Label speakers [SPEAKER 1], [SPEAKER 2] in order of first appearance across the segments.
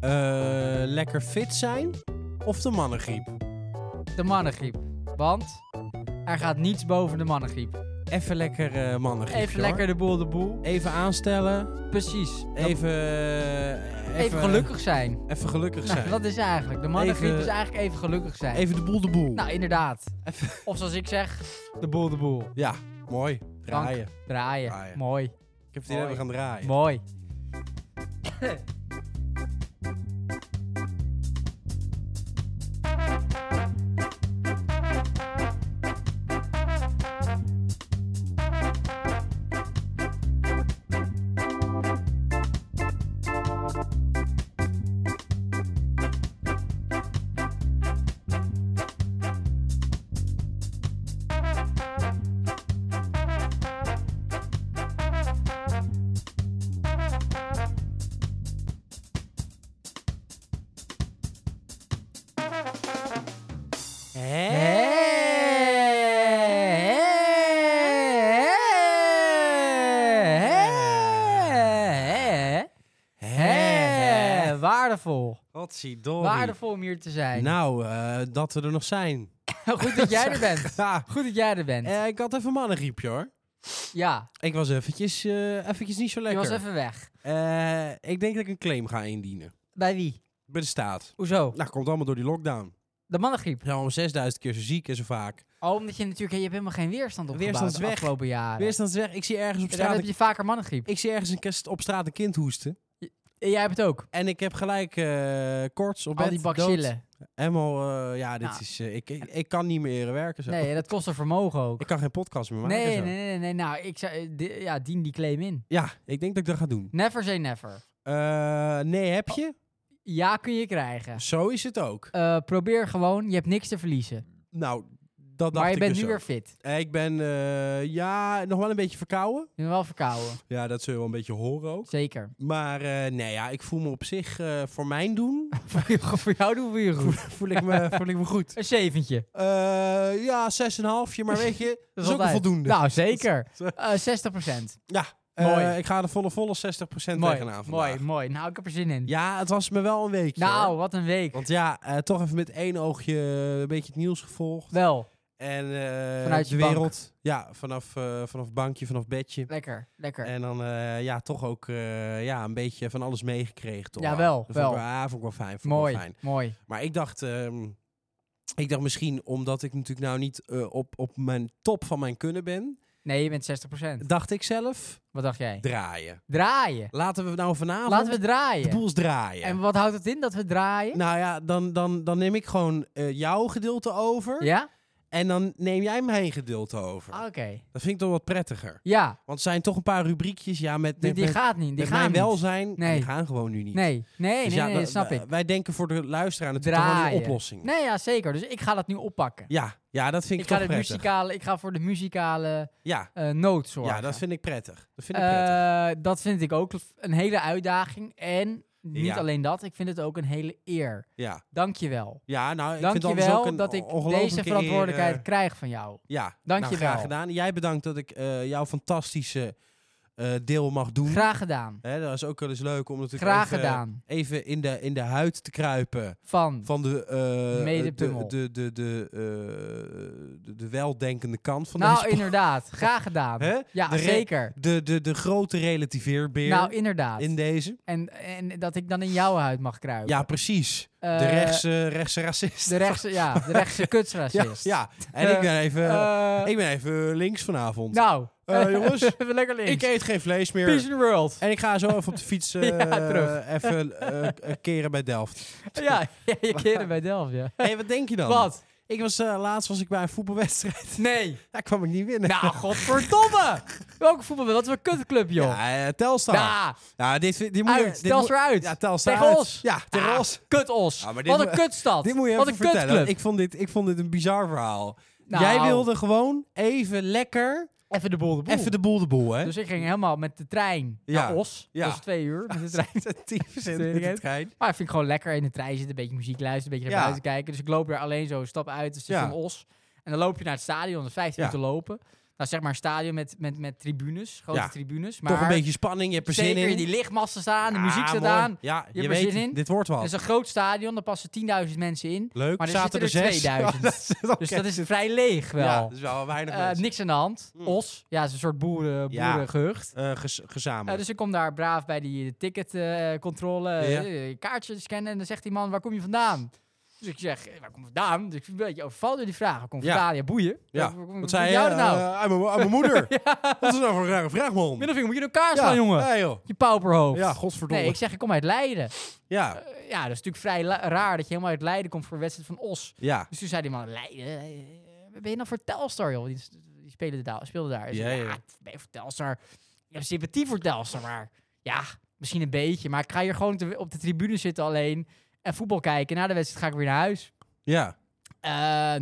[SPEAKER 1] Eh, lekker fit zijn of de mannengriep?
[SPEAKER 2] De mannengriep. Want er gaat niets boven de mannengriep.
[SPEAKER 1] Even lekker eh mannengriep.
[SPEAKER 2] Even lekker de boel de boel.
[SPEAKER 1] Even aanstellen.
[SPEAKER 2] Precies. Dat-
[SPEAKER 1] Even, eh, even,
[SPEAKER 2] even gelukkig zijn.
[SPEAKER 1] Even gelukkig
[SPEAKER 2] Nou,
[SPEAKER 1] zijn.
[SPEAKER 2] dat is eigenlijk. De mannengriep
[SPEAKER 1] Even-
[SPEAKER 2] is eigenlijk even gelukkig zijn.
[SPEAKER 1] Even de boel de boel.
[SPEAKER 2] Nou, inderdaad. Of zoals ik zeg, de boel de boel.
[SPEAKER 1] Ja, mooi. Draaien.
[SPEAKER 2] Draaien.
[SPEAKER 1] Draaien.
[SPEAKER 2] Mooi.
[SPEAKER 1] Ik heb het idee dat we
[SPEAKER 2] Mooi.
[SPEAKER 1] gaan draaien.
[SPEAKER 2] Mooi.
[SPEAKER 1] Hè?
[SPEAKER 2] Waardevol.
[SPEAKER 1] Godzijdank.
[SPEAKER 2] Waardevol om hier te zijn.
[SPEAKER 1] Nou, eh, dat we er nog zijn.
[SPEAKER 2] Goed dat jij er bent.
[SPEAKER 1] Ja,
[SPEAKER 2] Goed dat jij er bent.
[SPEAKER 1] eh, ik had even mannengriepje hoor.
[SPEAKER 2] ja,
[SPEAKER 1] Ik was eventjes, eh, eventjes niet zo
[SPEAKER 2] je
[SPEAKER 1] lekker.
[SPEAKER 2] was even weg.
[SPEAKER 1] Eh, ik denk dat ik een claim ga indienen.
[SPEAKER 2] Bij wie?
[SPEAKER 1] Bij de staat.
[SPEAKER 2] Hoezo?
[SPEAKER 1] Nou, komt allemaal door die lockdown.
[SPEAKER 2] De mannengriep.
[SPEAKER 1] We zijn al 6000 keer zo ziek en zo vaak.
[SPEAKER 2] Oh, omdat je natuurlijk... Je hebt helemaal geen weerstand opgebouwd
[SPEAKER 1] Weerstand is
[SPEAKER 2] de
[SPEAKER 1] weg.
[SPEAKER 2] afgelopen jaren.
[SPEAKER 1] Weerstandsweg, ik zie ergens op
[SPEAKER 2] Daarom
[SPEAKER 1] straat,
[SPEAKER 2] heb
[SPEAKER 1] een,
[SPEAKER 2] je vaker mannengriep.
[SPEAKER 1] ik zie ergens een kast op straat een kind hoesten.
[SPEAKER 2] En Jij hebt het ook.
[SPEAKER 1] En ik heb gelijk eh, koorts op
[SPEAKER 2] Al
[SPEAKER 1] bed.
[SPEAKER 2] die
[SPEAKER 1] dood.
[SPEAKER 2] bacillen.
[SPEAKER 1] Helemaal, eh, ja, dit
[SPEAKER 2] Nou.
[SPEAKER 1] is, eh, ik, ik, ik kan niet meer werken zo.
[SPEAKER 2] Nee, dat kost een vermogen ook.
[SPEAKER 1] Ik kan geen podcast meer maken
[SPEAKER 2] Nee,
[SPEAKER 1] zo.
[SPEAKER 2] nee, nee, nee. Nou, ik zou, eh, di- ja, dien die claim in.
[SPEAKER 1] Ja, ik denk dat ik dat ga doen.
[SPEAKER 2] Never say never.
[SPEAKER 1] Eh, nee, heb je?
[SPEAKER 2] Ja, kun je krijgen.
[SPEAKER 1] Zo is het ook.
[SPEAKER 2] Eh, probeer gewoon. Je hebt niks te verliezen.
[SPEAKER 1] Nou, dat dacht
[SPEAKER 2] maar je
[SPEAKER 1] ik
[SPEAKER 2] bent
[SPEAKER 1] dus
[SPEAKER 2] nu
[SPEAKER 1] ook.
[SPEAKER 2] weer fit.
[SPEAKER 1] Eh, Ik ben, eh, ja, nog wel een beetje verkouden.
[SPEAKER 2] Je bent wel verkouden.
[SPEAKER 1] Ja, dat zul je wel een beetje horen ook.
[SPEAKER 2] Zeker.
[SPEAKER 1] Maar eh, nee, ja, ik voel me op zich, eh, voor mijn doen,
[SPEAKER 2] voor, jou, voor jou doen we je goed. Eh,
[SPEAKER 1] voel ik me, voel ik me goed.
[SPEAKER 2] Een zeventje.
[SPEAKER 1] Eh, ja, 6,5, maar weet je, dat is ook een
[SPEAKER 2] altijd.
[SPEAKER 1] voldoende.
[SPEAKER 2] Nou, zeker.
[SPEAKER 1] Dat
[SPEAKER 2] Eh 60%.
[SPEAKER 1] ja,
[SPEAKER 2] Mooi.
[SPEAKER 1] eh, ik ga de volle, volle 60%
[SPEAKER 2] Mooi,
[SPEAKER 1] tegenaan vandaag.
[SPEAKER 2] mooi, mooi. Nou, ik heb er zin in.
[SPEAKER 1] Ja, het was me wel een weekje. hoor.
[SPEAKER 2] nou, wat een week.
[SPEAKER 1] Want ja, eh, toch even met één oogje een beetje het nieuws gevolgd.
[SPEAKER 2] Wel,
[SPEAKER 1] En eh,
[SPEAKER 2] Vanuit
[SPEAKER 1] de
[SPEAKER 2] je bank.
[SPEAKER 1] wereld. Ja, vanaf, eh, vanaf bankje, vanaf bedje.
[SPEAKER 2] lekker, lekker.
[SPEAKER 1] En dan eh, ja, toch ook eh, ja, een beetje van alles meegekregen. Toch?
[SPEAKER 2] Ja, wel,
[SPEAKER 1] Dat vond ik
[SPEAKER 2] wel.
[SPEAKER 1] ja, vond ik wel fijn. Vond ik wel
[SPEAKER 2] mooi,
[SPEAKER 1] fijn.
[SPEAKER 2] mooi.
[SPEAKER 1] Maar ik dacht, ehm, ik dacht misschien omdat ik natuurlijk nou niet eh, op, op mijn top van mijn kunnen ben,
[SPEAKER 2] Nee, je bent 60%.
[SPEAKER 1] dacht ik zelf,
[SPEAKER 2] Wat dacht jij?
[SPEAKER 1] draaien.
[SPEAKER 2] Draaien.
[SPEAKER 1] Laten we nou vanavond
[SPEAKER 2] Laten we
[SPEAKER 1] de
[SPEAKER 2] draaien.
[SPEAKER 1] boels draaien.
[SPEAKER 2] En wat houdt het in dat we draaien?
[SPEAKER 1] nou ja, dan, dan, dan neem ik gewoon eh, jouw gedeelte over.
[SPEAKER 2] Ja?
[SPEAKER 1] En dan neem jij mijn gedeelte over.
[SPEAKER 2] Ah, Oké.
[SPEAKER 1] Dat vind ik toch wat prettiger.
[SPEAKER 2] Ja,
[SPEAKER 1] Want er zijn toch een paar rubriekjes, ja, met,
[SPEAKER 2] die,
[SPEAKER 1] met,
[SPEAKER 2] die
[SPEAKER 1] met,
[SPEAKER 2] gaat niet. Die
[SPEAKER 1] met
[SPEAKER 2] gaan
[SPEAKER 1] mijn
[SPEAKER 2] niet.
[SPEAKER 1] welzijn.
[SPEAKER 2] Nee.
[SPEAKER 1] Die gaan gewoon nu niet.
[SPEAKER 2] Nee, nee,
[SPEAKER 1] Dus
[SPEAKER 2] nee,
[SPEAKER 1] ja,
[SPEAKER 2] nee,
[SPEAKER 1] dan-
[SPEAKER 2] dat snap
[SPEAKER 1] wij-
[SPEAKER 2] ik.
[SPEAKER 1] Wij denken voor de luisteraar natuurlijk toch wel een
[SPEAKER 2] Draaien.
[SPEAKER 1] oplossing.
[SPEAKER 2] Nee, ja, zeker. Dus ik ga dat nu oppakken.
[SPEAKER 1] Ja, ja, dat vind
[SPEAKER 2] Ik,
[SPEAKER 1] ik,
[SPEAKER 2] ga,
[SPEAKER 1] toch
[SPEAKER 2] de
[SPEAKER 1] prettig.
[SPEAKER 2] muzikale, ik ga voor de muzikale
[SPEAKER 1] Ja,
[SPEAKER 2] eh noot zorgen.
[SPEAKER 1] ja, dat vind ik prettig. Dat vind ik prettig.
[SPEAKER 2] Eh, dat vind ik ook een hele uitdaging. En niet
[SPEAKER 1] Ja.
[SPEAKER 2] alleen dat, ik vind het ook een hele eer.
[SPEAKER 1] Ja,
[SPEAKER 2] Dankjewel.
[SPEAKER 1] ja nou, ik vind anders ook
[SPEAKER 2] Dankjewel
[SPEAKER 1] een
[SPEAKER 2] dat ik
[SPEAKER 1] ongelofelijke
[SPEAKER 2] deze
[SPEAKER 1] eer,
[SPEAKER 2] verantwoordelijkheid
[SPEAKER 1] eh,
[SPEAKER 2] krijg van jou.
[SPEAKER 1] ja,
[SPEAKER 2] Dank
[SPEAKER 1] nou,
[SPEAKER 2] je
[SPEAKER 1] graag
[SPEAKER 2] wel.
[SPEAKER 1] gedaan. Jij bedankt dat ik eh, jouw fantastische eh, deel mag doen.
[SPEAKER 2] Graag gedaan.
[SPEAKER 1] Hè, dat is ook wel eens leuk om natuurlijk
[SPEAKER 2] Graag
[SPEAKER 1] even, eh,
[SPEAKER 2] gedaan.
[SPEAKER 1] even in de, in de huid te kruipen
[SPEAKER 2] Van.
[SPEAKER 1] van de, eh, de,
[SPEAKER 2] Medepummel.
[SPEAKER 1] de, de, de, eh, de, de weldenkende kant van
[SPEAKER 2] nou,
[SPEAKER 1] deze po-
[SPEAKER 2] inderdaad. Graag gedaan.
[SPEAKER 1] Hè?
[SPEAKER 2] Ja,
[SPEAKER 1] De re-
[SPEAKER 2] zeker.
[SPEAKER 1] de, de, de grote relativeerbeer
[SPEAKER 2] Nou, inderdaad.
[SPEAKER 1] in deze.
[SPEAKER 2] En, en dat ik dan in jouw huid mag kruipen.
[SPEAKER 1] Ja, precies.
[SPEAKER 2] Eh,
[SPEAKER 1] De rechtse, rechtse racist.
[SPEAKER 2] De rechtse, ja, de rechtse
[SPEAKER 1] ja,
[SPEAKER 2] kutsracist.
[SPEAKER 1] ja, en ik ben even,
[SPEAKER 2] Eh,
[SPEAKER 1] ik ben even links vanavond.
[SPEAKER 2] nou,
[SPEAKER 1] Eh, jongens,
[SPEAKER 2] even lekker links.
[SPEAKER 1] Ik eet geen vlees meer.
[SPEAKER 2] Peace in the world.
[SPEAKER 1] En ik ga zo even op de fiets eh,
[SPEAKER 2] Ja, terug.
[SPEAKER 1] even eh, eh, keren bij Delft.
[SPEAKER 2] ja, je keren bij Delft, ja.
[SPEAKER 1] Hé, wat denk je dan?
[SPEAKER 2] Wat?
[SPEAKER 1] Ik was, eh, laatst was ik bij een voetbalwedstrijd.
[SPEAKER 2] Nee.
[SPEAKER 1] Daar kwam ik niet winnen.
[SPEAKER 2] Nou, godverdomme. Welke voetbal? Wat voor een kutclub, joh. Ja,
[SPEAKER 1] Ja, eh, Telstar. Nou, dit, vind- dit moet je-
[SPEAKER 2] uit.
[SPEAKER 1] dit
[SPEAKER 2] Tels
[SPEAKER 1] moet-
[SPEAKER 2] eruit.
[SPEAKER 1] Ja, Telstar.
[SPEAKER 2] Tegen
[SPEAKER 1] uit.
[SPEAKER 2] Os.
[SPEAKER 1] Ja, tegen
[SPEAKER 2] Ah,
[SPEAKER 1] Os.
[SPEAKER 2] Kut Os.
[SPEAKER 1] Ja, maar dit
[SPEAKER 2] Wat een
[SPEAKER 1] moet-
[SPEAKER 2] kutstad.
[SPEAKER 1] Dit moet je
[SPEAKER 2] Wat
[SPEAKER 1] even
[SPEAKER 2] een
[SPEAKER 1] vertellen.
[SPEAKER 2] kutclub.
[SPEAKER 1] Ik vond, dit, ik vond dit een bizar verhaal.
[SPEAKER 2] Nou.
[SPEAKER 1] Jij wilde gewoon even lekker
[SPEAKER 2] Even de boel de boel.
[SPEAKER 1] Even de boel de boel, hè?
[SPEAKER 2] Dus ik ging helemaal met de trein naar
[SPEAKER 1] Ja.
[SPEAKER 2] Os.
[SPEAKER 1] Ja.
[SPEAKER 2] Dat is twee uur met de trein.
[SPEAKER 1] Tyfus
[SPEAKER 2] Tweede
[SPEAKER 1] met de
[SPEAKER 2] keer.
[SPEAKER 1] trein.
[SPEAKER 2] Maar dat vind ik gewoon lekker in de trein zitten, een beetje muziek luisteren, een beetje naar
[SPEAKER 1] Ja.
[SPEAKER 2] buiten kijken. Dus ik loop weer alleen zo, stap uit, dus het station
[SPEAKER 1] Ja.
[SPEAKER 2] Os. En dan loop je naar het stadion, dat is 15
[SPEAKER 1] Ja.
[SPEAKER 2] minuten lopen. Nou, zeg maar een stadion met, met, met tribunes, grote
[SPEAKER 1] Ja.
[SPEAKER 2] tribunes. Maar
[SPEAKER 1] Toch een beetje spanning, je hebt er zin
[SPEAKER 2] zeker
[SPEAKER 1] in.
[SPEAKER 2] die lichtmasten staan, de
[SPEAKER 1] Ja,
[SPEAKER 2] muziek staat
[SPEAKER 1] mooi.
[SPEAKER 2] aan.
[SPEAKER 1] Ja, je,
[SPEAKER 2] hebt er
[SPEAKER 1] weet,
[SPEAKER 2] zin in.
[SPEAKER 1] dit wordt
[SPEAKER 2] Het
[SPEAKER 1] wat.
[SPEAKER 2] is een groot stadion, daar passen 10.000 mensen in.
[SPEAKER 1] Leuk,
[SPEAKER 2] maar er
[SPEAKER 1] zaten er
[SPEAKER 2] zitten er
[SPEAKER 1] zes.
[SPEAKER 2] 2000.
[SPEAKER 1] Ja, dat is- oké.
[SPEAKER 2] Dus dat is vrij leeg wel.
[SPEAKER 1] Ja, dat is wel weinig
[SPEAKER 2] Eh,
[SPEAKER 1] mensen.
[SPEAKER 2] niks aan de hand.
[SPEAKER 1] Hmm.
[SPEAKER 2] Os, ja, het is een soort boeren,
[SPEAKER 1] Ja.
[SPEAKER 2] boerengehucht.
[SPEAKER 1] Eh, gez- gezamenlijk.
[SPEAKER 2] Eh, dus ik kom daar braaf bij die ticketcontrole, eh,
[SPEAKER 1] Ja.
[SPEAKER 2] kaartjes scannen. En dan zegt die man, waar kom je vandaan? Dus ik zeg, eh, waar kom je vandaan? Dus ik ben een beetje overvallen door die vraag. Waar kom je
[SPEAKER 1] Ja.
[SPEAKER 2] vandaan? Ja, boeien.
[SPEAKER 1] ja,
[SPEAKER 2] Waar kom-
[SPEAKER 1] wat
[SPEAKER 2] waar
[SPEAKER 1] zei je?
[SPEAKER 2] kom jij nou?
[SPEAKER 1] Eh, aan mijn- aan mijn moeder. Wat is nou voor een rare vraag, man?
[SPEAKER 2] Middelvinger, moet je in elkaar
[SPEAKER 1] Ja,
[SPEAKER 2] slaan, jongen.
[SPEAKER 1] Ja, joh.
[SPEAKER 2] Je pauperhoofd.
[SPEAKER 1] Ja, godverdomme.
[SPEAKER 2] nee, ik zeg, ik kom uit Leiden.
[SPEAKER 1] ja,
[SPEAKER 2] Eh, ja, dat is natuurlijk vrij la- raar dat je helemaal uit Leiden komt voor een wedstrijd van Os.
[SPEAKER 1] ja.
[SPEAKER 2] Dus toen zei die man, Leiden, eh, wat ben je nou voor Telstar, joh? Die, die speelde daar. Speelde daar. Ik zei,
[SPEAKER 1] Ja,
[SPEAKER 2] ja,
[SPEAKER 1] ja.
[SPEAKER 2] ik ben je voor Telstar? Ik heb sympathie voor Telstar, maar ja, misschien een beetje. Maar ik ga hier gewoon te- op de tribune zitten alleen en voetbal kijken. Na de wedstrijd ga ik weer naar huis.
[SPEAKER 1] Ja,
[SPEAKER 2] Eh,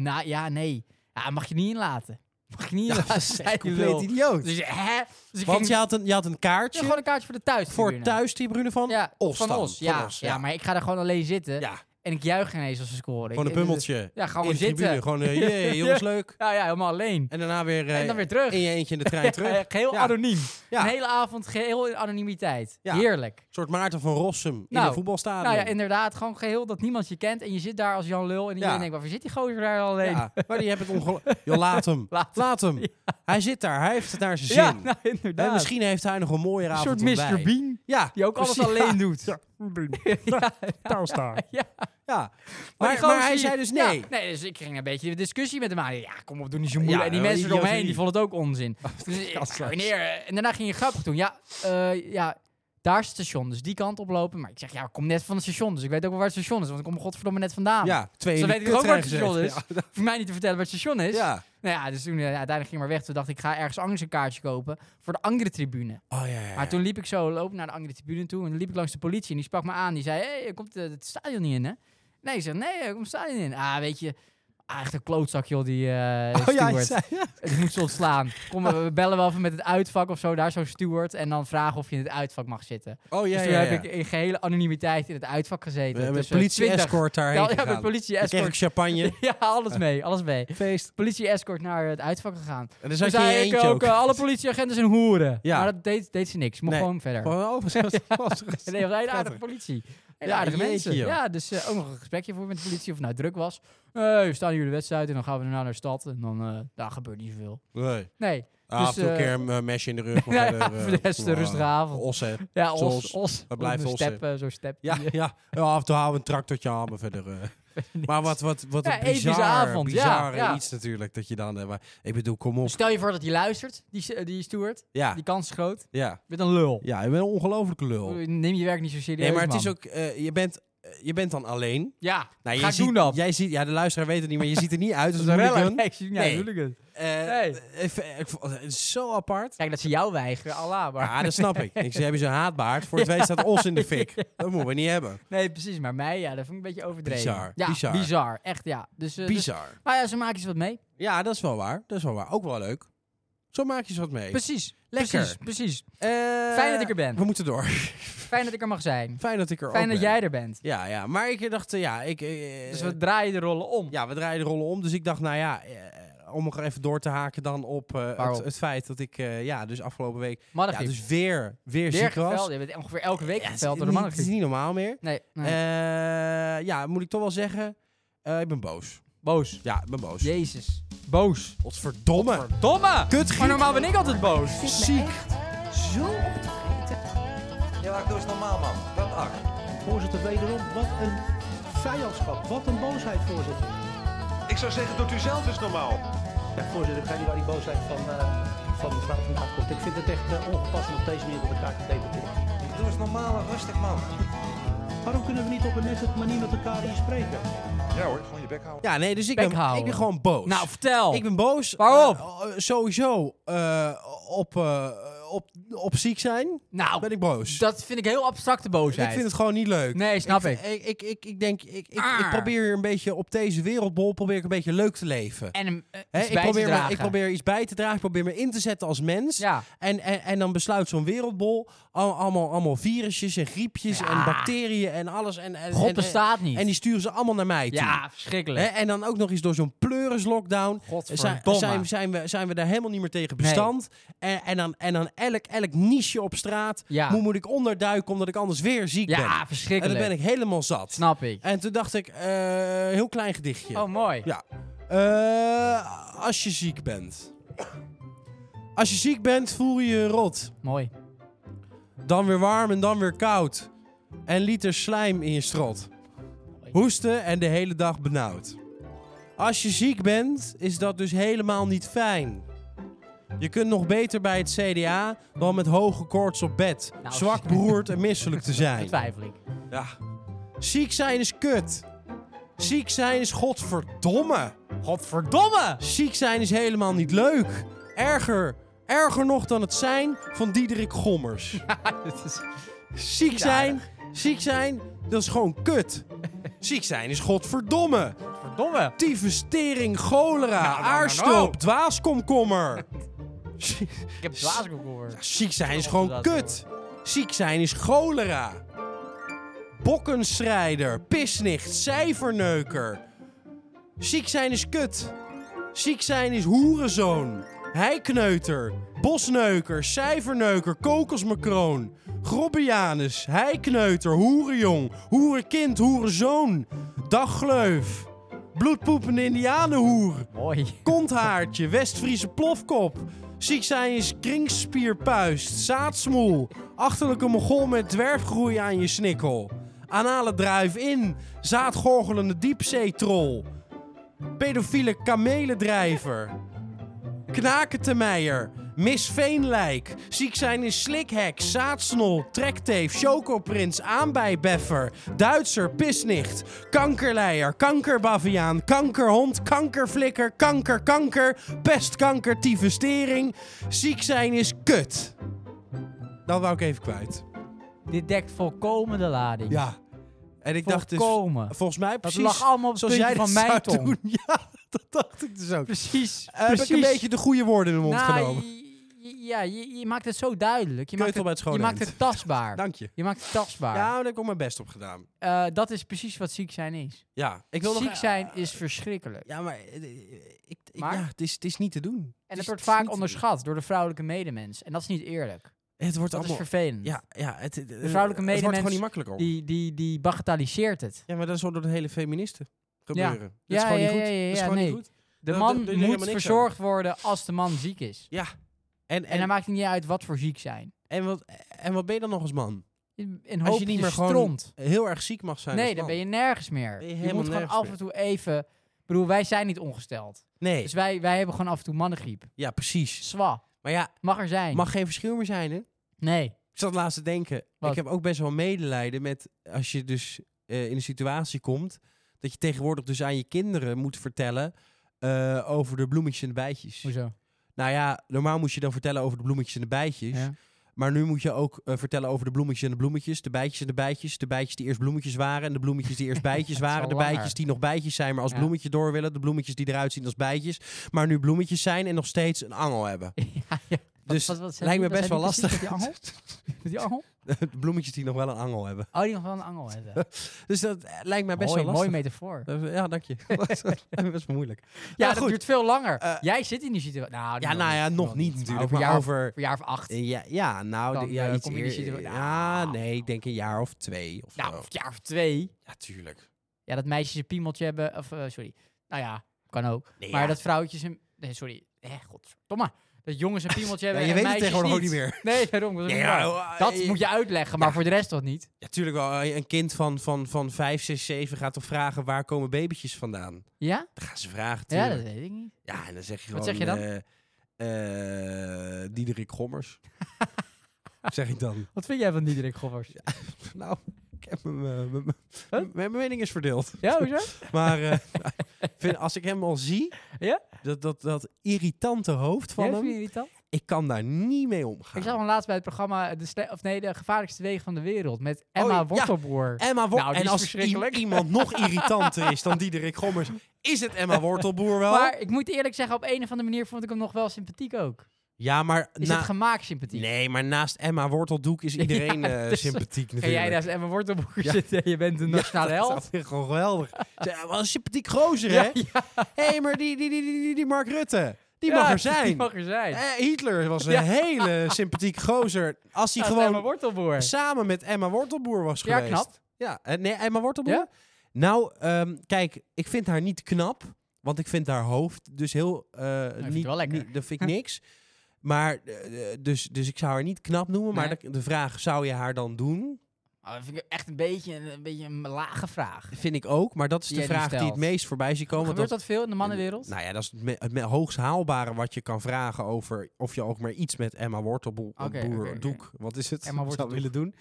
[SPEAKER 2] nou, ja, nee. Ja, mag je niet inlaten. Mag je niet
[SPEAKER 1] ja dat
[SPEAKER 2] inlaten,
[SPEAKER 1] is
[SPEAKER 2] zei
[SPEAKER 1] echt
[SPEAKER 2] die
[SPEAKER 1] compleet
[SPEAKER 2] lul.
[SPEAKER 1] idioot.
[SPEAKER 2] Dus, hè? Dus ik
[SPEAKER 1] Want
[SPEAKER 2] ging
[SPEAKER 1] je had een, je had een
[SPEAKER 2] ja,
[SPEAKER 1] kaartje
[SPEAKER 2] gewoon een kaartje voor de thuis.
[SPEAKER 1] voor thuistribune van
[SPEAKER 2] Ja,
[SPEAKER 1] Os
[SPEAKER 2] van
[SPEAKER 1] dan.
[SPEAKER 2] ons.
[SPEAKER 1] Van
[SPEAKER 2] Ja,
[SPEAKER 1] Os,
[SPEAKER 2] ja.
[SPEAKER 1] ja.
[SPEAKER 2] maar ik ga er gewoon alleen zitten.
[SPEAKER 1] Ja,
[SPEAKER 2] En ik juich ineens als ze scoren.
[SPEAKER 1] gewoon een
[SPEAKER 2] Ik- eh,
[SPEAKER 1] bummeltje.
[SPEAKER 2] Ja, gaan we
[SPEAKER 1] in de
[SPEAKER 2] zitten.
[SPEAKER 1] tribune. Gewoon, eh, jee, jongens, leuk.
[SPEAKER 2] Ja, ja, helemaal alleen.
[SPEAKER 1] En daarna weer, eh,
[SPEAKER 2] En dan weer terug.
[SPEAKER 1] in je eentje in de trein terug.
[SPEAKER 2] Ja,
[SPEAKER 1] Een
[SPEAKER 2] geheel
[SPEAKER 1] Ja.
[SPEAKER 2] anoniem.
[SPEAKER 1] Ja.
[SPEAKER 2] Een hele avond geheel in anonimiteit.
[SPEAKER 1] Ja.
[SPEAKER 2] Heerlijk.
[SPEAKER 1] soort Maarten van Rossum in
[SPEAKER 2] Nou,
[SPEAKER 1] een voetbalstadion.
[SPEAKER 2] Nou ja, inderdaad. Gewoon geheel dat niemand je kent. En je zit daar als Jan Lul. En iedereen denkt, waarvoor zit die gozer daar alleen?
[SPEAKER 1] Ja, maar die hebben het ongelooflijk. Joh, laat hem.
[SPEAKER 2] Laat-
[SPEAKER 1] Laat hem. Hij zit daar. Hij heeft het naar zijn zin.
[SPEAKER 2] Ja, nou inderdaad.
[SPEAKER 1] Hè, misschien heeft hij nog een mooiere
[SPEAKER 2] een
[SPEAKER 1] avond
[SPEAKER 2] soort
[SPEAKER 1] dan wij.
[SPEAKER 2] Mr. Bean.
[SPEAKER 1] Ja,
[SPEAKER 2] Die ook alles
[SPEAKER 1] precies.
[SPEAKER 2] alleen doet.
[SPEAKER 1] Ja,
[SPEAKER 2] Ja.
[SPEAKER 1] Ja.
[SPEAKER 2] Oh, die
[SPEAKER 1] Maar,
[SPEAKER 2] gozer
[SPEAKER 1] maar hij
[SPEAKER 2] hier-
[SPEAKER 1] zei dus
[SPEAKER 2] Ja,
[SPEAKER 1] nee.
[SPEAKER 2] nee, dus ik ging een beetje de discussie met hem aan. Ja, kom op, doe niet zo moeilijk.
[SPEAKER 1] Ja,
[SPEAKER 2] en die
[SPEAKER 1] wel
[SPEAKER 2] mensen
[SPEAKER 1] idioterie.
[SPEAKER 2] eromheen, die vonden het ook onzin.
[SPEAKER 1] Oh,
[SPEAKER 2] Dus, ja,
[SPEAKER 1] gasthuis.
[SPEAKER 2] meneer, eh, en daarna ging je grappig doen. Ja, eh, ja, daar is het station, dus die kant oplopen. Maar ik zeg, ja, ik kom net van het station, dus ik weet ook wel waar het station is. Want ik kom godverdomme net vandaan.
[SPEAKER 1] Ja, twee
[SPEAKER 2] Ze
[SPEAKER 1] in de
[SPEAKER 2] weten toch ook waar het
[SPEAKER 1] kuttrein
[SPEAKER 2] station
[SPEAKER 1] gezet.
[SPEAKER 2] Voor mij niet te vertellen waar het station is.
[SPEAKER 1] Ja.
[SPEAKER 2] Nou ja, dus toen eh, uiteindelijk ging ik maar weg. Toen dacht ik, ik ga ergens anders een kaartje kopen voor de andere tribune.
[SPEAKER 1] ja. Oh ja, ja, ja.
[SPEAKER 2] Maar toen liep ik zo loop naar de andere tribune toe. En toen liep ik langs de politie. En die sprak me aan. Die zei: Hé, je komt eh, het stadion niet in, hè? Nee, ik zeg: Nee, ik kom het stadion niet in. Ah, weet je. Ah, echt een klootzak, joh, die eh
[SPEAKER 1] Oh ja, hij
[SPEAKER 2] steward.
[SPEAKER 1] zei, ja.
[SPEAKER 2] Die moet ze ontslaan. Kom, we bellen wel even met het uitvak of zo. Daar is zo'n steward. En dan vragen of je in het uitvak mag zitten.
[SPEAKER 1] Oh ja,
[SPEAKER 2] dus toen
[SPEAKER 1] ja, ja.
[SPEAKER 2] heb ik in gehele anonimiteit in het uitvak gezeten.
[SPEAKER 1] Eh, met
[SPEAKER 2] Tussen twintig-
[SPEAKER 1] politie-escort daarheen
[SPEAKER 2] Ja, ja, met
[SPEAKER 1] gegaan. Dan kreeg ik
[SPEAKER 2] politie-escort.
[SPEAKER 1] champagne.
[SPEAKER 2] Ja, alles mee, alles mee.
[SPEAKER 1] Feest.
[SPEAKER 2] Politie-escort naar het uitvak gegaan.
[SPEAKER 1] En dan
[SPEAKER 2] Toen
[SPEAKER 1] zat je in je
[SPEAKER 2] zei ik
[SPEAKER 1] eentje
[SPEAKER 2] ook,
[SPEAKER 1] ook.
[SPEAKER 2] eh, alle politieagenten zijn hoeren.
[SPEAKER 1] Ja.
[SPEAKER 2] Maar dat deed, deed ze niks. Mocht
[SPEAKER 1] Nee.
[SPEAKER 2] gewoon verder.
[SPEAKER 1] Gewoon overigens.
[SPEAKER 2] En nee, een hele aardige
[SPEAKER 1] Prettig.
[SPEAKER 2] politie. Hele
[SPEAKER 1] Ja,
[SPEAKER 2] aardige
[SPEAKER 1] jeetje,
[SPEAKER 2] mensen.
[SPEAKER 1] joh.
[SPEAKER 2] Ja, dus eh, ook nog een gesprekje voor met de politie of het nou druk was. Eh, we staan hier de wedstrijd en dan gaan we daarna naar de stad. En dan eh, daar gebeurt niet zoveel.
[SPEAKER 1] Nee.
[SPEAKER 2] Nee,
[SPEAKER 1] Ah, Af en toe een
[SPEAKER 2] eh,
[SPEAKER 1] keer een eh, mesje in de rug. maar
[SPEAKER 2] ja,
[SPEAKER 1] verder,
[SPEAKER 2] voor de
[SPEAKER 1] eh,
[SPEAKER 2] rest een
[SPEAKER 1] nou,
[SPEAKER 2] rustige avond.
[SPEAKER 1] Ossen.
[SPEAKER 2] ja,
[SPEAKER 1] Zoals-
[SPEAKER 2] os, os.
[SPEAKER 1] dat blijft
[SPEAKER 2] Zo'n
[SPEAKER 1] ossen.
[SPEAKER 2] step, eh, Zo'n step.
[SPEAKER 1] Ja,
[SPEAKER 2] die, eh,
[SPEAKER 1] ja. ja, af en toe houden we een tractortje aan, maar verder... eh. Maar wat, wat, wat
[SPEAKER 2] Ja,
[SPEAKER 1] een
[SPEAKER 2] epische
[SPEAKER 1] bizar,
[SPEAKER 2] avond, ja,
[SPEAKER 1] bizarre
[SPEAKER 2] ja.
[SPEAKER 1] iets natuurlijk. Dat je dan... eh, maar, ik bedoel, kom op.
[SPEAKER 2] Stel je voor dat hij luistert, die, s- eh, die steward.
[SPEAKER 1] Ja,
[SPEAKER 2] Die kans is groot.
[SPEAKER 1] ja.
[SPEAKER 2] Met een lul.
[SPEAKER 1] Ja, je bent een ongelofelijke lul.
[SPEAKER 2] Neem je werk niet zo serieus,
[SPEAKER 1] Nee, maar het is
[SPEAKER 2] man.
[SPEAKER 1] ook... eh, je, bent, eh, je bent dan alleen.
[SPEAKER 2] Ja,
[SPEAKER 1] Nou,
[SPEAKER 2] ga
[SPEAKER 1] je
[SPEAKER 2] ik
[SPEAKER 1] ziet,
[SPEAKER 2] doen dat.
[SPEAKER 1] Jij ziet, ja, de luisteraar weet het niet, maar je ziet er niet uit als
[SPEAKER 2] Dat
[SPEAKER 1] een
[SPEAKER 2] is
[SPEAKER 1] hooligan.
[SPEAKER 2] Nee, ik zie niet
[SPEAKER 1] Nee.
[SPEAKER 2] uit, hooligan.
[SPEAKER 1] Eh,
[SPEAKER 2] Nee.
[SPEAKER 1] even- ik vond- Het is zo apart.
[SPEAKER 2] Kijk, dat ze jou weigeren, Allah. Maar.
[SPEAKER 1] Ja, dat snap ik. Ik zei, hebben ze een haatbaard? Voor het weet staat ons in de fik. Dat moeten we niet hebben.
[SPEAKER 2] Nee, precies. Maar mij, ja, dat vond ik een beetje overdreven.
[SPEAKER 1] Bizar,
[SPEAKER 2] Ja,
[SPEAKER 1] bizar.
[SPEAKER 2] Echt, ja. Dus, eh, dus-
[SPEAKER 1] Bizar.
[SPEAKER 2] maar ja, ze maken eens wat mee.
[SPEAKER 1] Ja, dat is wel waar. Dat is wel waar. Ook wel leuk. Zo maak je ze wat mee.
[SPEAKER 2] Precies.
[SPEAKER 1] Lekker.
[SPEAKER 2] Precies, precies.
[SPEAKER 1] Eh,
[SPEAKER 2] Fijn dat ik er ben.
[SPEAKER 1] We moeten door.
[SPEAKER 2] Fijn dat ik er mag zijn.
[SPEAKER 1] Fijn dat ik er
[SPEAKER 2] Fijn
[SPEAKER 1] ook Eh,
[SPEAKER 2] dat
[SPEAKER 1] ben.
[SPEAKER 2] jij er bent.
[SPEAKER 1] Ja, ja. Maar ik dacht, eh, ja, ik... eh,
[SPEAKER 2] Dus we draaien de rollen om.
[SPEAKER 1] Ja, we draaien de rollen om. Dus ik dacht, nou ja, eh, om nog even door te haken dan op eh,
[SPEAKER 2] Waarop?
[SPEAKER 1] het, het feit dat ik, eh, ja, dus afgelopen week, ja,
[SPEAKER 2] Mannengriep.
[SPEAKER 1] dus weer, weer,
[SPEAKER 2] Weer
[SPEAKER 1] ziek was.
[SPEAKER 2] geveld. Je bent ongeveer elke week
[SPEAKER 1] Ja, het is
[SPEAKER 2] geveld door de
[SPEAKER 1] niet- Het is
[SPEAKER 2] mannengriep.
[SPEAKER 1] niet normaal meer.
[SPEAKER 2] Nee, nee.
[SPEAKER 1] Eh, ja, moet ik toch wel zeggen, eh, ik ben boos.
[SPEAKER 2] boos.
[SPEAKER 1] Ja, ik ben boos.
[SPEAKER 2] Jezus. Boos.
[SPEAKER 1] Wat verdomme.
[SPEAKER 2] Domme!
[SPEAKER 1] Kut,
[SPEAKER 2] Maar normaal ben ik altijd boos.
[SPEAKER 1] ziek.
[SPEAKER 3] Ja, maar doe eens normaal, man. Dat ach.
[SPEAKER 4] Voorzitter, wederom, wat een vijandschap. Wat een boosheid, voorzitter.
[SPEAKER 3] Ik zou zeggen, doet u zelf eens normaal.
[SPEAKER 4] Ja, voorzitter, ik ga niet waar die boosheid van, eh, van mevrouw vandaan komt. Ik vind het echt eh, ongepast om op deze manier met elkaar te debatteren.
[SPEAKER 3] Doe eens normaal en rustig, man.
[SPEAKER 4] Waarom kunnen we niet op een nette manier met elkaar hier spreken?
[SPEAKER 3] Ja hoor, gewoon je bek houden.
[SPEAKER 1] Ja, nee, dus ik
[SPEAKER 2] Bek
[SPEAKER 1] ben, ik
[SPEAKER 2] houden.
[SPEAKER 1] ben gewoon boos.
[SPEAKER 2] Nou, vertel.
[SPEAKER 1] ik ben boos.
[SPEAKER 2] Waarop?
[SPEAKER 1] eh, eh, sowieso eh, op, eh, eh, op, op ziek zijn,
[SPEAKER 2] Nou,
[SPEAKER 1] ben ik boos.
[SPEAKER 2] dat vind ik heel abstracte boosheid.
[SPEAKER 1] ik vind het gewoon niet leuk.
[SPEAKER 2] Nee, snap ik. Ah.
[SPEAKER 1] Ik, ik, ik, ik denk, ik, ik, ik
[SPEAKER 2] Arr.
[SPEAKER 1] probeer hier een beetje op deze wereldbol probeer ik een beetje leuk te leven.
[SPEAKER 2] En hem eh,
[SPEAKER 1] Hè,
[SPEAKER 2] iets
[SPEAKER 1] ik,
[SPEAKER 2] bij te
[SPEAKER 1] probeer me, ik
[SPEAKER 2] dragen.
[SPEAKER 1] probeer iets bij te dragen, ik probeer me in te zetten als mens.
[SPEAKER 2] Ja.
[SPEAKER 1] En, en, en dan besluit zo'n wereldbol al- allemaal, allemaal virusjes en griepjes en
[SPEAKER 2] Ja.
[SPEAKER 1] bacteriën en alles. En, en,
[SPEAKER 2] God
[SPEAKER 1] en-
[SPEAKER 2] bestaat niet.
[SPEAKER 1] en die sturen ze allemaal naar mij toe.
[SPEAKER 2] eh, ja,
[SPEAKER 1] Hè,
[SPEAKER 2] verschrikkelijk.
[SPEAKER 1] en dan ook nog eens door zo'n pleurislockdown. Zijn,
[SPEAKER 2] Godverdomme.
[SPEAKER 1] zijn, zijn, we, zijn we daar helemaal niet meer tegen
[SPEAKER 2] Nee.
[SPEAKER 1] bestand? En, en dan, en dan elk, elk niche op straat
[SPEAKER 2] Ja.
[SPEAKER 1] moet, moet ik onderduiken omdat ik anders weer ziek ben.
[SPEAKER 2] ja,
[SPEAKER 1] En
[SPEAKER 2] verschrikkelijk.
[SPEAKER 1] dan ben ik helemaal zat.
[SPEAKER 2] Snap ik.
[SPEAKER 1] En toen dacht ik, eh, heel klein gedichtje.
[SPEAKER 2] Oh, mooi.
[SPEAKER 1] Ja. Eh, als je ziek bent. Als je ziek bent, voel je je rot.
[SPEAKER 2] Mooi.
[SPEAKER 1] Dan weer warm en dan weer koud. En liter slijm in je strot. Hoesten en de hele dag benauwd. Als je ziek bent, is dat dus helemaal niet fijn. Je kunt nog beter bij het CDA dan met hoge koorts op bed.
[SPEAKER 2] Nou,
[SPEAKER 1] zwak beroerd en misselijk te
[SPEAKER 2] Dat
[SPEAKER 1] zijn.
[SPEAKER 2] twijfel ik.
[SPEAKER 1] Ja. Ziek zijn is kut. Ziek zijn is godverdomme.
[SPEAKER 2] Godverdomme!
[SPEAKER 1] Ziek zijn is helemaal niet leuk. Erger, erger nog dan het zijn van Diederik Gommers.
[SPEAKER 2] Dit is-
[SPEAKER 1] Ziek zijn, ziek zijn, dat is gewoon kut. Ziek zijn is godverdomme.
[SPEAKER 2] Verdomme!
[SPEAKER 1] Tyfus, tering, cholera,
[SPEAKER 2] nou, nou,
[SPEAKER 1] aarstoop,
[SPEAKER 2] nou.
[SPEAKER 1] dwaaskomkommer. Zie-
[SPEAKER 2] Ik heb Glasgow gehoord.
[SPEAKER 1] ziek zijn is gewoon
[SPEAKER 2] Inderdaad,
[SPEAKER 1] kut. Ziek zijn is cholera. Bokkenstrijder, pisnicht, cijferneuker. Ziek zijn is kut. Ziek zijn is hoerenzoon. Heikneuter, bosneuker, cijferneuker, kokosmacroon. Grobbianus, heikneuter, hoerenjong, hoerenkind, hoerenzoon. Daggleuf, bloedpoepende indianenhoer.
[SPEAKER 2] Mooi.
[SPEAKER 1] Konthaartje, Westfriese plofkop. Ziek zijn is kringspierpuist, zaadsmoel. Achterlijke mogol met dwerfgroei aan je snikkel. Anale druif in, zaadgorgelende diepzeetrol. Pedofiele kamelendrijver. Knakentemeijer, Miss Veenlijk. Ziek zijn is slikhek, zaadsnol, trekteef, chocoprins, aanbijbeffer, Duitser, pisnicht, kankerleier, kankerbaviaan, kankerhond, kankerflikker, kankerkanker, pestkanker, tyfustering. Ziek zijn is kut. Dat wou ik even kwijt.
[SPEAKER 2] Dit dekt volkomen de lading.
[SPEAKER 1] Ja. En ik dacht dus,
[SPEAKER 2] Volkomen.
[SPEAKER 1] volgens mij
[SPEAKER 2] dat
[SPEAKER 1] precies
[SPEAKER 2] lag allemaal op het
[SPEAKER 1] zoals
[SPEAKER 2] puntje
[SPEAKER 1] jij dat
[SPEAKER 2] van mijn
[SPEAKER 1] zou
[SPEAKER 2] tong.
[SPEAKER 1] doen. Ja, dat dacht ik dus ook.
[SPEAKER 2] Precies.
[SPEAKER 1] Eh, heb ik een beetje de goede woorden in de mond
[SPEAKER 2] Nou,
[SPEAKER 1] genomen.
[SPEAKER 2] je- je- Ja, je, je maakt het zo duidelijk. Je maakt
[SPEAKER 1] Keutel bij het
[SPEAKER 2] het,
[SPEAKER 1] schone
[SPEAKER 2] je maakt
[SPEAKER 1] eind.
[SPEAKER 2] het tastbaar.
[SPEAKER 1] Dank je.
[SPEAKER 2] Je maakt het tastbaar.
[SPEAKER 1] Ja, daar heb ik ook mijn best op gedaan.
[SPEAKER 2] Eh, dat is precies wat ziek zijn is.
[SPEAKER 1] Ja, ik wil nog-
[SPEAKER 2] Ziek zijn is verschrikkelijk.
[SPEAKER 1] Ja, maar, eh, ik, ik-
[SPEAKER 2] Maar?
[SPEAKER 1] Ja, het, is, het is niet te doen. Dus
[SPEAKER 2] En
[SPEAKER 1] Het is-
[SPEAKER 2] dat wordt
[SPEAKER 1] het is
[SPEAKER 2] vaak
[SPEAKER 1] niet te
[SPEAKER 2] onderschat door de vrouwelijke medemens. En dat is niet eerlijk.
[SPEAKER 1] doen. Het wordt
[SPEAKER 2] Dat is
[SPEAKER 1] allemaal...
[SPEAKER 2] vervelend.
[SPEAKER 1] Ja, ja, het, het, het wordt
[SPEAKER 2] vrouwelijke
[SPEAKER 1] gewoon
[SPEAKER 2] medemens
[SPEAKER 1] niet makkelijker.
[SPEAKER 2] Die, die, die bagatelliseert het.
[SPEAKER 1] Ja, maar dat is wel door de hele feministen gebeuren. Dat is
[SPEAKER 2] Ja,
[SPEAKER 1] gewoon
[SPEAKER 2] ja,
[SPEAKER 1] niet goed.
[SPEAKER 2] ja, ja,
[SPEAKER 1] dat is
[SPEAKER 2] ja,
[SPEAKER 1] gewoon
[SPEAKER 2] nee.
[SPEAKER 1] niet goed.
[SPEAKER 2] De
[SPEAKER 1] Nou, Dat- dat-
[SPEAKER 2] man
[SPEAKER 1] dat doe je
[SPEAKER 2] moet
[SPEAKER 1] helemaal niks aan.
[SPEAKER 2] verzorgd worden als de man ziek is.
[SPEAKER 1] Ja. En, en,
[SPEAKER 2] En dan
[SPEAKER 1] en,
[SPEAKER 2] maakt het niet uit wat voor ziek zijn.
[SPEAKER 1] wat, en wat ben je dan nog als man?
[SPEAKER 2] Een
[SPEAKER 1] Als
[SPEAKER 2] hoopje
[SPEAKER 1] je niet meer gewoon
[SPEAKER 2] stront.
[SPEAKER 1] heel erg ziek mag zijn
[SPEAKER 2] Nee,
[SPEAKER 1] als
[SPEAKER 2] dan
[SPEAKER 1] man.
[SPEAKER 2] ben je nergens meer.
[SPEAKER 1] Ben je
[SPEAKER 2] Je,
[SPEAKER 1] helemaal
[SPEAKER 2] moet gewoon
[SPEAKER 1] nergens
[SPEAKER 2] af en toe even... Ik bedoel, wij zijn niet ongesteld.
[SPEAKER 1] Nee,
[SPEAKER 2] Dus wij, wij hebben gewoon af en toe mannengriep.
[SPEAKER 1] ja, precies.
[SPEAKER 2] Zwa.
[SPEAKER 1] Maar ja,
[SPEAKER 2] Mag er zijn.
[SPEAKER 1] mag geen verschil meer zijn, hè?
[SPEAKER 2] Nee.
[SPEAKER 1] Ik zat laatst te denken.
[SPEAKER 2] Wat?
[SPEAKER 1] Ik heb ook best wel medelijden met als je dus eh, in een situatie komt. Dat je tegenwoordig dus aan je kinderen moet vertellen eh, over de bloemetjes en de bijtjes.
[SPEAKER 2] Hoezo?
[SPEAKER 1] Nou ja, normaal moet je dan vertellen over de bloemetjes en de bijtjes.
[SPEAKER 2] Ja.
[SPEAKER 1] Maar nu moet je ook eh, vertellen over de bloemetjes en de bloemetjes. De bijtjes en de bijtjes. De bijtjes die eerst bloemetjes waren. En de bloemetjes die eerst bijtjes waren.
[SPEAKER 2] wel
[SPEAKER 1] De
[SPEAKER 2] langer.
[SPEAKER 1] bijtjes die nog bijtjes zijn, maar als
[SPEAKER 2] Ja.
[SPEAKER 1] bloemetje door willen. De bloemetjes die eruit zien als bijtjes. Maar nu bloemetjes zijn en nog steeds een angel hebben.
[SPEAKER 2] ja, ja.
[SPEAKER 1] Dus
[SPEAKER 2] Wat- wat- wat zei
[SPEAKER 1] lijkt
[SPEAKER 2] die-
[SPEAKER 1] me best wel
[SPEAKER 2] wat zei
[SPEAKER 1] lastig.
[SPEAKER 2] die precies met Die angel? Met die angel?
[SPEAKER 1] de bloemetjes die nog wel een angel hebben.
[SPEAKER 2] Oh, die nog wel een angel hebben.
[SPEAKER 1] Dus dat eh, lijkt mij best
[SPEAKER 2] Mooi,
[SPEAKER 1] wel
[SPEAKER 2] mooi
[SPEAKER 1] lastig.
[SPEAKER 2] metafoor.
[SPEAKER 1] Dat is- Ja, dank je. Dat is best wel moeilijk.
[SPEAKER 2] Ja,
[SPEAKER 1] Maar
[SPEAKER 2] dat duurt veel langer.
[SPEAKER 1] Eh,
[SPEAKER 2] Jij zit in die situatie. Nou,
[SPEAKER 1] Ja, nou ja, nog niet natuurlijk. Maar
[SPEAKER 2] jaar,
[SPEAKER 1] over...
[SPEAKER 2] een jaar of acht.
[SPEAKER 1] eh, Ja, ja, nou,
[SPEAKER 2] Dan,
[SPEAKER 1] de- ja,
[SPEAKER 2] eh,
[SPEAKER 1] iets
[SPEAKER 2] kom je in die
[SPEAKER 1] eer-
[SPEAKER 2] situatie-
[SPEAKER 1] Ja,
[SPEAKER 2] Ah.
[SPEAKER 1] nee, ik denk een jaar of twee. Of
[SPEAKER 2] nou,
[SPEAKER 1] zo.
[SPEAKER 2] of een jaar of twee.
[SPEAKER 1] Ja, tuurlijk.
[SPEAKER 2] Ja, dat meisjes een piemeltje hebben. Of, eh, sorry. Nou ja, kan ook.
[SPEAKER 1] Nee,
[SPEAKER 2] maar
[SPEAKER 1] ja.
[SPEAKER 2] dat vrouwtjes een... Nee, sorry. Eh, godverdomme. Dat jongens een piemeltje
[SPEAKER 1] Ja,
[SPEAKER 2] hebben
[SPEAKER 1] je
[SPEAKER 2] en
[SPEAKER 1] weet het
[SPEAKER 2] meisjes
[SPEAKER 1] tegenwoordig ook
[SPEAKER 2] niet.
[SPEAKER 1] niet meer.
[SPEAKER 2] Nee, daarom. Dat, is
[SPEAKER 1] Nee,
[SPEAKER 2] waar.
[SPEAKER 1] ja,
[SPEAKER 2] dat
[SPEAKER 1] eh,
[SPEAKER 2] moet je uitleggen, maar voor de rest toch niet?
[SPEAKER 1] Ja, tuurlijk wel. eh, Een kind van, van, van 5, 6, 7 gaat toch vragen waar komen babytjes vandaan?
[SPEAKER 2] Ja?
[SPEAKER 1] Dan gaan ze vragen.
[SPEAKER 2] Ja,
[SPEAKER 1] tuurlijk.
[SPEAKER 2] dat weet ik niet.
[SPEAKER 1] Ja, en dan zeg je
[SPEAKER 2] Wat
[SPEAKER 1] gewoon...
[SPEAKER 2] zeg je dan?
[SPEAKER 1] eh, eh, Diederik Gommers. zeg ik dan.
[SPEAKER 2] Wat vind jij van Diederik Goffers? Ja,
[SPEAKER 1] Nou, ik heb hem... eh, m- m-
[SPEAKER 2] Huh?
[SPEAKER 1] m- Mijn mening is verdeeld.
[SPEAKER 2] hoezo?
[SPEAKER 1] Maar eh, ik vind, als ik hem al zie,
[SPEAKER 2] Ja?
[SPEAKER 1] dat, dat, dat irritante hoofd van
[SPEAKER 2] Jij
[SPEAKER 1] hem.
[SPEAKER 2] vindt irritant?
[SPEAKER 1] Ik kan daar niet mee omgaan.
[SPEAKER 2] Ik zag hem laatst bij het programma de, sle- of nee, de gevaarlijkste wegen van de wereld met Emma
[SPEAKER 1] Oh, ja.
[SPEAKER 2] Wortelboer.
[SPEAKER 1] Emma Wor-
[SPEAKER 2] Nou, die
[SPEAKER 1] en
[SPEAKER 2] is
[SPEAKER 1] als i-
[SPEAKER 2] verschrikkelijk.
[SPEAKER 1] iemand nog irritanter is dan Diederik Gommers, is het Emma Wortelboer wel?
[SPEAKER 2] Maar ik moet eerlijk zeggen, op een of andere manier vond ik hem nog wel sympathiek ook.
[SPEAKER 1] ja, maar...
[SPEAKER 2] Is
[SPEAKER 1] na-
[SPEAKER 2] het gemaakt sympathiek?
[SPEAKER 1] Nou, nee, maar naast Emma Worteldoek is iedereen
[SPEAKER 2] Ja,
[SPEAKER 1] eh,
[SPEAKER 2] dus-
[SPEAKER 1] sympathiek
[SPEAKER 2] Ga
[SPEAKER 1] natuurlijk.
[SPEAKER 2] jij naast Emma Wortelboer
[SPEAKER 1] Ja.
[SPEAKER 2] zitten en je bent een nationale
[SPEAKER 1] Dat
[SPEAKER 2] held?
[SPEAKER 1] is echt gewoon geweldig. Zeg, wat een sympathiek gozer, hè?
[SPEAKER 2] Ja,
[SPEAKER 1] Hé, maar die, die, die, die, die Mark Rutte, die
[SPEAKER 2] Ja,
[SPEAKER 1] mag er zijn.
[SPEAKER 2] Die mag er zijn.
[SPEAKER 1] Eh, Hitler was een
[SPEAKER 2] Ja.
[SPEAKER 1] hele sympathieke gozer. Als hij
[SPEAKER 2] Naast Emma
[SPEAKER 1] gewoon
[SPEAKER 2] Wortelboer.
[SPEAKER 1] samen met Emma Wortelboer was
[SPEAKER 2] Ja,
[SPEAKER 1] geweest.
[SPEAKER 2] knap.
[SPEAKER 1] Ja, eh, nee, Emma Wortelboer?
[SPEAKER 2] Ja?
[SPEAKER 1] Nou, ehm, kijk, ik vind haar niet knap. Want ik vind haar hoofd dus heel... eh,
[SPEAKER 2] vind
[SPEAKER 1] niet,
[SPEAKER 2] het wel lekker.
[SPEAKER 1] niet- dat vind ik niks. Maar, eh, eh, dus, dus ik zou haar niet knap noemen. Maar
[SPEAKER 2] Nee.
[SPEAKER 1] de, de vraag, zou je haar dan doen?
[SPEAKER 2] Oh, dat vind ik echt een beetje een, een beetje een lage vraag.
[SPEAKER 1] Vind ik ook. Maar dat is de
[SPEAKER 2] Die jij nu
[SPEAKER 1] vraag die het
[SPEAKER 2] stelt.
[SPEAKER 1] meest voorbij is gekomen.
[SPEAKER 2] Gebeurt
[SPEAKER 1] want
[SPEAKER 2] dat, veel in de mannenwereld?
[SPEAKER 1] Nou ja, dat is het, me- het me- hoogst haalbare wat je kan vragen over of je ook maar iets met Emma Wortelboer,
[SPEAKER 2] Oké,
[SPEAKER 1] boer,
[SPEAKER 2] oké, oké.
[SPEAKER 1] Doek, wat is het,
[SPEAKER 2] Emma
[SPEAKER 1] zou
[SPEAKER 2] Worteldoek.
[SPEAKER 1] willen doen.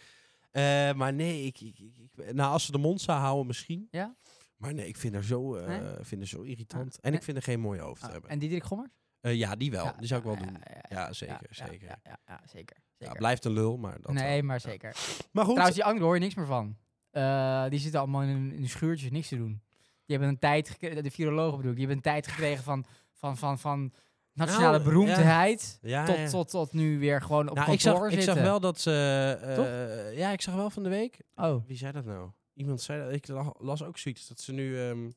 [SPEAKER 1] Eh, maar nee, ik, ik, ik- ik- nou, als ze de mond zou houden misschien.
[SPEAKER 2] Ja?
[SPEAKER 1] Maar nee, ik vind haar zo, eh,
[SPEAKER 2] Nee?
[SPEAKER 1] vind haar zo irritant.
[SPEAKER 2] Ah,
[SPEAKER 1] En
[SPEAKER 2] nee.
[SPEAKER 1] ik vind er geen mooi hoofd
[SPEAKER 2] Ah,
[SPEAKER 1] hebben.
[SPEAKER 2] en Diederik Gommers?
[SPEAKER 1] Eh, ja, die wel.
[SPEAKER 2] Ja, eh,
[SPEAKER 1] die zou ik wel doen. Ja,
[SPEAKER 2] ja,
[SPEAKER 1] zeker,
[SPEAKER 2] ja,
[SPEAKER 1] zeker.
[SPEAKER 2] Ja, ja, ja, zeker. zeker.
[SPEAKER 1] blijft een lul, maar dat
[SPEAKER 2] nee,
[SPEAKER 1] wel.
[SPEAKER 2] maar zeker.
[SPEAKER 1] Maar goed,
[SPEAKER 2] Trouwens, die anderen hoor je niks meer van. Eh, die zitten allemaal in hun, in hun schuurtjes niks te doen. Die hebben een tijd gekregen, de virologen bedoel ik, die hebben een tijd gekregen van, van, van, van nationale
[SPEAKER 1] Nou,
[SPEAKER 2] beroemdheid
[SPEAKER 1] ja, ja.
[SPEAKER 2] Tot, tot, tot nu weer gewoon op
[SPEAKER 1] nou, ik,
[SPEAKER 2] kantoor
[SPEAKER 1] zag, ik
[SPEAKER 2] zitten.
[SPEAKER 1] zag wel dat ze... eh, eh, ja, ik zag wel van de week
[SPEAKER 2] Oh,
[SPEAKER 1] Wie zei dat nou? Iemand zei dat. Ik la- las ook zoiets dat ze nu. ehm,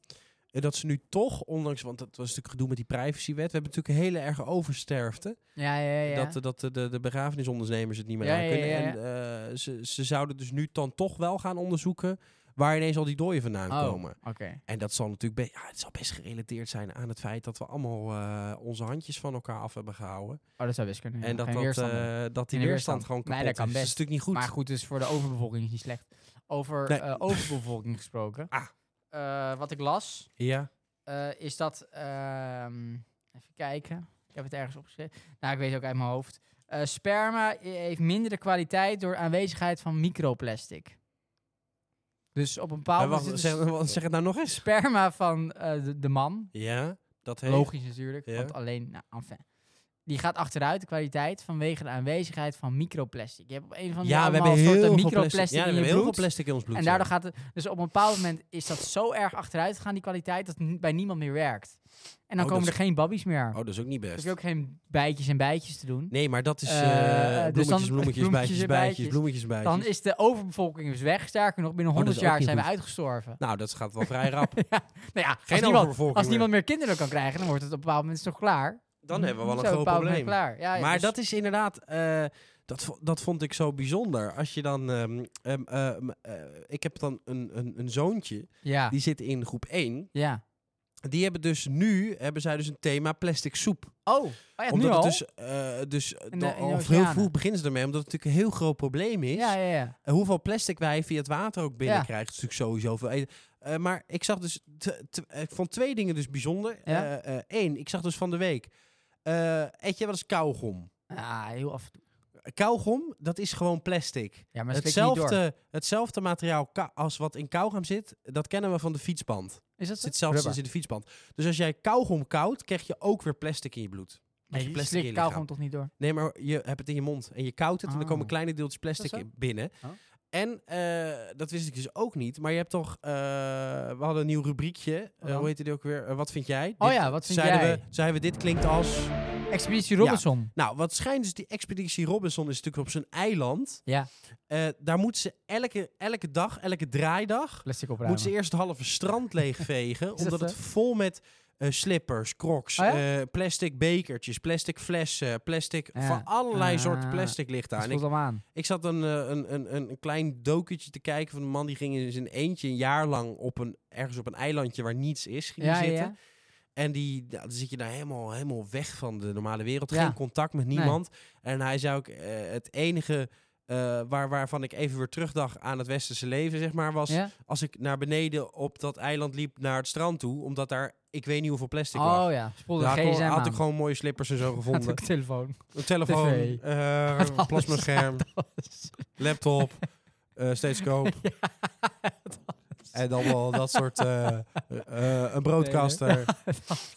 [SPEAKER 1] eh, dat ze nu toch, ondanks, want dat was natuurlijk gedoe met die privacywet. We hebben natuurlijk een hele erge oversterfte.
[SPEAKER 2] ja, ja, ja.
[SPEAKER 1] Dat, eh, dat de, de, de begrafenisondernemers het niet meer
[SPEAKER 2] Ja,
[SPEAKER 1] aan
[SPEAKER 2] ja,
[SPEAKER 1] kunnen.
[SPEAKER 2] ja, ja.
[SPEAKER 1] En eh, ze, ze zouden dus nu dan toch wel gaan onderzoeken waar ineens al die dooien vandaan
[SPEAKER 2] oh,
[SPEAKER 1] komen.
[SPEAKER 2] oké.
[SPEAKER 1] En dat zal natuurlijk be- ja, het zal best gerelateerd zijn aan het feit dat we allemaal eh, onze handjes van elkaar af hebben gehouden.
[SPEAKER 2] Oh, dat zou best kunnen. ja.
[SPEAKER 1] en dat,
[SPEAKER 2] Geen
[SPEAKER 1] dat,
[SPEAKER 2] weerstand meer.
[SPEAKER 1] eh, dat die weerstand
[SPEAKER 2] Geen weerstand.
[SPEAKER 1] gewoon kapot
[SPEAKER 2] Nee, dat kan
[SPEAKER 1] is. Dat is
[SPEAKER 2] best.
[SPEAKER 1] natuurlijk niet goed.
[SPEAKER 2] Maar goed, dus voor de overbevolking is niet slecht. Over
[SPEAKER 1] Nee.
[SPEAKER 2] eh, overbevolking gesproken.
[SPEAKER 1] Ah.
[SPEAKER 2] Eh, wat ik las,
[SPEAKER 1] ja.
[SPEAKER 2] eh, is dat. ehm, even kijken. Ik heb het ergens opgeschreven. Nou, ik weet het ook uit mijn hoofd. Eh, sperma i- heeft mindere kwaliteit door aanwezigheid van microplastic. Dus op een
[SPEAKER 1] Eh,
[SPEAKER 2] bepaald
[SPEAKER 1] wacht,
[SPEAKER 2] moment. is dus-
[SPEAKER 1] zeg, wat- zeg het nou nog eens.
[SPEAKER 2] sperma van eh, de, de man.
[SPEAKER 1] Ja, dat heeft...
[SPEAKER 2] Logisch natuurlijk.
[SPEAKER 1] Ja.
[SPEAKER 2] Want alleen. Nou, enfin. Die gaat achteruit, de kwaliteit, vanwege de aanwezigheid van microplastic. Je hebt op een of andere
[SPEAKER 1] Ja, we
[SPEAKER 2] manier
[SPEAKER 1] hebben heel
[SPEAKER 2] allemaal
[SPEAKER 1] veel
[SPEAKER 2] soorten
[SPEAKER 1] microplastic.
[SPEAKER 2] microplastic
[SPEAKER 1] Ja, we
[SPEAKER 2] in
[SPEAKER 1] hebben
[SPEAKER 2] je
[SPEAKER 1] heel veel
[SPEAKER 2] bloed.
[SPEAKER 1] plastic in ons bloed.
[SPEAKER 2] En daardoor gaat het. Dus op een bepaald moment is dat zo erg achteruit gegaan, die kwaliteit, dat het bij niemand meer werkt. En dan
[SPEAKER 1] Oh,
[SPEAKER 2] komen
[SPEAKER 1] dat
[SPEAKER 2] er
[SPEAKER 1] is-
[SPEAKER 2] geen babbies meer.
[SPEAKER 1] ja.
[SPEAKER 2] Dan
[SPEAKER 1] Oh, dat is ook niet
[SPEAKER 2] heb
[SPEAKER 1] best.
[SPEAKER 2] je ook geen bijtjes en bijtjes te doen.
[SPEAKER 1] Nee, maar dat is eh,
[SPEAKER 2] Eh, dus
[SPEAKER 1] bloemetjes,
[SPEAKER 2] dan-
[SPEAKER 1] bloemetjes,
[SPEAKER 2] bloemetjes
[SPEAKER 1] bijtjes,
[SPEAKER 2] en
[SPEAKER 1] bijtjes,
[SPEAKER 2] bijtjes.
[SPEAKER 1] bloemetjes, bijtjes.
[SPEAKER 2] Dan is de overbevolking dus weg. Sterker nog, binnen
[SPEAKER 1] Oh, dat is
[SPEAKER 2] 100 jaar
[SPEAKER 1] ook niet
[SPEAKER 2] zijn we
[SPEAKER 1] goed.
[SPEAKER 2] uitgestorven.
[SPEAKER 1] Nou, dat gaat wel vrij rap.
[SPEAKER 2] Nou ja,
[SPEAKER 1] Geen
[SPEAKER 2] als, niemand,
[SPEAKER 1] overbevolking
[SPEAKER 2] als
[SPEAKER 1] meer.
[SPEAKER 2] niemand meer kinderen kan krijgen, dan wordt het op een bepaald moment toch klaar.
[SPEAKER 1] Dan hebben we wel
[SPEAKER 2] Zo,
[SPEAKER 1] een
[SPEAKER 2] op
[SPEAKER 1] groot
[SPEAKER 2] bepaald moment
[SPEAKER 1] probleem.
[SPEAKER 2] Klaar. Ja, ja,
[SPEAKER 1] Maar
[SPEAKER 2] dus-
[SPEAKER 1] dat is inderdaad... eh, dat, vo- dat vond ik zo bijzonder. Als je dan... ehm, ehm, ehm, eh, ik heb dan een, een, een zoontje.
[SPEAKER 2] Ja.
[SPEAKER 1] Die zit in groep 1.
[SPEAKER 2] ja.
[SPEAKER 1] Die hebben dus nu... Hebben zij dus een thema plastic soep.
[SPEAKER 2] Oh, oh ja, nu
[SPEAKER 1] omdat het
[SPEAKER 2] al?
[SPEAKER 1] dus... eh, dus
[SPEAKER 2] de-
[SPEAKER 1] dan-
[SPEAKER 2] in de
[SPEAKER 1] al heel
[SPEAKER 2] oceanen.
[SPEAKER 1] vroeg beginnen ze ermee. Omdat het natuurlijk een heel groot probleem is.
[SPEAKER 2] ja, ja, ja.
[SPEAKER 1] En hoeveel plastic wij via het water ook binnenkrijgen, is natuurlijk sowieso veel. eten. Eh, maar ik zag dus, t- t- eh, ik vond twee dingen dus bijzonder. Eén,
[SPEAKER 2] Ja?
[SPEAKER 1] ik zag dus van de week, eh eet je wel eens kauwgom? Eh,
[SPEAKER 2] Ah, heel af en toe.
[SPEAKER 1] Kauwgom, dat is gewoon plastic.
[SPEAKER 2] Ja, maar slik je niet door.
[SPEAKER 1] Hetzelfde, hetzelfde materiaal ka- als wat in kauwgom zit, dat kennen we van de fietsband. Het
[SPEAKER 2] Is dat
[SPEAKER 1] zit
[SPEAKER 2] zo?
[SPEAKER 1] hetzelfde als in de fietsband. Dus als jij kauwgom kauwt, krijg je ook weer plastic in je bloed. Want je
[SPEAKER 2] Nee, je
[SPEAKER 1] plastic in
[SPEAKER 2] slikt
[SPEAKER 1] je lichaam.
[SPEAKER 2] kauwgom toch niet door?
[SPEAKER 1] Nee, maar je hebt het in je mond en je koudt het en dan
[SPEAKER 2] Oh.
[SPEAKER 1] komen kleine deeltjes plastic
[SPEAKER 2] zo?
[SPEAKER 1] in- binnen.
[SPEAKER 2] Oh.
[SPEAKER 1] En eh, dat wist ik dus ook niet, maar je hebt toch, eh, we hadden een nieuw rubriekje. Eh,
[SPEAKER 2] Oh dan?
[SPEAKER 1] hoe heet die ook weer? Eh, wat vind jij?
[SPEAKER 2] Oh
[SPEAKER 1] Dit
[SPEAKER 2] ja, wat vind
[SPEAKER 1] zeiden
[SPEAKER 2] jij?
[SPEAKER 1] We, zeiden we, dit klinkt als...
[SPEAKER 2] Expeditie
[SPEAKER 1] Ja.
[SPEAKER 2] Robinson.
[SPEAKER 1] Nou, wat schijnt dus, die Expeditie Robinson is natuurlijk op zijn eiland.
[SPEAKER 2] Ja.
[SPEAKER 1] Eh, daar moeten ze elke, elke dag, elke draaidag,
[SPEAKER 2] Plastic
[SPEAKER 1] moeten
[SPEAKER 2] opruimen.
[SPEAKER 1] ze eerst het halve strand leegvegen.
[SPEAKER 2] dat
[SPEAKER 1] omdat het
[SPEAKER 2] zo?
[SPEAKER 1] vol met eh, slippers, crocs,
[SPEAKER 2] Oh
[SPEAKER 1] eh, plastic bekertjes, plastic flessen, plastic...
[SPEAKER 2] Ja.
[SPEAKER 1] Van allerlei
[SPEAKER 2] Ah.
[SPEAKER 1] soorten plastic ligt daar.
[SPEAKER 2] Dat
[SPEAKER 1] En
[SPEAKER 2] voelt
[SPEAKER 1] ik,
[SPEAKER 2] hem aan.
[SPEAKER 1] ik zat een, eh, een, een, een, een klein dokentje te kijken van een man... die ging in zijn eentje een jaar lang op een, ergens op een eilandje waar niets is ging
[SPEAKER 2] Ja, ja,
[SPEAKER 1] zitten.
[SPEAKER 2] ja.
[SPEAKER 1] En die, nou, dan zit je daar helemaal, helemaal weg van de normale wereld.
[SPEAKER 2] Ja.
[SPEAKER 1] Geen contact met
[SPEAKER 2] Nee.
[SPEAKER 1] niemand. En hij zei ook, eh, het enige eh, waar, waarvan ik even weer terugdacht aan het westerse leven, zeg maar, was
[SPEAKER 2] Ja?
[SPEAKER 1] als ik naar beneden op dat eiland liep naar het strand toe, omdat daar ik weet niet hoeveel plastic
[SPEAKER 2] Oh
[SPEAKER 1] lag.
[SPEAKER 2] ja, spoelde
[SPEAKER 1] Daar had, ik
[SPEAKER 2] geen
[SPEAKER 1] wel-
[SPEAKER 2] zijn
[SPEAKER 1] had ik gewoon mooie slippers en zo
[SPEAKER 2] Had
[SPEAKER 1] gevonden.
[SPEAKER 2] ik telefoon.
[SPEAKER 1] Een telefoon,
[SPEAKER 2] TV.
[SPEAKER 1] eh,
[SPEAKER 2] Had alles,
[SPEAKER 1] plasmascherm, laptop, eh steeds koop. En dan wel dat soort... eh, eh, een broadcaster.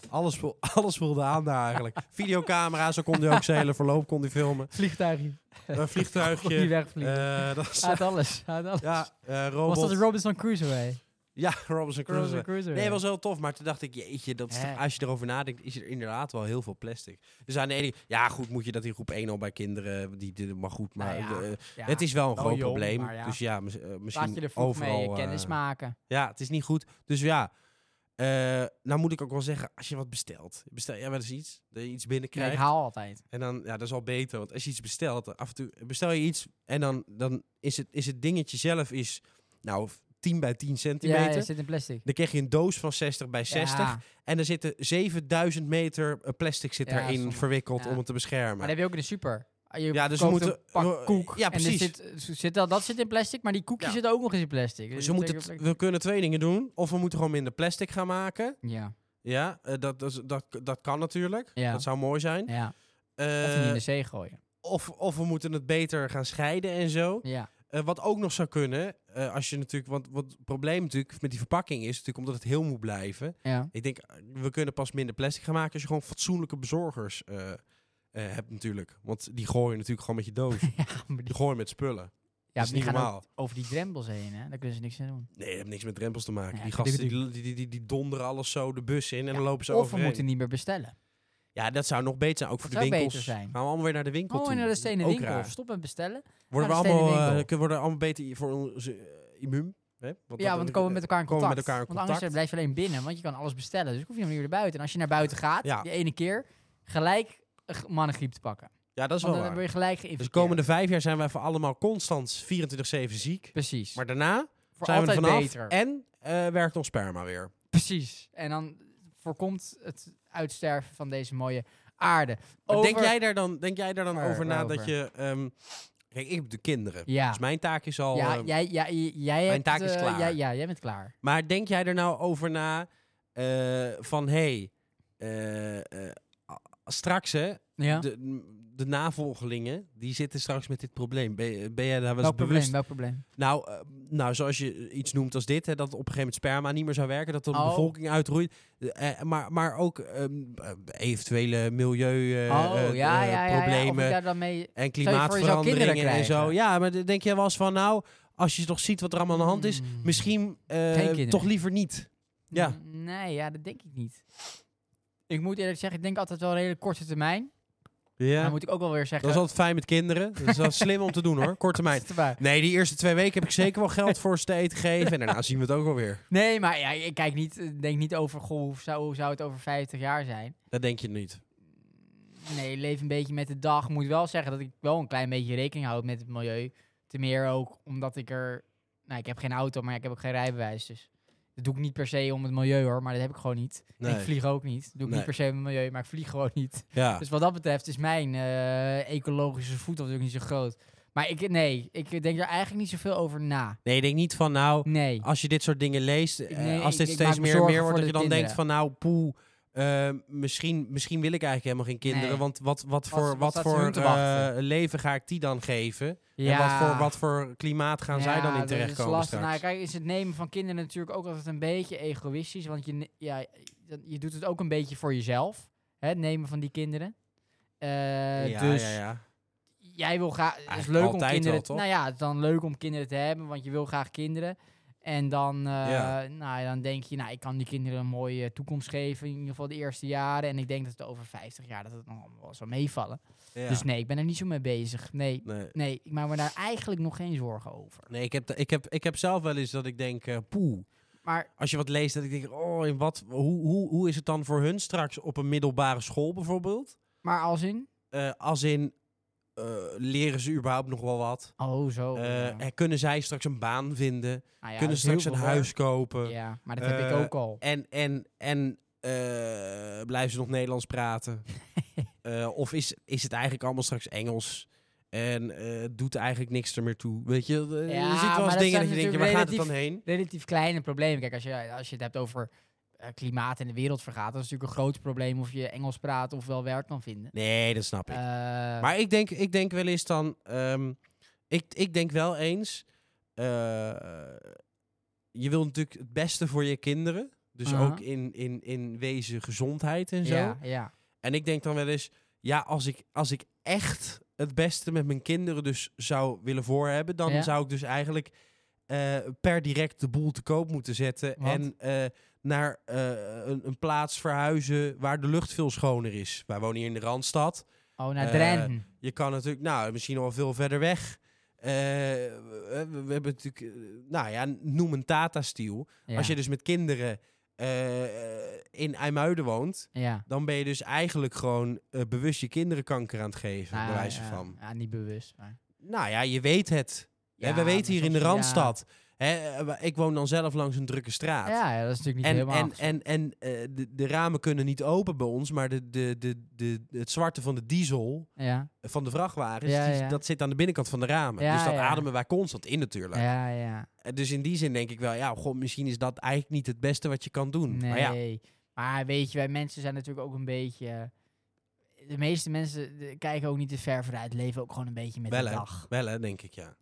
[SPEAKER 1] Alles, voel- alles voelde aan daar eigenlijk. Videocamera, zo kon hij ook zijn hele verloop kon hij filmen.
[SPEAKER 2] Vliegtuigje.
[SPEAKER 1] Een
[SPEAKER 2] Kon niet
[SPEAKER 1] vliegtuigje.
[SPEAKER 2] wegvliegen.
[SPEAKER 1] eh, dat is,
[SPEAKER 2] Hij had alles. hij had alles.
[SPEAKER 1] ja, eh, robot.
[SPEAKER 2] Was dat de Robinson Crusoe?
[SPEAKER 1] Ja, Robinson Crusoe.
[SPEAKER 2] Robinson Crusoe.
[SPEAKER 1] Nee, was heel tof, maar toen dacht ik, jeetje, dat is
[SPEAKER 2] Hè?
[SPEAKER 1] toch- als je erover nadenkt, is er inderdaad wel heel veel plastic. Dus aan de ene ja goed, moet je dat in groep 1 al bij kinderen, die, die- maar goed, maar
[SPEAKER 2] Nou ja,
[SPEAKER 1] eh, het is wel een
[SPEAKER 2] wel
[SPEAKER 1] groot
[SPEAKER 2] jong,
[SPEAKER 1] probleem.
[SPEAKER 2] maar ja.
[SPEAKER 1] Dus ja, mis- eh, misschien
[SPEAKER 2] Laat je er vroeg
[SPEAKER 1] overal
[SPEAKER 2] mee je
[SPEAKER 1] eh,
[SPEAKER 2] kennis maken.
[SPEAKER 1] Ja, het is niet goed. Dus ja, eh, nou moet ik ook wel zeggen, als je wat bestelt, bestel jij wel eens iets, dat je iets
[SPEAKER 2] Nee,
[SPEAKER 1] binnenkrijgt.
[SPEAKER 2] ik haal altijd.
[SPEAKER 1] En dan, ja, dat is al beter. Want als je iets bestelt, dan af en toe bestel je iets en dan, dan is, het, is het dingetje zelf is, nou, 10 bij 10 centimeter.
[SPEAKER 2] Ja, je zit in plastic.
[SPEAKER 1] Dan krijg je een doos van 60 bij 60.
[SPEAKER 2] Ja,
[SPEAKER 1] En er zitten 7000 meter eh, plastic zit
[SPEAKER 2] Ja,
[SPEAKER 1] daarin
[SPEAKER 2] sommige-
[SPEAKER 1] verwikkeld
[SPEAKER 2] ja.
[SPEAKER 1] om het te
[SPEAKER 2] maar dat
[SPEAKER 1] beschermen.
[SPEAKER 2] heb je ook in de super. Ah, Je
[SPEAKER 1] Ja, dus we
[SPEAKER 2] koopt een
[SPEAKER 1] moeten-
[SPEAKER 2] pak
[SPEAKER 1] we-
[SPEAKER 2] koek.
[SPEAKER 1] ja, precies.
[SPEAKER 2] En er zit, zit dat, dat zit in plastic, maar die koekjes
[SPEAKER 1] Ja.
[SPEAKER 2] zitten ook nog eens in plastic. Dus
[SPEAKER 1] Dus we,
[SPEAKER 2] dat
[SPEAKER 1] moeten
[SPEAKER 2] betekent
[SPEAKER 1] t-
[SPEAKER 2] ook
[SPEAKER 1] we kunnen twee dingen doen. Of we moeten gewoon minder plastic gaan maken.
[SPEAKER 2] plastic. Ja,
[SPEAKER 1] Ja, eh, dat, dat, is- dat, dat kan natuurlijk.
[SPEAKER 2] Ja.
[SPEAKER 1] Dat zou mooi zijn.
[SPEAKER 2] ja. Of dus-
[SPEAKER 1] Eh,
[SPEAKER 2] die in de zee gooien.
[SPEAKER 1] of, of we moeten het beter gaan scheiden en zo.
[SPEAKER 2] Ja,
[SPEAKER 1] Eh, wat ook nog zou kunnen, eh, als je natuurlijk... Want wat het probleem natuurlijk met die verpakking is... natuurlijk omdat het heel moet blijven.
[SPEAKER 2] ja.
[SPEAKER 1] Ik denk, eh, we kunnen pas minder plastic gaan maken... als je gewoon fatsoenlijke bezorgers eh, eh, hebt natuurlijk. Want die gooien natuurlijk gewoon met je doos.
[SPEAKER 2] ja, maar die,
[SPEAKER 1] Die gooien met spullen.
[SPEAKER 2] ja,
[SPEAKER 1] is
[SPEAKER 2] die
[SPEAKER 1] niet
[SPEAKER 2] gaan ook
[SPEAKER 1] normaal.
[SPEAKER 2] over die drempels heen, hè. Daar kunnen ze niks aan doen.
[SPEAKER 1] Nee, dat heeft niks met drempels te maken.
[SPEAKER 2] Ja,
[SPEAKER 1] die
[SPEAKER 2] ik denk
[SPEAKER 1] gasten die, die, die, die donderen alles zo de bus in en
[SPEAKER 2] Ja,
[SPEAKER 1] dan lopen ze
[SPEAKER 2] Of we
[SPEAKER 1] over.
[SPEAKER 2] moeten niet meer bestellen.
[SPEAKER 1] Ja, dat zou nog beter zijn. Ook voor
[SPEAKER 2] Dat
[SPEAKER 1] de
[SPEAKER 2] zou
[SPEAKER 1] winkels.
[SPEAKER 2] beter zijn.
[SPEAKER 1] Gaan we allemaal weer naar de winkel
[SPEAKER 2] Oh,
[SPEAKER 1] toe.
[SPEAKER 2] en naar de stenen
[SPEAKER 1] Ook
[SPEAKER 2] winkel.
[SPEAKER 1] raar.
[SPEAKER 2] Stop met bestellen.
[SPEAKER 1] Worden we
[SPEAKER 2] naar de stenen
[SPEAKER 1] allemaal, eh,
[SPEAKER 2] winkel.
[SPEAKER 1] kunnen worden allemaal beter i- voor ons eh, immuun? Hè? Want
[SPEAKER 2] ja,
[SPEAKER 1] dat-
[SPEAKER 2] want dan komen we met elkaar in
[SPEAKER 1] komen we
[SPEAKER 2] contact.
[SPEAKER 1] met elkaar in
[SPEAKER 2] Want anders
[SPEAKER 1] contact.
[SPEAKER 2] blijf je alleen binnen, want je kan alles bestellen. Dus ik hoef je niet meer naar buiten. En als je naar buiten gaat,
[SPEAKER 1] Ja.
[SPEAKER 2] die ene keer, gelijk een g- mannengriep te pakken.
[SPEAKER 1] Ja, dat is wel
[SPEAKER 2] Want dan
[SPEAKER 1] waar.
[SPEAKER 2] word je gelijk
[SPEAKER 1] Dus de
[SPEAKER 2] geïnfecteerd.
[SPEAKER 1] komende vijf jaar zijn wij voor allemaal constant 24-7 ziek.
[SPEAKER 2] Precies.
[SPEAKER 1] Maar daarna
[SPEAKER 2] Voor
[SPEAKER 1] zijn we er
[SPEAKER 2] altijd
[SPEAKER 1] vanaf.
[SPEAKER 2] beter.
[SPEAKER 1] En eh, werkt ons sperma weer.
[SPEAKER 2] Precies. En dan voorkomt het uitsterven van deze mooie aarde.
[SPEAKER 1] Maar
[SPEAKER 2] Over-
[SPEAKER 1] Denk jij daar dan, denk jij daar dan
[SPEAKER 2] Waar-
[SPEAKER 1] over na
[SPEAKER 2] waarover?
[SPEAKER 1] dat je... ehm, kijk, ik heb de kinderen.
[SPEAKER 2] Ja.
[SPEAKER 1] Dus mijn taak is al...
[SPEAKER 2] Ja,
[SPEAKER 1] ehm,
[SPEAKER 2] jij, jij, jij, jij hebt,
[SPEAKER 1] taak is
[SPEAKER 2] eh,
[SPEAKER 1] klaar.
[SPEAKER 2] jij- ja, jij bent klaar.
[SPEAKER 1] Maar denk jij er nou over na eh, van hé, hey, eh, eh, a- straks hè,
[SPEAKER 2] Ja.
[SPEAKER 1] de, m- de navolgelingen die zitten straks met dit probleem. Ben, ben jij daar wel eens
[SPEAKER 2] Welk probleem?
[SPEAKER 1] bewust?
[SPEAKER 2] Welk probleem?
[SPEAKER 1] Nou, eh, nou, zoals je iets noemt als dit, hè, dat op een gegeven moment sperma niet meer zou werken, dat de
[SPEAKER 2] Oh.
[SPEAKER 1] bevolking uitroeit. Eh, eh, maar, maar ook ehm, eh, eventuele eh, milieuproblemen
[SPEAKER 2] oh, ja, ja, ja, ja. Of ik daar dan mee...
[SPEAKER 1] eh, en
[SPEAKER 2] je voor je zou
[SPEAKER 1] klimaatveranderingen
[SPEAKER 2] kinderen
[SPEAKER 1] en zo.
[SPEAKER 2] krijgen?
[SPEAKER 1] Ja, maar d- denk jij wel eens van nou, als je toch ziet wat er allemaal aan de hand is,
[SPEAKER 2] Mm.
[SPEAKER 1] misschien eh,
[SPEAKER 2] kinderen.
[SPEAKER 1] toch liever niet. Ja.
[SPEAKER 2] Mm, Nee, ja, dat denk ik niet. Ik moet eerlijk zeggen, ik denk altijd wel een hele korte termijn.
[SPEAKER 1] Ja.
[SPEAKER 2] Dan moet ik ook wel weer
[SPEAKER 1] Dat
[SPEAKER 2] zeggen...
[SPEAKER 1] is altijd fijn met kinderen. Dat is wel slim om te doen hoor, kort termijn.
[SPEAKER 2] is te waar.
[SPEAKER 1] Nee, die eerste twee weken heb ik zeker wel geld voor ze te eten gegeven. En daarna zien we het ook alweer.
[SPEAKER 2] Nee, maar ja, ik kijk niet, ik denk niet over, goh, hoe zou, hoe zou het over 50 jaar zijn?
[SPEAKER 1] Dat denk je niet.
[SPEAKER 2] Nee, leef een beetje met de dag. Moet wel zeggen dat ik wel een klein beetje rekening houd met het milieu. Ten meer ook omdat ik er... Nou, ik heb geen auto, maar ik heb ook geen rijbewijs, dus... Dat doe ik niet per se om het milieu hoor, maar dat heb ik gewoon niet. En
[SPEAKER 1] Nee.
[SPEAKER 2] Ik vlieg ook niet. Dat doe ik
[SPEAKER 1] Nee. Ah.
[SPEAKER 2] niet per se om het milieu, maar ik vlieg gewoon niet.
[SPEAKER 1] Ja.
[SPEAKER 2] Dus wat dat betreft is mijn eh, ecologische voetafdruk niet zo groot. Maar ik, nee, ik denk daar eigenlijk niet zoveel over na.
[SPEAKER 1] Nee, ik denk niet van nou,
[SPEAKER 2] Nee.
[SPEAKER 1] als je dit soort dingen leest, eh,
[SPEAKER 2] Nee,
[SPEAKER 1] als
[SPEAKER 2] ik-
[SPEAKER 1] dit
[SPEAKER 2] ik maak
[SPEAKER 1] steeds
[SPEAKER 2] me
[SPEAKER 1] meer en
[SPEAKER 2] zorgen
[SPEAKER 1] meer wordt,
[SPEAKER 2] voor
[SPEAKER 1] dat je
[SPEAKER 2] de
[SPEAKER 1] dan denkt
[SPEAKER 2] kinderen.
[SPEAKER 1] van nou, poe, eh, misschien, misschien wil ik eigenlijk helemaal geen kinderen.
[SPEAKER 2] Nee.
[SPEAKER 1] Want wat, wat voor,
[SPEAKER 2] wat
[SPEAKER 1] wat
[SPEAKER 2] staat
[SPEAKER 1] voor
[SPEAKER 2] hun te wachten?
[SPEAKER 1] eh, leven ga ik die dan geven?
[SPEAKER 2] Ja.
[SPEAKER 1] En wat voor, wat voor klimaat gaan zij dan
[SPEAKER 2] Ja,
[SPEAKER 1] in
[SPEAKER 2] dat is
[SPEAKER 1] terechtkomen
[SPEAKER 2] lastig.
[SPEAKER 1] straks?
[SPEAKER 2] Nou, kijk, is het nemen van kinderen natuurlijk ook altijd een beetje egoïstisch. Want je, ne- ja, dat- je doet het ook een beetje voor jezelf. Hè, het nemen van die kinderen. Eh,
[SPEAKER 1] ja,
[SPEAKER 2] dus
[SPEAKER 1] ja, ja.
[SPEAKER 2] jij wil graag... Het is
[SPEAKER 1] Eigenlijk
[SPEAKER 2] leuk om
[SPEAKER 1] altijd
[SPEAKER 2] kinderen...
[SPEAKER 1] wel,
[SPEAKER 2] te-
[SPEAKER 1] toch?
[SPEAKER 2] nou ja, het is dan leuk om kinderen te hebben, want je wil graag kinderen. En dan, eh,
[SPEAKER 1] Ja.
[SPEAKER 2] nou, dan denk je, nou, ik kan die kinderen een mooie toekomst geven. In ieder geval de eerste jaren. En ik denk dat het over 50 jaar dat het nog allemaal wel zou meevallen.
[SPEAKER 1] Ja.
[SPEAKER 2] Dus nee, ik ben er niet zo mee bezig. Nee,
[SPEAKER 1] nee.
[SPEAKER 2] nee, ik maak me daar eigenlijk nog geen zorgen over.
[SPEAKER 1] Nee, ik heb, da- ik, heb, ik heb zelf wel eens dat ik denk, eh, poeh.
[SPEAKER 2] Maar
[SPEAKER 1] Als je wat leest, dat ik denk, oh, in wat, hoe, hoe, hoe is het dan voor hun straks op een middelbare school bijvoorbeeld?
[SPEAKER 2] Maar als in?
[SPEAKER 1] Eh, als in, eh, leren ze überhaupt nog wel wat?
[SPEAKER 2] Oh, zo.
[SPEAKER 1] Eh,
[SPEAKER 2] ja.
[SPEAKER 1] en kunnen zij straks een baan vinden?
[SPEAKER 2] Nou ja, dat
[SPEAKER 1] kunnen
[SPEAKER 2] is
[SPEAKER 1] ze straks
[SPEAKER 2] heel
[SPEAKER 1] een
[SPEAKER 2] veel
[SPEAKER 1] huis
[SPEAKER 2] werk.
[SPEAKER 1] kopen?
[SPEAKER 2] Ja, maar dat heb ik
[SPEAKER 1] Eh,
[SPEAKER 2] ook al.
[SPEAKER 1] En, en, en eh, blijven ze nog Nederlands praten? Eh, of is, is het eigenlijk allemaal straks Engels? En eh, doet eigenlijk niks er meer toe? Weet je, eh,
[SPEAKER 2] Ja,
[SPEAKER 1] je ziet
[SPEAKER 2] maar
[SPEAKER 1] wel eens dingen
[SPEAKER 2] dat zijn
[SPEAKER 1] dat je denkt, ja, waar
[SPEAKER 2] natuurlijk
[SPEAKER 1] gaat het dan
[SPEAKER 2] relatief-
[SPEAKER 1] heen?
[SPEAKER 2] Relatief kleine problemen. Kijk, als je, als je het hebt over eh, klimaat en de wereld vergaat, dat is natuurlijk een groot probleem of je Engels praat of wel werk kan vinden.
[SPEAKER 1] Nee, dat snap ik.
[SPEAKER 2] Eh,
[SPEAKER 1] Maar ik denk, ik denk wel eens dan. ehm, ik, ik denk wel eens. eh, je wil natuurlijk het beste voor je kinderen. Dus
[SPEAKER 2] Aha.
[SPEAKER 1] ook in, in, in wezen gezondheid en zo.
[SPEAKER 2] Ja, ja.
[SPEAKER 1] En ik denk dan wel eens, ja, als ik, als ik echt het beste met mijn kinderen dus zou willen voorhebben, dan
[SPEAKER 2] Ja.
[SPEAKER 1] zou ik dus eigenlijk eh, per direct de boel te koop moeten zetten.
[SPEAKER 2] Want?
[SPEAKER 1] En eh, naar eh, een, een plaats verhuizen waar de lucht veel schoner is. Wij wonen hier in de Randstad.
[SPEAKER 2] Oh, naar
[SPEAKER 1] Eh,
[SPEAKER 2] Drenthe.
[SPEAKER 1] Je kan natuurlijk, nou, misschien al veel verder weg. Eh, we, we hebben natuurlijk, eh, nou ja, noem een Tata Steel.
[SPEAKER 2] Ja.
[SPEAKER 1] Als je dus met kinderen eh, in IJmuiden woont,
[SPEAKER 2] ja.
[SPEAKER 1] dan ben je dus eigenlijk gewoon eh, bewust je kinderen kanker aan het geven,
[SPEAKER 2] Nou,
[SPEAKER 1] bij wijze
[SPEAKER 2] ja.
[SPEAKER 1] van.
[SPEAKER 2] Ja, niet bewust. Maar.
[SPEAKER 1] Nou ja, je weet het. Hè, we
[SPEAKER 2] Ja,
[SPEAKER 1] weten
[SPEAKER 2] maar
[SPEAKER 1] hier in de
[SPEAKER 2] soms- ja.
[SPEAKER 1] Randstad. Hè, eh, ik woon dan zelf langs een drukke straat.
[SPEAKER 2] Ja, ja, dat is natuurlijk niet
[SPEAKER 1] En,
[SPEAKER 2] helemaal.
[SPEAKER 1] en,
[SPEAKER 2] afgesproken.
[SPEAKER 1] en, en eh, de, de ramen kunnen niet open bij ons, maar de, de, de, de, het zwarte van de diesel,
[SPEAKER 2] ja.
[SPEAKER 1] eh, van de vrachtwagens,
[SPEAKER 2] Ja,
[SPEAKER 1] die-
[SPEAKER 2] ja.
[SPEAKER 1] dat zit aan de binnenkant van de ramen.
[SPEAKER 2] Ja,
[SPEAKER 1] dus dat
[SPEAKER 2] ja.
[SPEAKER 1] ademen wij constant in natuurlijk.
[SPEAKER 2] ja, ja.
[SPEAKER 1] Eh, Dus in die zin denk ik wel, ja, god, misschien is dat eigenlijk niet het beste wat je kan doen.
[SPEAKER 2] Nee.
[SPEAKER 1] Maar ja,
[SPEAKER 2] Maar weet je, wij mensen zijn natuurlijk ook een beetje. De meeste mensen eh, kijken ook niet te ver vooruit, leven ook gewoon een beetje met
[SPEAKER 1] wel
[SPEAKER 2] de
[SPEAKER 1] hè,
[SPEAKER 2] dag.
[SPEAKER 1] wel hè, denk ik, ja.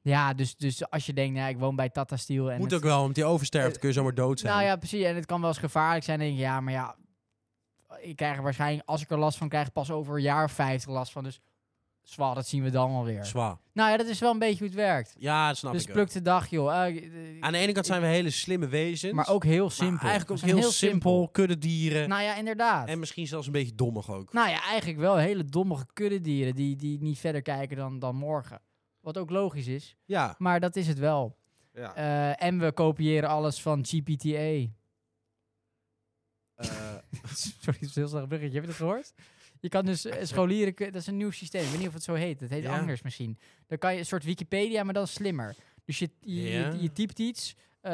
[SPEAKER 2] Ja, dus, dus als je denkt, nou, ik woon bij Tata Steel. En
[SPEAKER 1] Moet
[SPEAKER 2] het-
[SPEAKER 1] ook wel, want die oversterft
[SPEAKER 2] Eh,
[SPEAKER 1] kun je zomaar dood zijn.
[SPEAKER 2] Nou ja, precies. En het kan wel eens gevaarlijk zijn. Dan denk je, ja, maar ja, ik krijg er waarschijnlijk, als ik er last van krijg, pas over een jaar of vijftig last van. Dus zwaar, dat zien we dan wel weer.
[SPEAKER 1] Zwaar.
[SPEAKER 2] Nou ja, dat is wel een beetje hoe het werkt.
[SPEAKER 1] Ja, dat snap
[SPEAKER 2] dus
[SPEAKER 1] ik
[SPEAKER 2] pluk de dag, joh. Eh, eh,
[SPEAKER 1] Aan de ene kant zijn we hele slimme wezens.
[SPEAKER 2] maar ook heel
[SPEAKER 1] maar
[SPEAKER 2] simpel.
[SPEAKER 1] eigenlijk
[SPEAKER 2] We
[SPEAKER 1] ook
[SPEAKER 2] zijn
[SPEAKER 1] heel, simpel. Kuddedieren.
[SPEAKER 2] Nou ja, inderdaad.
[SPEAKER 1] en misschien zelfs een beetje dommig ook.
[SPEAKER 2] Nou ja, eigenlijk wel hele dommige kuddedieren die, die niet verder kijken dan, dan morgen. Wat ook logisch is,
[SPEAKER 1] ja.
[SPEAKER 2] maar dat is het wel.
[SPEAKER 1] ja.
[SPEAKER 2] Eh, en we kopiëren alles van GPTA.
[SPEAKER 1] Eh,
[SPEAKER 2] Sorry, dat is een heel slecht bruggetje. Heb je dat gehoord? Je kan dus eh, scholieren... kun- Dat is een nieuw systeem. Ik weet niet of het zo heet. Het heet
[SPEAKER 1] Ja.
[SPEAKER 2] anders misschien. Dan kan je een soort Wikipedia, maar dan slimmer. Dus je, je, je-
[SPEAKER 1] Ja.
[SPEAKER 2] je, typt iets. eh,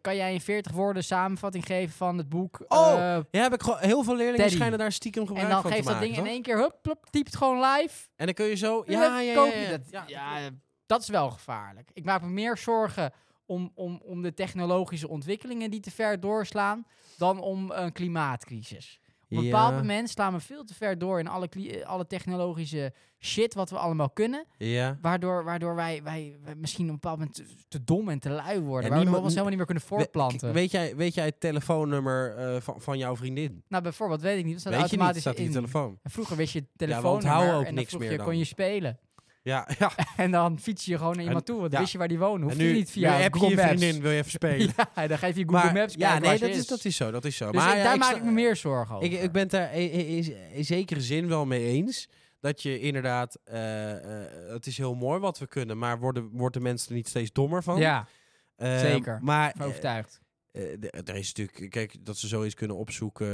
[SPEAKER 2] kan jij in 40 woorden samenvatting geven van het boek?
[SPEAKER 1] Oh,
[SPEAKER 2] eh,
[SPEAKER 1] ja, heb ik gewoon heel veel leerlingen
[SPEAKER 2] Teddy.
[SPEAKER 1] schijnen daar stiekem gebruik
[SPEAKER 2] en dan
[SPEAKER 1] van te
[SPEAKER 2] geeft dat
[SPEAKER 1] maken.
[SPEAKER 2] ding in
[SPEAKER 1] toch?
[SPEAKER 2] één keer... Hup, plop, typt gewoon live.
[SPEAKER 1] En dan kun je zo... Ja, ja,
[SPEAKER 2] Ja,
[SPEAKER 1] ja.
[SPEAKER 2] koop je
[SPEAKER 1] ja.
[SPEAKER 2] dat. Ja,
[SPEAKER 1] Ja.
[SPEAKER 2] dat is wel gevaarlijk. Ik maak me meer zorgen om, om, om de technologische ontwikkelingen die te ver doorslaan dan om een klimaatcrisis. Op een bepaald
[SPEAKER 1] Ja.
[SPEAKER 2] moment slaan we veel te ver door in alle, kli- eh, alle technologische shit wat we allemaal kunnen.
[SPEAKER 1] Ja.
[SPEAKER 2] Waardoor, waardoor wij, wij, wij misschien op een bepaald moment te, te dom en te lui worden.
[SPEAKER 1] Ja,
[SPEAKER 2] waardoor we
[SPEAKER 1] niemand-
[SPEAKER 2] ons helemaal niet meer kunnen voortplanten.
[SPEAKER 1] We- weet, jij, weet jij het telefoonnummer eh, van, van jouw vriendin?
[SPEAKER 2] nou, bijvoorbeeld, weet ik niet. Dat staat
[SPEAKER 1] weet je niet,
[SPEAKER 2] automatisch
[SPEAKER 1] staat in je
[SPEAKER 2] in.
[SPEAKER 1] telefoon.
[SPEAKER 2] En vroeger wist je
[SPEAKER 1] onthouden
[SPEAKER 2] telefoon
[SPEAKER 1] ook
[SPEAKER 2] en dan
[SPEAKER 1] niks
[SPEAKER 2] vroeg
[SPEAKER 1] meer
[SPEAKER 2] je,
[SPEAKER 1] dan.
[SPEAKER 2] kon je spelen.
[SPEAKER 1] Ja, ja.
[SPEAKER 2] En dan fiets je gewoon naar iemand
[SPEAKER 1] En-
[SPEAKER 2] toe. Want
[SPEAKER 1] ja.
[SPEAKER 2] wist je waar die woont. Hoeft
[SPEAKER 1] en
[SPEAKER 2] je
[SPEAKER 1] nu,
[SPEAKER 2] niet via
[SPEAKER 1] nu heb je je
[SPEAKER 2] Google Maps.
[SPEAKER 1] vriendin, wil je even spelen?
[SPEAKER 2] Ja, en dan geef je Google
[SPEAKER 1] maar,
[SPEAKER 2] Maps
[SPEAKER 1] ja,
[SPEAKER 2] kijken
[SPEAKER 1] nee,
[SPEAKER 2] waar ze
[SPEAKER 1] dat is, dat is zo, dat is zo.
[SPEAKER 2] Dus
[SPEAKER 1] maar
[SPEAKER 2] ik-
[SPEAKER 1] ja,
[SPEAKER 2] daar
[SPEAKER 1] ik
[SPEAKER 2] maak
[SPEAKER 1] sta-
[SPEAKER 2] ik me meer zorgen over.
[SPEAKER 1] Ik, ik ben het daar i- i- is- in zekere zin wel mee eens. Dat je inderdaad, eh, eh, het is heel mooi wat we kunnen, maar worden, worden mensen er niet steeds dommer van?
[SPEAKER 2] Ja,
[SPEAKER 1] Ehm,
[SPEAKER 2] zeker.
[SPEAKER 1] Maar
[SPEAKER 2] van overtuigd.
[SPEAKER 1] eh, eh, d- er is natuurlijk, kijk, dat ze zoiets kunnen opzoeken,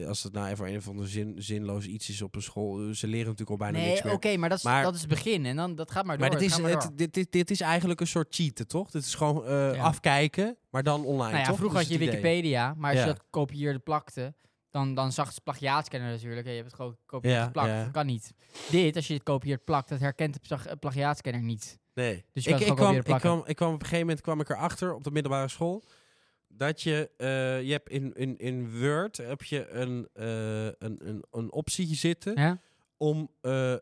[SPEAKER 1] eh, als het nou even een of ander zin, zinloos iets is op een school. eh, Ze leren natuurlijk al bijna
[SPEAKER 2] Nee,
[SPEAKER 1] niks
[SPEAKER 2] oké,
[SPEAKER 1] meer.
[SPEAKER 2] maar, dat is,
[SPEAKER 1] Maar-
[SPEAKER 2] dat is het begin. En dan, dat gaat maar door.
[SPEAKER 1] Maar dit
[SPEAKER 2] dat
[SPEAKER 1] is,
[SPEAKER 2] gaat maar door.
[SPEAKER 1] het, dit, dit, dit is eigenlijk een soort cheaten, toch? Dit is gewoon eh,
[SPEAKER 2] Ja.
[SPEAKER 1] afkijken, maar dan online,
[SPEAKER 2] nou ja,
[SPEAKER 1] toch?
[SPEAKER 2] vroeger
[SPEAKER 1] Dat
[SPEAKER 2] had je
[SPEAKER 1] is het idee.
[SPEAKER 2] Wikipedia, maar als
[SPEAKER 1] Ja.
[SPEAKER 2] je dat kopieerde plakte, dan, dan zag het plagiaatscanner natuurlijk. hè, Je hebt het gewoon kopieerd
[SPEAKER 1] Ja,
[SPEAKER 2] geplakt.
[SPEAKER 1] ja.
[SPEAKER 2] Dat kan niet. Dit, als je het kopieert plakt, dat herkent de plag- eh, plagiaatscanner niet.
[SPEAKER 1] Nee.
[SPEAKER 2] Dus je
[SPEAKER 1] ik,
[SPEAKER 2] kan het
[SPEAKER 1] ik, kwam,
[SPEAKER 2] gewoon
[SPEAKER 1] ik,
[SPEAKER 2] proberen plakken.
[SPEAKER 1] kwam, ik kwam op een gegeven moment kwam ik erachter op de middelbare school. Dat je, eh, je hebt in, in, in Word heb je een, eh, een, een, een optietje zitten
[SPEAKER 2] Ja?
[SPEAKER 1] om eh,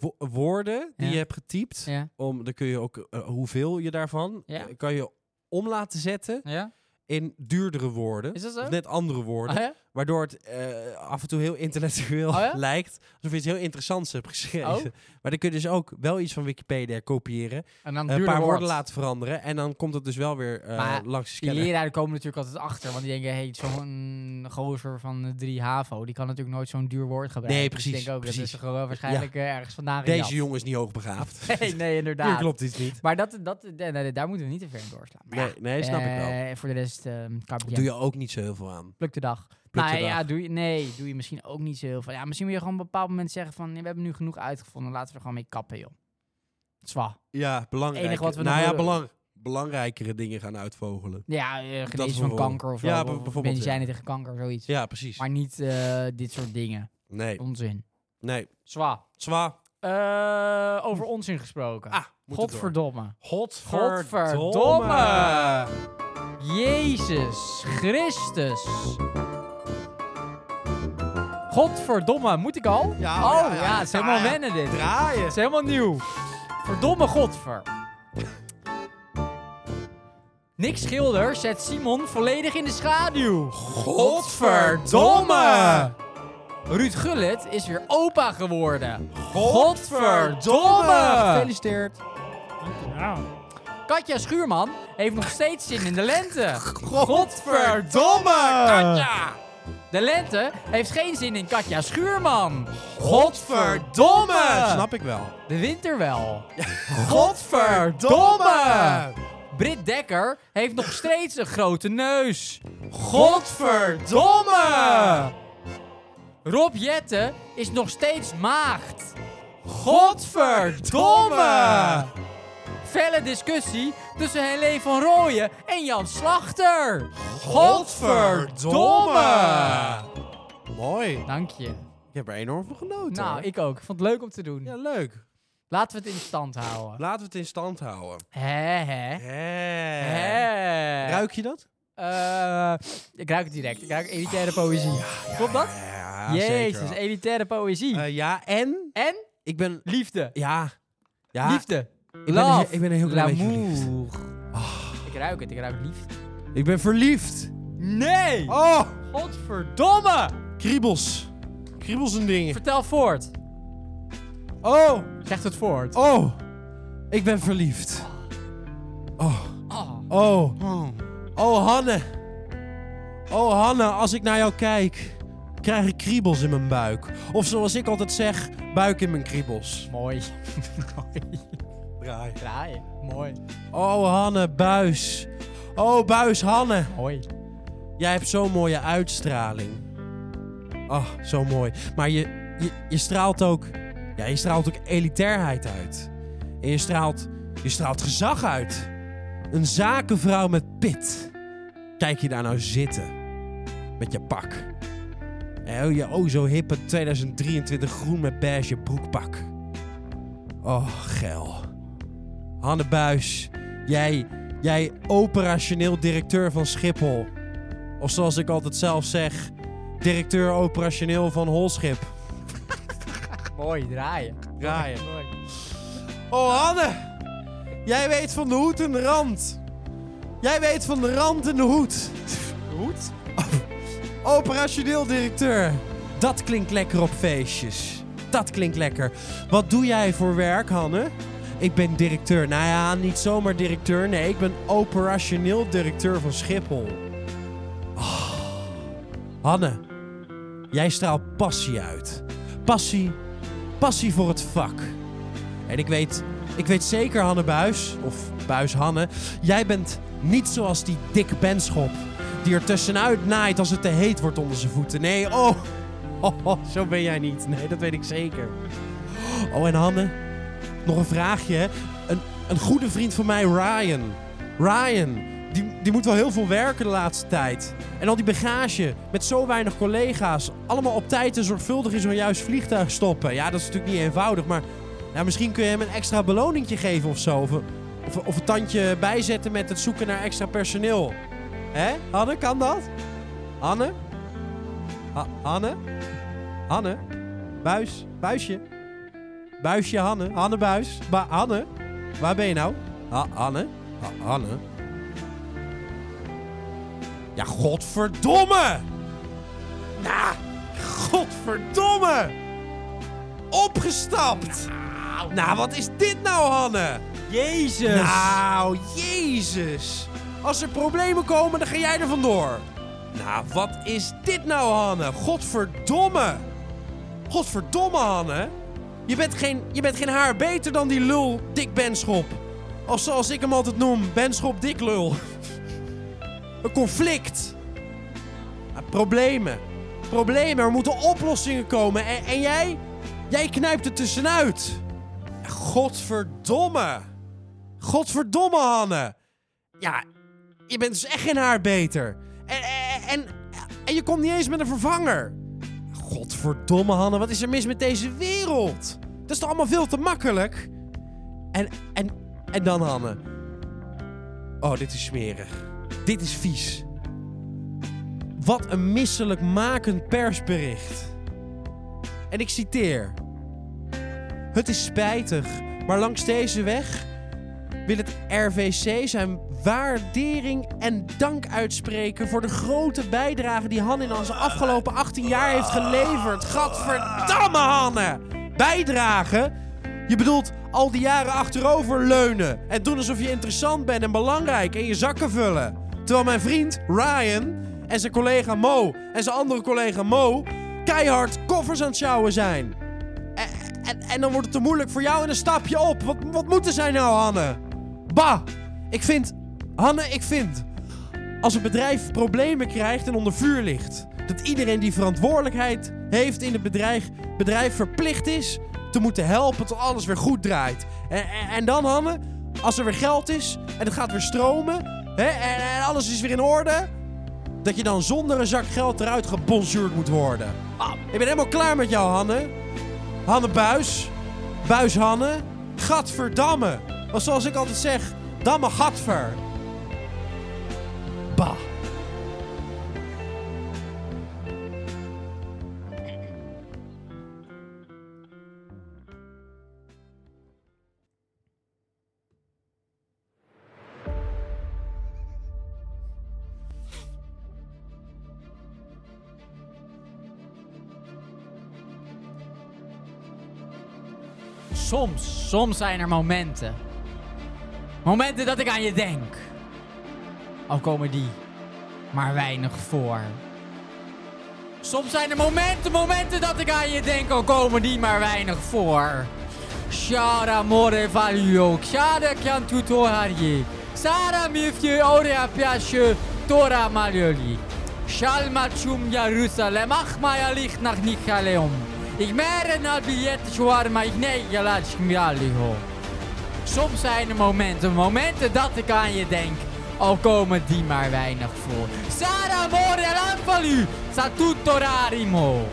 [SPEAKER 1] wo- woorden die
[SPEAKER 2] Ja.
[SPEAKER 1] je hebt getypt.
[SPEAKER 2] Ja?
[SPEAKER 1] Om, dan kun je ook eh, hoeveel je daarvan
[SPEAKER 2] Ja.
[SPEAKER 1] eh, kan je om laten zetten
[SPEAKER 2] Ja?
[SPEAKER 1] in duurdere woorden.
[SPEAKER 2] Is dat zo?
[SPEAKER 1] Of net andere woorden.
[SPEAKER 2] Ah, ja?
[SPEAKER 1] Waardoor het eh, af en toe heel intellectueel
[SPEAKER 2] Oh ja?
[SPEAKER 1] lijkt. Alsof je iets heel interessants hebt geschreven.
[SPEAKER 2] Oh.
[SPEAKER 1] Maar dan kun je dus ook wel iets van Wikipedia kopiëren
[SPEAKER 2] En dan
[SPEAKER 1] een
[SPEAKER 2] duurder
[SPEAKER 1] paar
[SPEAKER 2] wordt.
[SPEAKER 1] woorden laten veranderen. En dan komt het dus wel weer eh,
[SPEAKER 2] Maar
[SPEAKER 1] langs de
[SPEAKER 2] Die
[SPEAKER 1] scanner.
[SPEAKER 2] leraren komen natuurlijk altijd achter, want die denken, hey, zo'n gozer van eh, 3 HAVO, die kan natuurlijk nooit zo'n duur woord gebruiken.
[SPEAKER 1] Nee,
[SPEAKER 2] Dus
[SPEAKER 1] precies,
[SPEAKER 2] ik denk ook, dat
[SPEAKER 1] precies.
[SPEAKER 2] is gewoon wel waarschijnlijk eh, ergens vandaan gejat.
[SPEAKER 1] Deze jongen is niet hoogbegaafd.
[SPEAKER 2] Nee, nee,
[SPEAKER 1] Hier
[SPEAKER 2] inderdaad.
[SPEAKER 1] klopt iets niet.
[SPEAKER 2] Maar dat, dat, eh, nee, nee, daar moeten we niet te ver in doorslaan. Maar ja,
[SPEAKER 1] Nee, nee, snap ik wel.
[SPEAKER 2] eh, Voor de rest, ehm kabbetje.
[SPEAKER 1] Doe je ook niet zo heel veel aan.
[SPEAKER 2] Pluk de dag.
[SPEAKER 1] Pluk de
[SPEAKER 2] nou ja,
[SPEAKER 1] dag.
[SPEAKER 2] doe je, nee, doe je misschien ook niet zo heel veel. Ja, misschien moet je gewoon op een bepaald moment zeggen van... nee, we hebben nu genoeg uitgevonden, laten we er gewoon mee kappen, joh. Zwa.
[SPEAKER 1] Ja, belangrijk.
[SPEAKER 2] Enige wat we
[SPEAKER 1] nou
[SPEAKER 2] nog
[SPEAKER 1] ja,
[SPEAKER 2] willen-
[SPEAKER 1] belang, belangrijkere dingen gaan uitvogelen.
[SPEAKER 2] Ja, eh genezen van
[SPEAKER 1] bijvoorbeeld.
[SPEAKER 2] kanker of zo.
[SPEAKER 1] Ja,
[SPEAKER 2] of
[SPEAKER 1] b- bijvoorbeeld,
[SPEAKER 2] medicijnen
[SPEAKER 1] ja.
[SPEAKER 2] tegen kanker, zoiets.
[SPEAKER 1] Ja, precies.
[SPEAKER 2] Maar niet eh, dit soort dingen.
[SPEAKER 1] Nee,
[SPEAKER 2] Onzin.
[SPEAKER 1] nee.
[SPEAKER 2] Zwa.
[SPEAKER 1] Zwa.
[SPEAKER 2] Eh, over onzin gesproken.
[SPEAKER 1] Ah, moet het door.
[SPEAKER 2] Godverdomme.
[SPEAKER 1] Godverdomme.
[SPEAKER 2] Jezus Christus. Godverdomme, moet ik al?
[SPEAKER 1] Ja,
[SPEAKER 2] oh ja,
[SPEAKER 1] ja, ja.
[SPEAKER 2] het is helemaal
[SPEAKER 1] Ah, ja.
[SPEAKER 2] wennen dit. Het
[SPEAKER 1] Draaien.
[SPEAKER 2] is helemaal nieuw. Verdomme Godver. Nick Schilder zet Simon volledig in de schaduw.
[SPEAKER 1] Godverdomme!
[SPEAKER 2] Ruud Gullit is weer opa geworden.
[SPEAKER 1] Godverdomme!
[SPEAKER 2] Gefeliciteerd.
[SPEAKER 5] Nou,
[SPEAKER 2] Katja Schuurman heeft nog steeds zin in de lente.
[SPEAKER 1] Godverdomme!
[SPEAKER 2] Katja! De lente heeft geen zin in Katja Schuurman.
[SPEAKER 1] Godverdomme! Snap ik wel.
[SPEAKER 2] De winter wel.
[SPEAKER 1] Godverdomme!
[SPEAKER 2] Britt Dekker heeft nog steeds een grote neus.
[SPEAKER 1] Godverdomme!
[SPEAKER 2] Rob Jette is nog steeds maagd.
[SPEAKER 1] Godverdomme!
[SPEAKER 2] Felle discussie tussen Helene van Rooyen en Jan Slachter.
[SPEAKER 1] Godverdomme! Mooi.
[SPEAKER 2] Dank je.
[SPEAKER 1] Ik heb er enorm van genoten.
[SPEAKER 2] Nou,
[SPEAKER 1] hoor.
[SPEAKER 2] ik ook. Ik vond het leuk om te doen.
[SPEAKER 1] Ja, leuk.
[SPEAKER 2] Laten we het in stand houden.
[SPEAKER 1] Laten we het in stand houden.
[SPEAKER 2] Hè, hè.
[SPEAKER 1] Hè.
[SPEAKER 2] Hè.
[SPEAKER 1] Ruik je dat?
[SPEAKER 2] Eh, ik ruik het direct. Ik ruik elitaire poëzie. Klopt dat?
[SPEAKER 1] Ja,
[SPEAKER 2] Jezus,
[SPEAKER 1] zeker wel.
[SPEAKER 2] elitaire poëzie.
[SPEAKER 1] Eh, ja, en
[SPEAKER 2] en
[SPEAKER 1] ik ben...
[SPEAKER 2] liefde.
[SPEAKER 1] Ja. Ja.
[SPEAKER 2] Liefde.
[SPEAKER 1] Ik ben, een,
[SPEAKER 2] Love.
[SPEAKER 1] he- ik ben een heel klein beetje
[SPEAKER 2] L'amour.
[SPEAKER 1] verliefd. Ah.
[SPEAKER 2] Ik ruik het, ik ruik liefde.
[SPEAKER 1] Ik ben verliefd.
[SPEAKER 2] Nee!
[SPEAKER 1] Oh!
[SPEAKER 2] Godverdomme!
[SPEAKER 1] Kriebels. Kriebels en dingen.
[SPEAKER 2] Vertel voort.
[SPEAKER 1] Oh!
[SPEAKER 2] Zeg het voort.
[SPEAKER 1] Oh! Ik ben verliefd. Oh.
[SPEAKER 2] Oh.
[SPEAKER 1] Oh. Oh, Hanne. Oh, Hanne, als ik naar jou kijk, krijg ik kriebels in mijn buik. Of zoals ik altijd zeg, buik in mijn kriebels.
[SPEAKER 2] Mooi. Mooi.
[SPEAKER 1] Draai.
[SPEAKER 2] Draaien. Mooi.
[SPEAKER 1] Oh, Hanne, buis. Oh, buis, Hanne.
[SPEAKER 2] Mooi.
[SPEAKER 1] Jij hebt zo'n mooie uitstraling. Oh, zo mooi. Maar je, je, je straalt ook... Ja, je straalt ook elitairheid uit. En je straalt, je straalt gezag uit. Een zakenvrouw met pit. Kijk je daar nou zitten. Met je pak. En je oh zo hippe 2023 groen met beige broekpak. Oh, geil. Hanne Buis, jij, jij operationeel directeur van Schiphol. Of zoals ik altijd zelf zeg, directeur operationeel van Holschip.
[SPEAKER 2] Mooi, draaien.
[SPEAKER 1] Draaien.
[SPEAKER 2] Mooi.
[SPEAKER 1] Oh, Hanne! Jij weet van de hoed en de rand. Jij weet van de rand en de hoed.
[SPEAKER 2] Goed.
[SPEAKER 1] Operationeel directeur. Dat klinkt lekker op feestjes. Dat klinkt lekker. Wat doe jij voor werk, Hanne? Ik ben directeur. Nou ja, niet zomaar directeur. Nee, ik ben operationeel directeur van Schiphol. Ah. Hanne, jij straalt passie uit. Passie, passie voor het vak. En ik weet, ik weet zeker, Hanne Buis, of Buis Hanne, jij bent niet zoals die dik benschop die er tussenuit naait als het te heet wordt onder zijn voeten. Nee, oh, oh, oh, zo ben jij niet. Nee, dat weet ik zeker. Oh, en Hanne, nog een vraagje. hè. Een, een goede vriend van mij, Ryan. Ryan, die, die moet wel heel veel werken de laatste tijd. En al die bagage met zo weinig collega's. Allemaal op tijd en zorgvuldig in zo'n juist vliegtuig stoppen. Ja, dat is natuurlijk niet eenvoudig, maar ja, misschien kun je hem een extra beloningje geven of zo. Of, een- of, een- of een tandje bijzetten met het zoeken naar extra personeel. Hè? Hanne, kan dat? Hanne? Ha- Hanne? Hanne? Buis? Buisje? Buisje Hanne? Hanne Buis? Ba Hanne? Waar ben je nou? Ha Hanne? Ha Hanne? Ja, godverdomme! Nou, godverdomme! Opgestapt! Nou, wat is dit nou, Hanne?
[SPEAKER 2] Jezus.
[SPEAKER 1] Nou, jezus. Als er problemen komen, dan ga jij er vandoor. Nou, wat is dit nou, Hanne? Godverdomme. Godverdomme, Hanne. Je bent geen, je bent geen haar beter dan die lul Dick Benschop. Of zoals ik hem altijd noem, Benschop Dick Lul. Een conflict. Ah, Problemen. Problemen, er moeten oplossingen komen. En, en jij? Jij knijpt er tussenuit. Godverdomme. Godverdomme, Hanne. Ja, je bent dus echt geen haar beter. En, en, en, en je komt niet eens met een vervanger. Godverdomme, Hanne, wat is er mis met deze wereld? Dat is toch allemaal veel te makkelijk? En, en, en dan, Hanne. Oh, dit is smerig. Dit is vies. Wat een misselijkmakend persbericht. En ik citeer. Het is spijtig, maar langs deze weg wil het RVC zijn waardering en dank uitspreken voor de grote bijdrage die Hanne in onze afgelopen 18 jaar heeft geleverd. Gadverdamme, Hanne! Bijdrage? Je bedoelt al die jaren achterover leunen en doen alsof je interessant bent en belangrijk en je zakken vullen. Terwijl mijn vriend Ryan en zijn collega Mo en zijn andere collega Mo keihard koffers aan het sjouwen zijn. En, en, en dan wordt het te moeilijk voor jou en dan stap je op. Wat, wat moeten zij nou, Hanne? Bah! Ik vind... Hanne, ik vind... Als een bedrijf problemen krijgt en onder vuur ligt... dat iedereen die verantwoordelijkheid heeft in het bedrijf... bedrijf verplicht is te moeten helpen tot alles weer goed draait. En, en, en dan, Hanne, als er weer geld is en het gaat weer stromen... Hè, en, en alles is weer in orde... dat je dan zonder een zak geld eruit gebonjourd moet worden. Ah, ik ben helemaal klaar met jou, Hanne. Hanne Buis. Buis Hanne. Gadverdamme. Of zoals ik altijd zeg, damme gadver. Bah.
[SPEAKER 2] Soms, soms zijn er momenten. Momenten dat ik aan je denk. Al komen die maar weinig voor. Soms zijn er momenten, momenten dat ik aan je denk. Al komen die maar weinig voor. Shara more valio, shara kyan tuto harje. Sara mifje orea piasje, tora maljoli. Shalma chum Jerusalem, ach maya licht nach Nichaleum. Ik mer na biljet shawarma, ik nee, je laat schmialiho. Soms zijn er momenten, momenten dat ik aan je denk. Al komen die maar weinig voor. Sara more l'anvalu, sa tutto rarimo.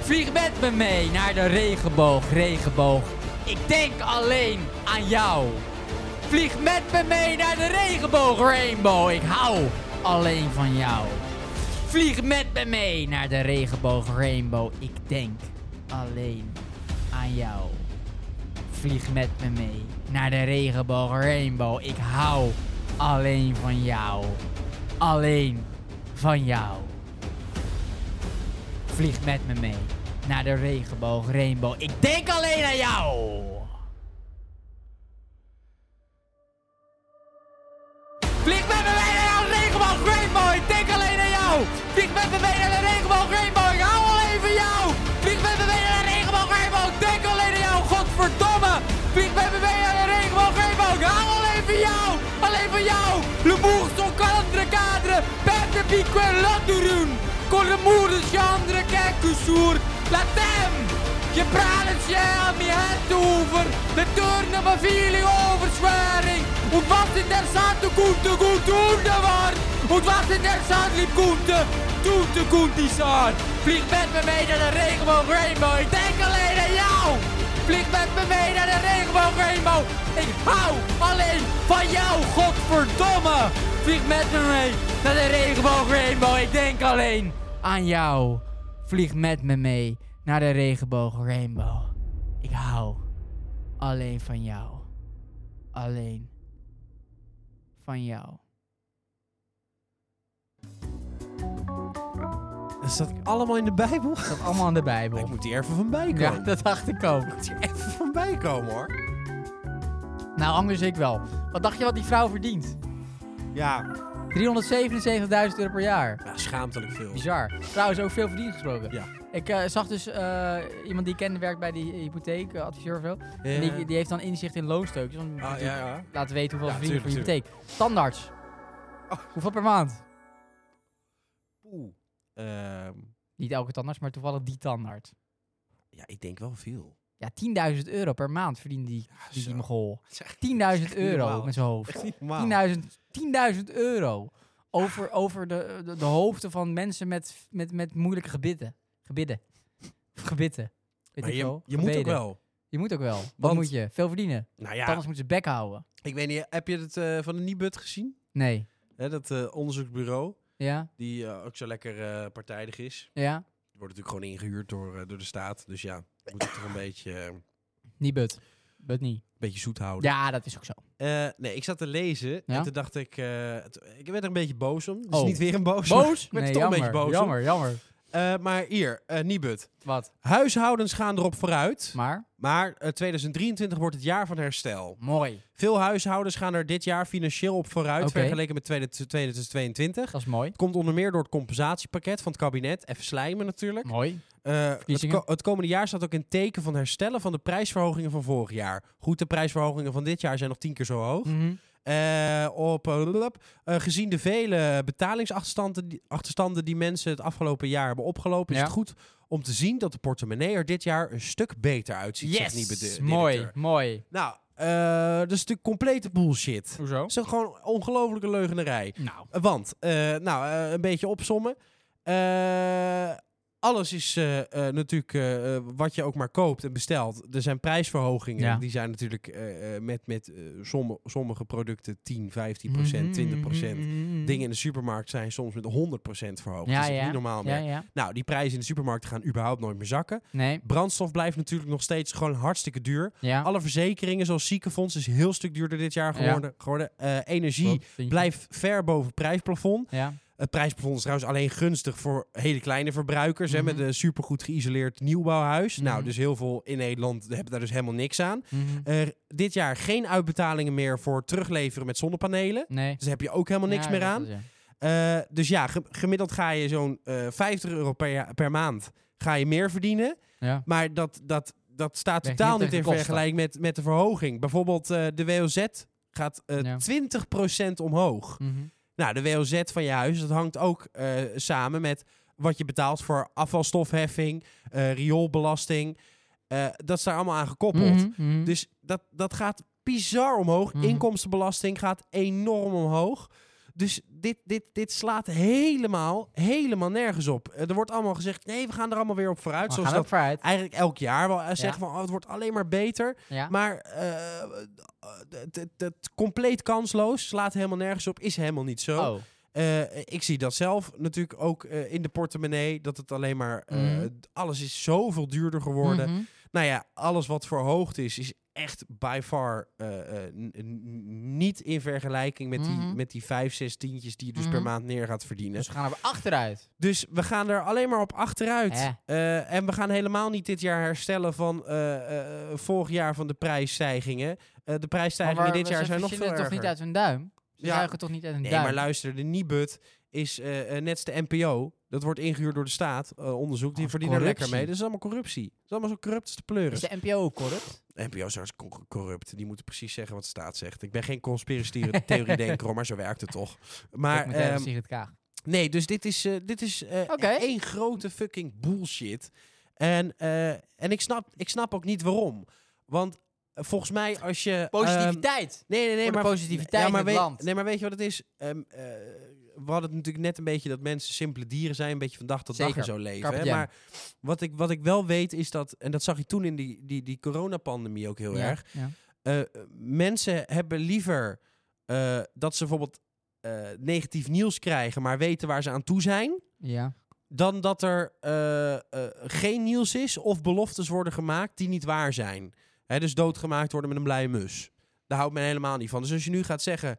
[SPEAKER 2] Vlieg met me mee naar de regenboog, regenboog. Ik denk alleen aan jou. Vlieg met me mee naar de regenboog, rainbow. Ik hou alleen van jou. Vlieg met me mee naar de regenboog, rainbow. Ik denk alleen aan jou. Vlieg met me mee naar de regenboog, rainbow. Ik hou alleen van jou. Alleen van jou. Vlieg met me mee naar de regenboog, rainbow. Ik denk alleen aan jou. Vlieg met me mee naar de regenboog Rainbow, ik denk alleen aan jou. Vlieg met me mee naar de regenboog Rainbow, ik hou alleen van jou. Vlieg met me mee naar de regenboog Rainbow, ik denk alleen aan jou. Godverdomme. Vlieg met me mee naar de regenboog Rainbow, ik hou alleen van jou. Alleen van jou. Le bourg son cadre cadre, perte pique l'adurun. Con le moer de chandre quelque sour. La tem. Je praat het je aan je hand over. De turnen bevielen overzwering. Und was in der Sande gute, gute Hunde war. Und was in der Sande lieb gute, gute, gute Saar. Vlieg met me mee naar de regenboog Rainbow. Ik denk alleen aan jou. Vlieg Oh, met me mee naar de regenboog Rainbow. Ik hou alleen van jou, godverdomme. Vlieg met me mee naar de regenboog Rainbow. Ik denk alleen aan jou. Vlieg met me mee naar de regenboog Rainbow. Ik hou alleen van jou. Alleen van jou.
[SPEAKER 1] Dat staat allemaal in de Bijbel.
[SPEAKER 2] Dat allemaal in de
[SPEAKER 1] Ik
[SPEAKER 2] Bijbel.
[SPEAKER 1] moet hier even van bij komen.
[SPEAKER 2] Oh. Ja, dat dacht ik ook.
[SPEAKER 1] Ik moet hier even van bij komen, hoor.
[SPEAKER 2] Nou, anders ik wel. Wat dacht je wat die vrouw verdient?
[SPEAKER 1] Ja,
[SPEAKER 2] 377.000 euro per jaar.
[SPEAKER 1] ja, schaamtelijk veel.
[SPEAKER 2] Bizar. Trouwens, ook veel verdiend gesproken.
[SPEAKER 1] Ja.
[SPEAKER 2] Ik eh, zag dus eh, iemand die ik kende werkt bij die hypotheekadviseur of zo. En
[SPEAKER 1] Ja.
[SPEAKER 2] die, die heeft dan inzicht in loonsteukjes. Want
[SPEAKER 1] Ah, ja, ja.
[SPEAKER 2] laten weten hoeveel
[SPEAKER 1] Ja,
[SPEAKER 2] verdienen voor je
[SPEAKER 1] tuurlijk,
[SPEAKER 2] hypotheek. Standaards.
[SPEAKER 1] Oh.
[SPEAKER 2] Hoeveel per maand?
[SPEAKER 1] Oeh. Ehm,
[SPEAKER 2] Niet elke tandarts, maar toevallig die tandarts.
[SPEAKER 1] ja, ik denk wel veel.
[SPEAKER 2] Ja, 10.000 euro per maand verdient die, die,
[SPEAKER 1] zo.
[SPEAKER 2] die mogol.
[SPEAKER 1] Dat is echt
[SPEAKER 2] 10.000 euro
[SPEAKER 1] normaal.
[SPEAKER 2] met zijn hoofd.
[SPEAKER 1] echt niet normaal.
[SPEAKER 2] 10.000 10.000 euro over, over de, de, de hoofden van mensen met, met, met moeilijke gebitten. Gebidden. Of gebitten. Weet
[SPEAKER 1] Maar
[SPEAKER 2] ik
[SPEAKER 1] je,
[SPEAKER 2] wel.
[SPEAKER 1] je moet ook
[SPEAKER 2] Gebeden.
[SPEAKER 1] wel.
[SPEAKER 2] Je moet ook wel. Wat
[SPEAKER 1] Want-
[SPEAKER 2] moet je? Veel verdienen.
[SPEAKER 1] Nou ja,
[SPEAKER 2] Anders moeten ze bek houden.
[SPEAKER 1] ik weet niet, heb je het eh, van de Nibud gezien?
[SPEAKER 2] Nee.
[SPEAKER 1] Hè, dat eh, onderzoeksbureau,
[SPEAKER 2] Ja?
[SPEAKER 1] die eh, ook zo lekker eh, partijdig is.
[SPEAKER 2] Ja?
[SPEAKER 1] Die wordt natuurlijk gewoon ingehuurd door, eh, door de staat. Dus ja, moet het toch een beetje, eh, een
[SPEAKER 2] Niet but. But niet.
[SPEAKER 1] beetje zoet houden.
[SPEAKER 2] Ja, dat is ook zo.
[SPEAKER 1] Eh, nee, ik zat te lezen
[SPEAKER 2] Ja?
[SPEAKER 1] en toen dacht ik... eh, t- ik werd er een beetje boos om. Dus
[SPEAKER 2] Oh.
[SPEAKER 1] niet weer een boos.
[SPEAKER 2] Boos?
[SPEAKER 1] ik werd er toch een beetje boos om.
[SPEAKER 2] jammer, jammer.
[SPEAKER 1] Eh, maar hier, eh Nibud.
[SPEAKER 2] Wat?
[SPEAKER 1] Huishoudens gaan erop vooruit.
[SPEAKER 2] Maar?
[SPEAKER 1] Maar eh, 2023 wordt het jaar van herstel.
[SPEAKER 2] Mooi.
[SPEAKER 1] Veel huishoudens gaan er dit jaar financieel op vooruit
[SPEAKER 2] Oké.
[SPEAKER 1] vergeleken met 2022.
[SPEAKER 2] Dat is mooi.
[SPEAKER 1] Het komt onder meer door het compensatiepakket van het kabinet. Even slijmen natuurlijk.
[SPEAKER 2] Mooi.
[SPEAKER 1] Eh, het,
[SPEAKER 2] Verkiezingen.
[SPEAKER 1] ko- het komende jaar staat ook in teken van herstellen van de prijsverhogingen van vorig jaar. Goed, de prijsverhogingen van dit jaar zijn nog tien keer zo hoog.
[SPEAKER 2] Mhm.
[SPEAKER 1] Eh, op, eh, blablab. Eh, gezien de vele betalingsachterstanden die, achterstanden die mensen het afgelopen jaar hebben opgelopen,
[SPEAKER 2] Ja.
[SPEAKER 1] is het goed om te zien dat de portemonnee er dit jaar een stuk beter uitziet. zegt Niebe de-
[SPEAKER 2] Yes!
[SPEAKER 1] directeur.
[SPEAKER 2] Mooi, mooi.
[SPEAKER 1] Nou, eh, dat is natuurlijk complete bullshit.
[SPEAKER 2] Hoezo?
[SPEAKER 1] Dat is gewoon ongelofelijke leugenerij.
[SPEAKER 2] Nou.
[SPEAKER 1] Want, eh, nou, eh, een beetje opsommen. Eh, alles is eh, eh, natuurlijk eh, eh, wat je ook maar koopt en bestelt. Er zijn prijsverhogingen.
[SPEAKER 2] Ja.
[SPEAKER 1] Die zijn natuurlijk eh, eh, met, met eh, somm- sommige producten 10, 15
[SPEAKER 2] Mm-hmm, Mhm.
[SPEAKER 1] procent, 20 procent. Dingen in de supermarkt zijn soms met 100 verhoogd.
[SPEAKER 2] Ja,
[SPEAKER 1] dat is
[SPEAKER 2] ja.
[SPEAKER 1] niet normaal meer.
[SPEAKER 2] Ja, ja.
[SPEAKER 1] Nou, die prijzen in de supermarkt gaan überhaupt nooit meer zakken.
[SPEAKER 2] Nee.
[SPEAKER 1] Brandstof blijft natuurlijk nog steeds gewoon hartstikke duur.
[SPEAKER 2] Ja.
[SPEAKER 1] Alle verzekeringen, zoals ziekenfonds, is een heel stuk duurder dit jaar
[SPEAKER 2] Ja.
[SPEAKER 1] geworden. geworden. Eh, energie
[SPEAKER 2] Klopt, vind je.
[SPEAKER 1] blijft ver boven prijsplafond.
[SPEAKER 2] Ja.
[SPEAKER 1] Het prijsplafond is trouwens alleen gunstig voor hele kleine verbruikers.
[SPEAKER 2] Mhm.
[SPEAKER 1] hè, met een supergoed geïsoleerd nieuwbouwhuis. Nou,
[SPEAKER 2] Mhm.
[SPEAKER 1] dus heel veel in Nederland hebben daar dus helemaal niks aan.
[SPEAKER 2] Mhm.
[SPEAKER 1] Er dit jaar geen uitbetalingen meer voor terugleveren met zonnepanelen.
[SPEAKER 2] Nee.
[SPEAKER 1] Dus daar heb je ook helemaal niks
[SPEAKER 2] Ja,
[SPEAKER 1] meer
[SPEAKER 2] dat
[SPEAKER 1] aan.
[SPEAKER 2] is het, ja.
[SPEAKER 1] Eh, dus ja, ge- gemiddeld ga je zo'n eh 50 euro per, jaar- per maand ga je meer verdienen.
[SPEAKER 2] Ja.
[SPEAKER 1] Maar dat, dat, dat staat
[SPEAKER 2] Werkt
[SPEAKER 1] totaal
[SPEAKER 2] niet
[SPEAKER 1] niet in
[SPEAKER 2] tegen kosten.
[SPEAKER 1] vergelijking met, met de verhoging. Bijvoorbeeld eh, de WOZ gaat eh,
[SPEAKER 2] Ja.
[SPEAKER 1] 20% omhoog.
[SPEAKER 2] Mhm.
[SPEAKER 1] Nou, de WOZ van je huis, dat hangt ook eh, samen met wat je betaalt voor afvalstofheffing, eh, rioolbelasting. Eh, dat is daar allemaal aan gekoppeld.
[SPEAKER 2] Mhm, mhm.
[SPEAKER 1] Dus dat, dat gaat bizar omhoog.
[SPEAKER 2] Mhm.
[SPEAKER 1] Inkomstenbelasting gaat enorm omhoog. Dus dit, dit, dit slaat helemaal, helemaal nergens op. Eh, er wordt allemaal gezegd, nee, we gaan er allemaal weer op vooruit.
[SPEAKER 2] We
[SPEAKER 1] zoals
[SPEAKER 2] gaan
[SPEAKER 1] dat
[SPEAKER 2] ook vooruit.
[SPEAKER 1] eigenlijk elk jaar wel eh, zeggen van, oh, het wordt alleen maar beter.
[SPEAKER 2] Ja.
[SPEAKER 1] Maar eh, eh, het- het- het compleet kansloos, slaat helemaal nergens op, is helemaal niet zo.
[SPEAKER 2] Oh.
[SPEAKER 1] Eh, ik zie dat zelf natuurlijk ook eh, in de portemonnee. Dat het alleen maar. eh,
[SPEAKER 2] Mhm.
[SPEAKER 1] d- Alles is zoveel duurder geworden.
[SPEAKER 2] Mhm.
[SPEAKER 1] Nou ja, alles wat verhoogd is, is echt by far eh, eh, n- n- niet in vergelijking met, die,
[SPEAKER 2] Mhm.
[SPEAKER 1] met die vijf, zes tientjes die je dus
[SPEAKER 2] Mhm.
[SPEAKER 1] per maand neer gaat verdienen.
[SPEAKER 2] Dus we gaan er achteruit.
[SPEAKER 1] Dus we gaan er alleen maar op achteruit.
[SPEAKER 2] Hè?
[SPEAKER 1] Eh, en we gaan helemaal niet dit jaar herstellen van eh, eh, vorig jaar van de prijsstijgingen. Eh, de
[SPEAKER 2] Maar
[SPEAKER 1] prijsstijgingen
[SPEAKER 2] waar-
[SPEAKER 1] dit
[SPEAKER 2] we-
[SPEAKER 1] jaar
[SPEAKER 2] ze
[SPEAKER 1] zijn nog veel
[SPEAKER 2] verzinnen toch
[SPEAKER 1] erger.
[SPEAKER 2] niet uit hun duim? Ze
[SPEAKER 1] Ja.
[SPEAKER 2] zuigen toch niet uit hun
[SPEAKER 1] Nee,
[SPEAKER 2] duim?
[SPEAKER 1] maar luister, de Nibud is eh, eh, net als de NPO. Dat wordt ingehuurd door de staat, eh, onderzoek. Die
[SPEAKER 2] Oh,
[SPEAKER 1] verdienen er lekker mee.
[SPEAKER 2] corruptie.
[SPEAKER 1] Dat is allemaal corruptie. Dat is allemaal zo corrupt als de pleuris.
[SPEAKER 2] Is de NPO ook corrupt?
[SPEAKER 1] De NPO is hartstikke co- corrupt. Die moeten precies zeggen wat de staat zegt. Ik ben geen conspiratie-theorie-denker, hoor, maar zo werkt het toch. Maar
[SPEAKER 2] Documentaire
[SPEAKER 1] ehm,
[SPEAKER 2] Sigrid Kaag.
[SPEAKER 1] nee, dus dit is, eh, dit is eh,
[SPEAKER 2] Oké.
[SPEAKER 1] één grote fucking bullshit. En, eh, en ik, snap, ik snap ook niet waarom. Want eh, volgens mij als je... ehm,
[SPEAKER 2] Positiviteit.
[SPEAKER 1] Nee, nee, nee.
[SPEAKER 2] Voor de
[SPEAKER 1] maar,
[SPEAKER 2] positiviteit
[SPEAKER 1] maar
[SPEAKER 2] in het
[SPEAKER 1] weet-
[SPEAKER 2] land.
[SPEAKER 1] Nee, maar weet je wat het is? Ehm, eh, we hadden het natuurlijk net een beetje dat mensen simpele dieren zijn. Een beetje van dag tot dag
[SPEAKER 2] Zeker.
[SPEAKER 1] en zo leven.
[SPEAKER 2] Carpe
[SPEAKER 1] Hè?
[SPEAKER 2] diem.
[SPEAKER 1] Maar wat ik, wat ik wel weet is dat... En dat zag je toen in die, die, die coronapandemie ook heel
[SPEAKER 2] Ja,
[SPEAKER 1] erg.
[SPEAKER 2] Ehm, ja.
[SPEAKER 1] eh, mensen hebben liever eh, dat ze bijvoorbeeld eh, negatief nieuws krijgen... maar weten waar ze aan toe zijn...
[SPEAKER 2] Ja.
[SPEAKER 1] dan dat er eh, eh, geen nieuws is of beloftes worden gemaakt die niet waar zijn. Hè, dus doodgemaakt worden met een blije mus. Daar houdt men helemaal niet van. Dus als je nu gaat zeggen...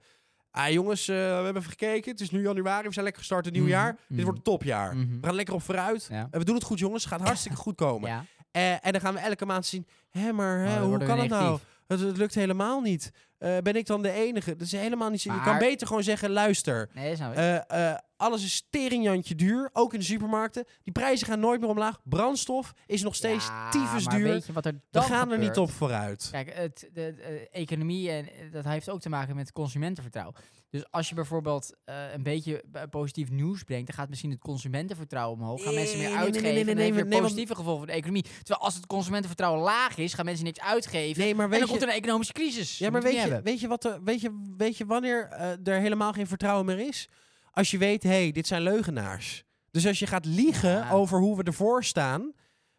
[SPEAKER 1] Ah jongens, eh, we hebben even gekeken. Het is nu januari. We zijn lekker gestart in het nieuwe
[SPEAKER 2] Mhm,
[SPEAKER 1] jaar. Dit
[SPEAKER 2] mhm.
[SPEAKER 1] wordt een topjaar.
[SPEAKER 2] Mhm.
[SPEAKER 1] We gaan lekker op vooruit.
[SPEAKER 2] Ja.
[SPEAKER 1] En we doen het goed jongens. Het gaat hartstikke goed komen.
[SPEAKER 2] Ja.
[SPEAKER 1] Eh, en dan gaan we elke maand zien... Hé, maar
[SPEAKER 2] Oh,
[SPEAKER 1] hè,
[SPEAKER 2] dan
[SPEAKER 1] hoe
[SPEAKER 2] worden we
[SPEAKER 1] kan het nou?
[SPEAKER 2] negatief.
[SPEAKER 1] Het, het lukt helemaal niet. Eh, ben ik dan de enige? Dat is helemaal niet zo. Je kan
[SPEAKER 2] Maar-
[SPEAKER 1] beter gewoon zeggen, luister...
[SPEAKER 2] Nee, dat is nou weer-
[SPEAKER 1] Eh, eh, alles is steringjantje duur, ook in de supermarkten. Die prijzen gaan nooit meer omlaag. Brandstof is nog steeds
[SPEAKER 2] Ja,
[SPEAKER 1] tyfus
[SPEAKER 2] maar
[SPEAKER 1] duur.
[SPEAKER 2] Weet je wat er
[SPEAKER 1] We
[SPEAKER 2] dan
[SPEAKER 1] gaan er niet
[SPEAKER 2] gebeurt?
[SPEAKER 1] op vooruit.
[SPEAKER 2] Kijk, het, de, de economie en eh, dat heeft ook te maken met consumentenvertrouwen. Dus als je bijvoorbeeld eh, een beetje b- positief nieuws brengt, dan gaat misschien het consumentenvertrouwen omhoog. Gaan
[SPEAKER 1] Nee,
[SPEAKER 2] mensen meer
[SPEAKER 1] nee, nee, nee,
[SPEAKER 2] uitgeven.
[SPEAKER 1] nee,
[SPEAKER 2] en
[SPEAKER 1] nee,
[SPEAKER 2] heeft weer
[SPEAKER 1] nee, want-
[SPEAKER 2] positieve gevolgen voor de economie. Terwijl als het consumentenvertrouwen laag is, gaan mensen niks uitgeven.
[SPEAKER 1] Nee, maar
[SPEAKER 2] en dan
[SPEAKER 1] weet
[SPEAKER 2] komt er
[SPEAKER 1] je,
[SPEAKER 2] een economische crisis.
[SPEAKER 1] ja, maar weet je, weet je, wat er, weet je, weet je wanneer eh, er helemaal geen vertrouwen meer is? Als je weet, hé, hey, dit zijn leugenaars. Dus als je gaat liegen
[SPEAKER 2] Ja.
[SPEAKER 1] over hoe we ervoor staan,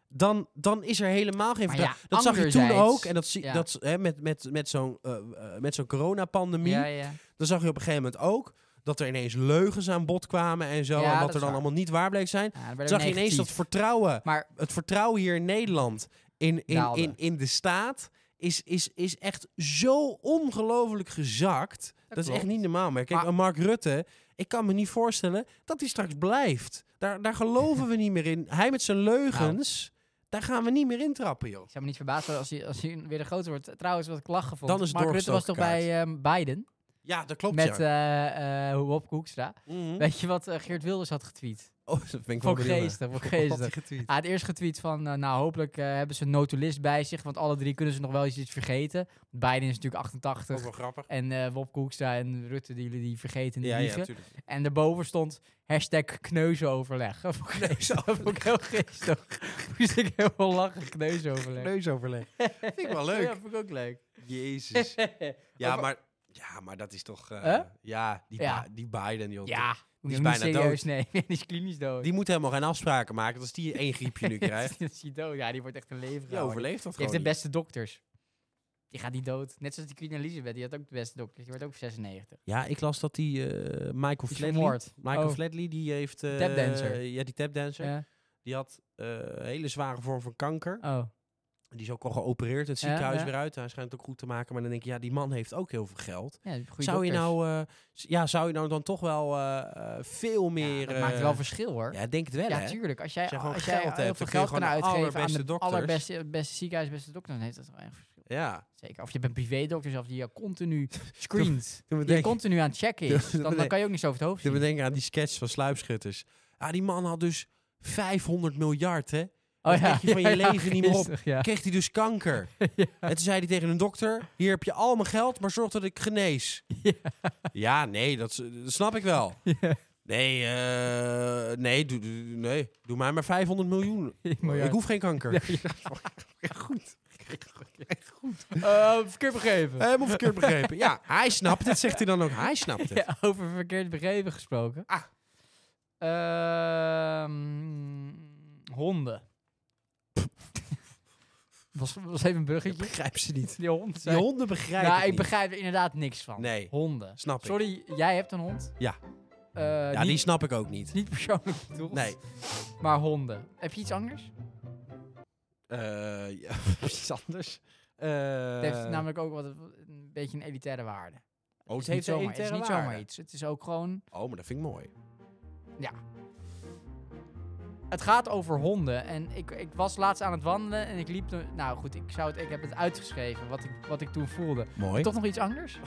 [SPEAKER 1] dan, dan is er helemaal geen
[SPEAKER 2] Maar
[SPEAKER 1] vertrouwen.
[SPEAKER 2] ja,
[SPEAKER 1] dat zag je toen
[SPEAKER 2] anderzijds-
[SPEAKER 1] ook. En dat, zie,
[SPEAKER 2] ja.
[SPEAKER 1] dat, hè, met, met, met zo'n eh, eh, met zo'n coronapandemie.
[SPEAKER 2] Ja, ja.
[SPEAKER 1] Dan zag je op een gegeven moment ook dat er ineens leugens aan bod kwamen en zo.
[SPEAKER 2] Ja,
[SPEAKER 1] en
[SPEAKER 2] dat
[SPEAKER 1] wat er
[SPEAKER 2] is
[SPEAKER 1] dan
[SPEAKER 2] waar.
[SPEAKER 1] allemaal niet waar bleek zijn.
[SPEAKER 2] Ja, dan werden we
[SPEAKER 1] zag je ineens
[SPEAKER 2] negatief.
[SPEAKER 1] dat vertrouwen,
[SPEAKER 2] Maar
[SPEAKER 1] het vertrouwen hier in Nederland in, in,
[SPEAKER 2] Daalde.
[SPEAKER 1] in, in de staat, is, is, is echt zo ongelooflijk gezakt. Dat, is echt
[SPEAKER 2] klopt.
[SPEAKER 1] niet normaal. Maar kijk,
[SPEAKER 2] Maar-
[SPEAKER 1] en Mark Rutte, ik kan me niet voorstellen dat hij straks blijft. Daar, daar geloven we niet meer in. Hij met zijn leugens,
[SPEAKER 2] Nou.
[SPEAKER 1] daar gaan we niet meer in trappen, joh.
[SPEAKER 2] Ik zou me niet verbaasd worden als hij, als hij weer de grote wordt. Trouwens, wat ik lachen vond.
[SPEAKER 1] Dan is het
[SPEAKER 2] Mark Rutte was toch
[SPEAKER 1] doorgestoken
[SPEAKER 2] bij ehm, Biden?
[SPEAKER 1] Ja, dat klopt,
[SPEAKER 2] met
[SPEAKER 1] ja.
[SPEAKER 2] eh eh Wopke Hoekstra.
[SPEAKER 1] Mhm.
[SPEAKER 2] Weet je wat eh, Geert Wilders had getweet?
[SPEAKER 1] Oh, dat vind ik wel
[SPEAKER 2] Voor
[SPEAKER 1] benieuwd naar.
[SPEAKER 2] geesten, voor
[SPEAKER 1] Wat had
[SPEAKER 2] geesten.
[SPEAKER 1] hij getweet?
[SPEAKER 2] Hij had eerst getweet van, eh, nou hopelijk eh, hebben ze een notulist bij zich, want alle drie kunnen ze nog wel eens iets vergeten. Biden is natuurlijk 88
[SPEAKER 1] Ook wel grappig.
[SPEAKER 2] en eh Wopke Hoekstra en Rutte, die jullie die vergeten die
[SPEAKER 1] Ja, ja,
[SPEAKER 2] liegen.
[SPEAKER 1] natuurlijk.
[SPEAKER 2] en daarboven stond hashtag kneuzenoverleg. Dat vond ik- dat vond ik heel geestig. Moest ik heel veel lachen, kneuzenoverleg.
[SPEAKER 1] Neusoverleg. vind ik wel
[SPEAKER 2] Ja,
[SPEAKER 1] leuk.
[SPEAKER 2] vond ik ook leuk.
[SPEAKER 1] Jezus. Ja,
[SPEAKER 2] Over-
[SPEAKER 1] maar, ja, maar dat is toch... eh,
[SPEAKER 2] Hè?
[SPEAKER 1] Ja, die,
[SPEAKER 2] Ja.
[SPEAKER 1] Bi- die Biden, joh.
[SPEAKER 2] ja, moet
[SPEAKER 1] is
[SPEAKER 2] je hem niet
[SPEAKER 1] bijna
[SPEAKER 2] serieus nemen. Die is klinisch dood.
[SPEAKER 1] Die moet helemaal geen afspraken maken. want Als die één griepje nu krijgt,
[SPEAKER 2] Dat is die dood. Ja, die wordt echt een leven
[SPEAKER 1] die
[SPEAKER 2] gehouden.
[SPEAKER 1] overleeft dat
[SPEAKER 2] Die
[SPEAKER 1] gewoon
[SPEAKER 2] heeft de
[SPEAKER 1] niet.
[SPEAKER 2] beste dokters. Die gaat niet dood. Net zoals die Queen Elizabeth, die had ook de beste dokters. Die wordt ook 96.
[SPEAKER 1] Ja, ik las dat die eh, Michael
[SPEAKER 2] Die is
[SPEAKER 1] Flatley...
[SPEAKER 2] vermoord.
[SPEAKER 1] Michael
[SPEAKER 2] Oh.
[SPEAKER 1] Flatley, die heeft... eh,
[SPEAKER 2] Tapdancer.
[SPEAKER 1] Ja, die tapdancer.
[SPEAKER 2] Ja.
[SPEAKER 1] Die had eh, een hele zware vorm van kanker.
[SPEAKER 2] Oh.
[SPEAKER 1] Die is ook al geopereerd het
[SPEAKER 2] Ja,
[SPEAKER 1] ziekenhuis
[SPEAKER 2] ja.
[SPEAKER 1] weer uit. Hij schijnt het ook goed te maken. Maar dan denk je, ja, die man heeft ook heel veel geld.
[SPEAKER 2] Ja, die goede
[SPEAKER 1] zou je
[SPEAKER 2] dokters.
[SPEAKER 1] nou... eh, s- ja, zou je nou dan toch wel eh, eh, veel
[SPEAKER 2] Ja,
[SPEAKER 1] meer...
[SPEAKER 2] dat maakt wel
[SPEAKER 1] eh,
[SPEAKER 2] verschil hoor. Ja,
[SPEAKER 1] Ja, denk het wel, hè?
[SPEAKER 2] tuurlijk. Als jij,
[SPEAKER 1] Als jij gewoon
[SPEAKER 2] als jij
[SPEAKER 1] geld
[SPEAKER 2] heel
[SPEAKER 1] hebt,
[SPEAKER 2] veel
[SPEAKER 1] dan kun je
[SPEAKER 2] geld kan
[SPEAKER 1] gewoon de
[SPEAKER 2] uitgeven aan de
[SPEAKER 1] allerbeste dokters.
[SPEAKER 2] allerbeste beste ziekenhuis, beste dokters, dan heeft dat wel echt verschil.
[SPEAKER 1] Ja.
[SPEAKER 2] Zeker. Of je bent privédokter zelf die je continu screent.
[SPEAKER 1] Toen we
[SPEAKER 2] die je
[SPEAKER 1] denken,
[SPEAKER 2] continu aan het checken is.
[SPEAKER 1] Doe-
[SPEAKER 2] Dan, dan kan je ook niet zo over het hoofd
[SPEAKER 1] toen we
[SPEAKER 2] zien.
[SPEAKER 1] denken aan die sketch van Sluipschutters. Ah, die man had dus 500 miljard, hè?
[SPEAKER 2] Oh
[SPEAKER 1] dat weet je van je leven niet meer op.
[SPEAKER 2] geestig, Ja.
[SPEAKER 1] Kreeg hij dus kanker. En toen zei hij tegen een dokter... Hier heb je al mijn geld, maar zorg dat ik genees.
[SPEAKER 2] Ja.
[SPEAKER 1] Ja, nee, dat, s- dat snap ik wel. Nee, eh, nee, doe, doe- nee, doe mij maar 500 miljoen. Ik
[SPEAKER 2] Miljard.
[SPEAKER 1] hoef geen kanker. Goed.
[SPEAKER 2] Eh, verkeerd begrepen.
[SPEAKER 1] Helemaal verkeerd begrepen. Ja, hij snapt het, zegt hij dan ook. Hij snapt het.
[SPEAKER 2] Ja, over verkeerd begrepen gesproken.
[SPEAKER 1] Ah.
[SPEAKER 2] Ehm, honden. was, was even een
[SPEAKER 1] Ik
[SPEAKER 2] bruggetje.
[SPEAKER 1] begrijp ze niet.
[SPEAKER 2] Die hond.
[SPEAKER 1] Die
[SPEAKER 2] zei-
[SPEAKER 1] honden begrijpen
[SPEAKER 2] nou,
[SPEAKER 1] het
[SPEAKER 2] ik
[SPEAKER 1] niet.
[SPEAKER 2] begrijp er inderdaad niks van.
[SPEAKER 1] Nee.
[SPEAKER 2] Honden.
[SPEAKER 1] Snap ik.
[SPEAKER 2] Sorry, jij hebt een hond.
[SPEAKER 1] Ja.
[SPEAKER 2] Eh,
[SPEAKER 1] Ja,
[SPEAKER 2] niet,
[SPEAKER 1] die snap ik ook niet.
[SPEAKER 2] niet persoonlijk bedoeld,
[SPEAKER 1] Nee.
[SPEAKER 2] maar honden. Heb je iets anders?
[SPEAKER 1] Eh, ja, iets anders. Eh,
[SPEAKER 2] Het heeft namelijk ook wat een beetje een elitaire waarde.
[SPEAKER 1] oh, het
[SPEAKER 2] is
[SPEAKER 1] heeft
[SPEAKER 2] niet zomaar,
[SPEAKER 1] zomaar,
[SPEAKER 2] het is niet zomaar iets. Het is ook gewoon...
[SPEAKER 1] Oh, maar dat vind ik mooi.
[SPEAKER 2] Het gaat over honden. En ik, ik was laatst aan het wandelen en ik liep... toen- Nou goed, ik, zou het, ik heb het uitgeschreven wat ik, wat ik toen voelde.
[SPEAKER 1] Mooi.
[SPEAKER 2] Toch nog iets anders?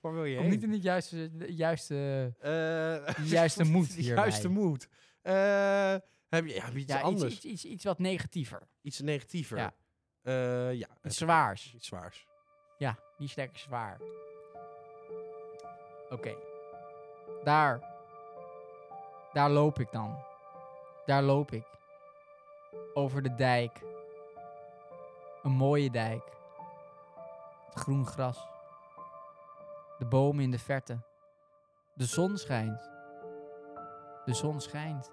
[SPEAKER 1] Waar wil je
[SPEAKER 2] Kom niet in het juiste, de juiste,
[SPEAKER 1] Eh,
[SPEAKER 2] de juiste moed
[SPEAKER 1] de
[SPEAKER 2] hierbij.
[SPEAKER 1] juiste moed. Eh, heb, je, ja, heb je iets
[SPEAKER 2] ja, iets,
[SPEAKER 1] anders? Iets,
[SPEAKER 2] iets, iets, iets wat negatiever.
[SPEAKER 1] negatiever.
[SPEAKER 2] Ja.
[SPEAKER 1] Eh, ja,
[SPEAKER 2] Iets
[SPEAKER 1] iets,
[SPEAKER 2] zwaars.
[SPEAKER 1] iets zwaars.
[SPEAKER 2] Ja, die is lekker zwaar. Oké. Daar. Daar loop ik dan. Daar loop ik. Over de dijk. Een mooie dijk. Het groen gras. De bomen in de verte. De zon schijnt. De zon schijnt.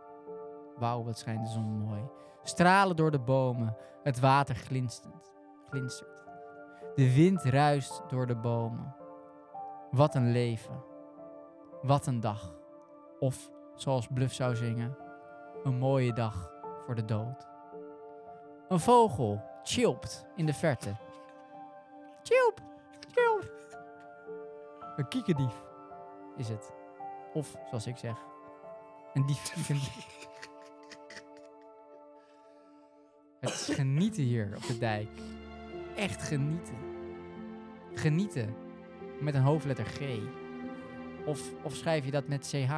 [SPEAKER 2] Wauw, wat schijnt de zon mooi. Stralen door de bomen. Het water glinstert. glinstert. De wind ruist door de bomen. Wat een leven. Wat een dag. Of, zoals Bluff zou zingen, een mooie dag voor de dood. Een vogel chilpt in de verte. Chilp, chilp. Een kiekendief is het. Of, zoals ik zeg, een dief. die een- Het is genieten hier op de dijk. Echt genieten. Genieten met een hoofdletter G. Of, of schrijf je dat met CH?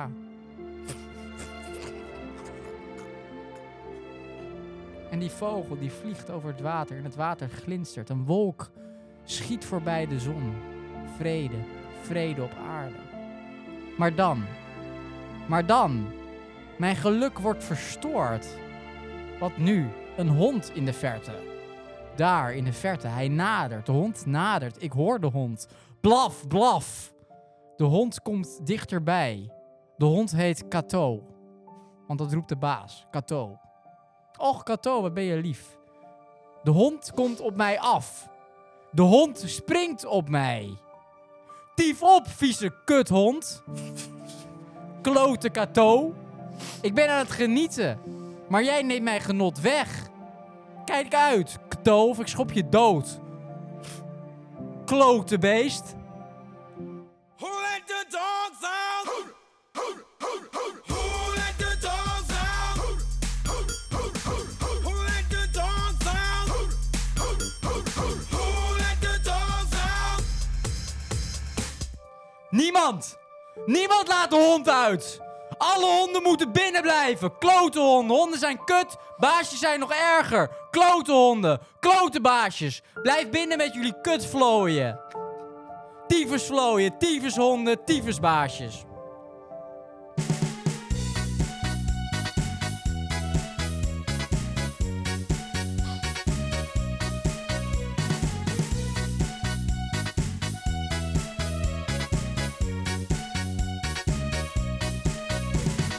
[SPEAKER 2] En die vogel die vliegt over het water en het water glinstert. Een wolk schiet voorbij de zon. Vrede, vrede op aarde. Maar dan, maar dan, mijn geluk wordt verstoord. Wat nu? Een hond in de verte. Daar in de verte, hij nadert. De hond nadert. Ik hoor de hond. Blaf, blaf. De hond komt dichterbij. De hond heet Kato. Want dat roept de baas, Kato. Och, Kato, wat ben je lief. De hond komt op mij af. De hond springt op mij. Tief op, vieze kuthond. Klote Kato. Ik ben aan het genieten. Maar jij neemt mijn genot weg. Kijk uit, doof, ik schop je dood. Klote beest.
[SPEAKER 5] Who let the dogs out? Who, who, who, who, who let the dogs out? Who, who, who, who, who, who let the dogs out? Who, who, who, who, who let the dogs out?
[SPEAKER 2] Niemand! Niemand laat de hond uit! Alle honden moeten binnen blijven! Klote honden! Honden zijn kut! Baasjes zijn nog erger! Klote honden! Klote baasjes! Blijf binnen met jullie kutvlooien! Tyfusvlooien, tyfushonden, tyfusbaasjes!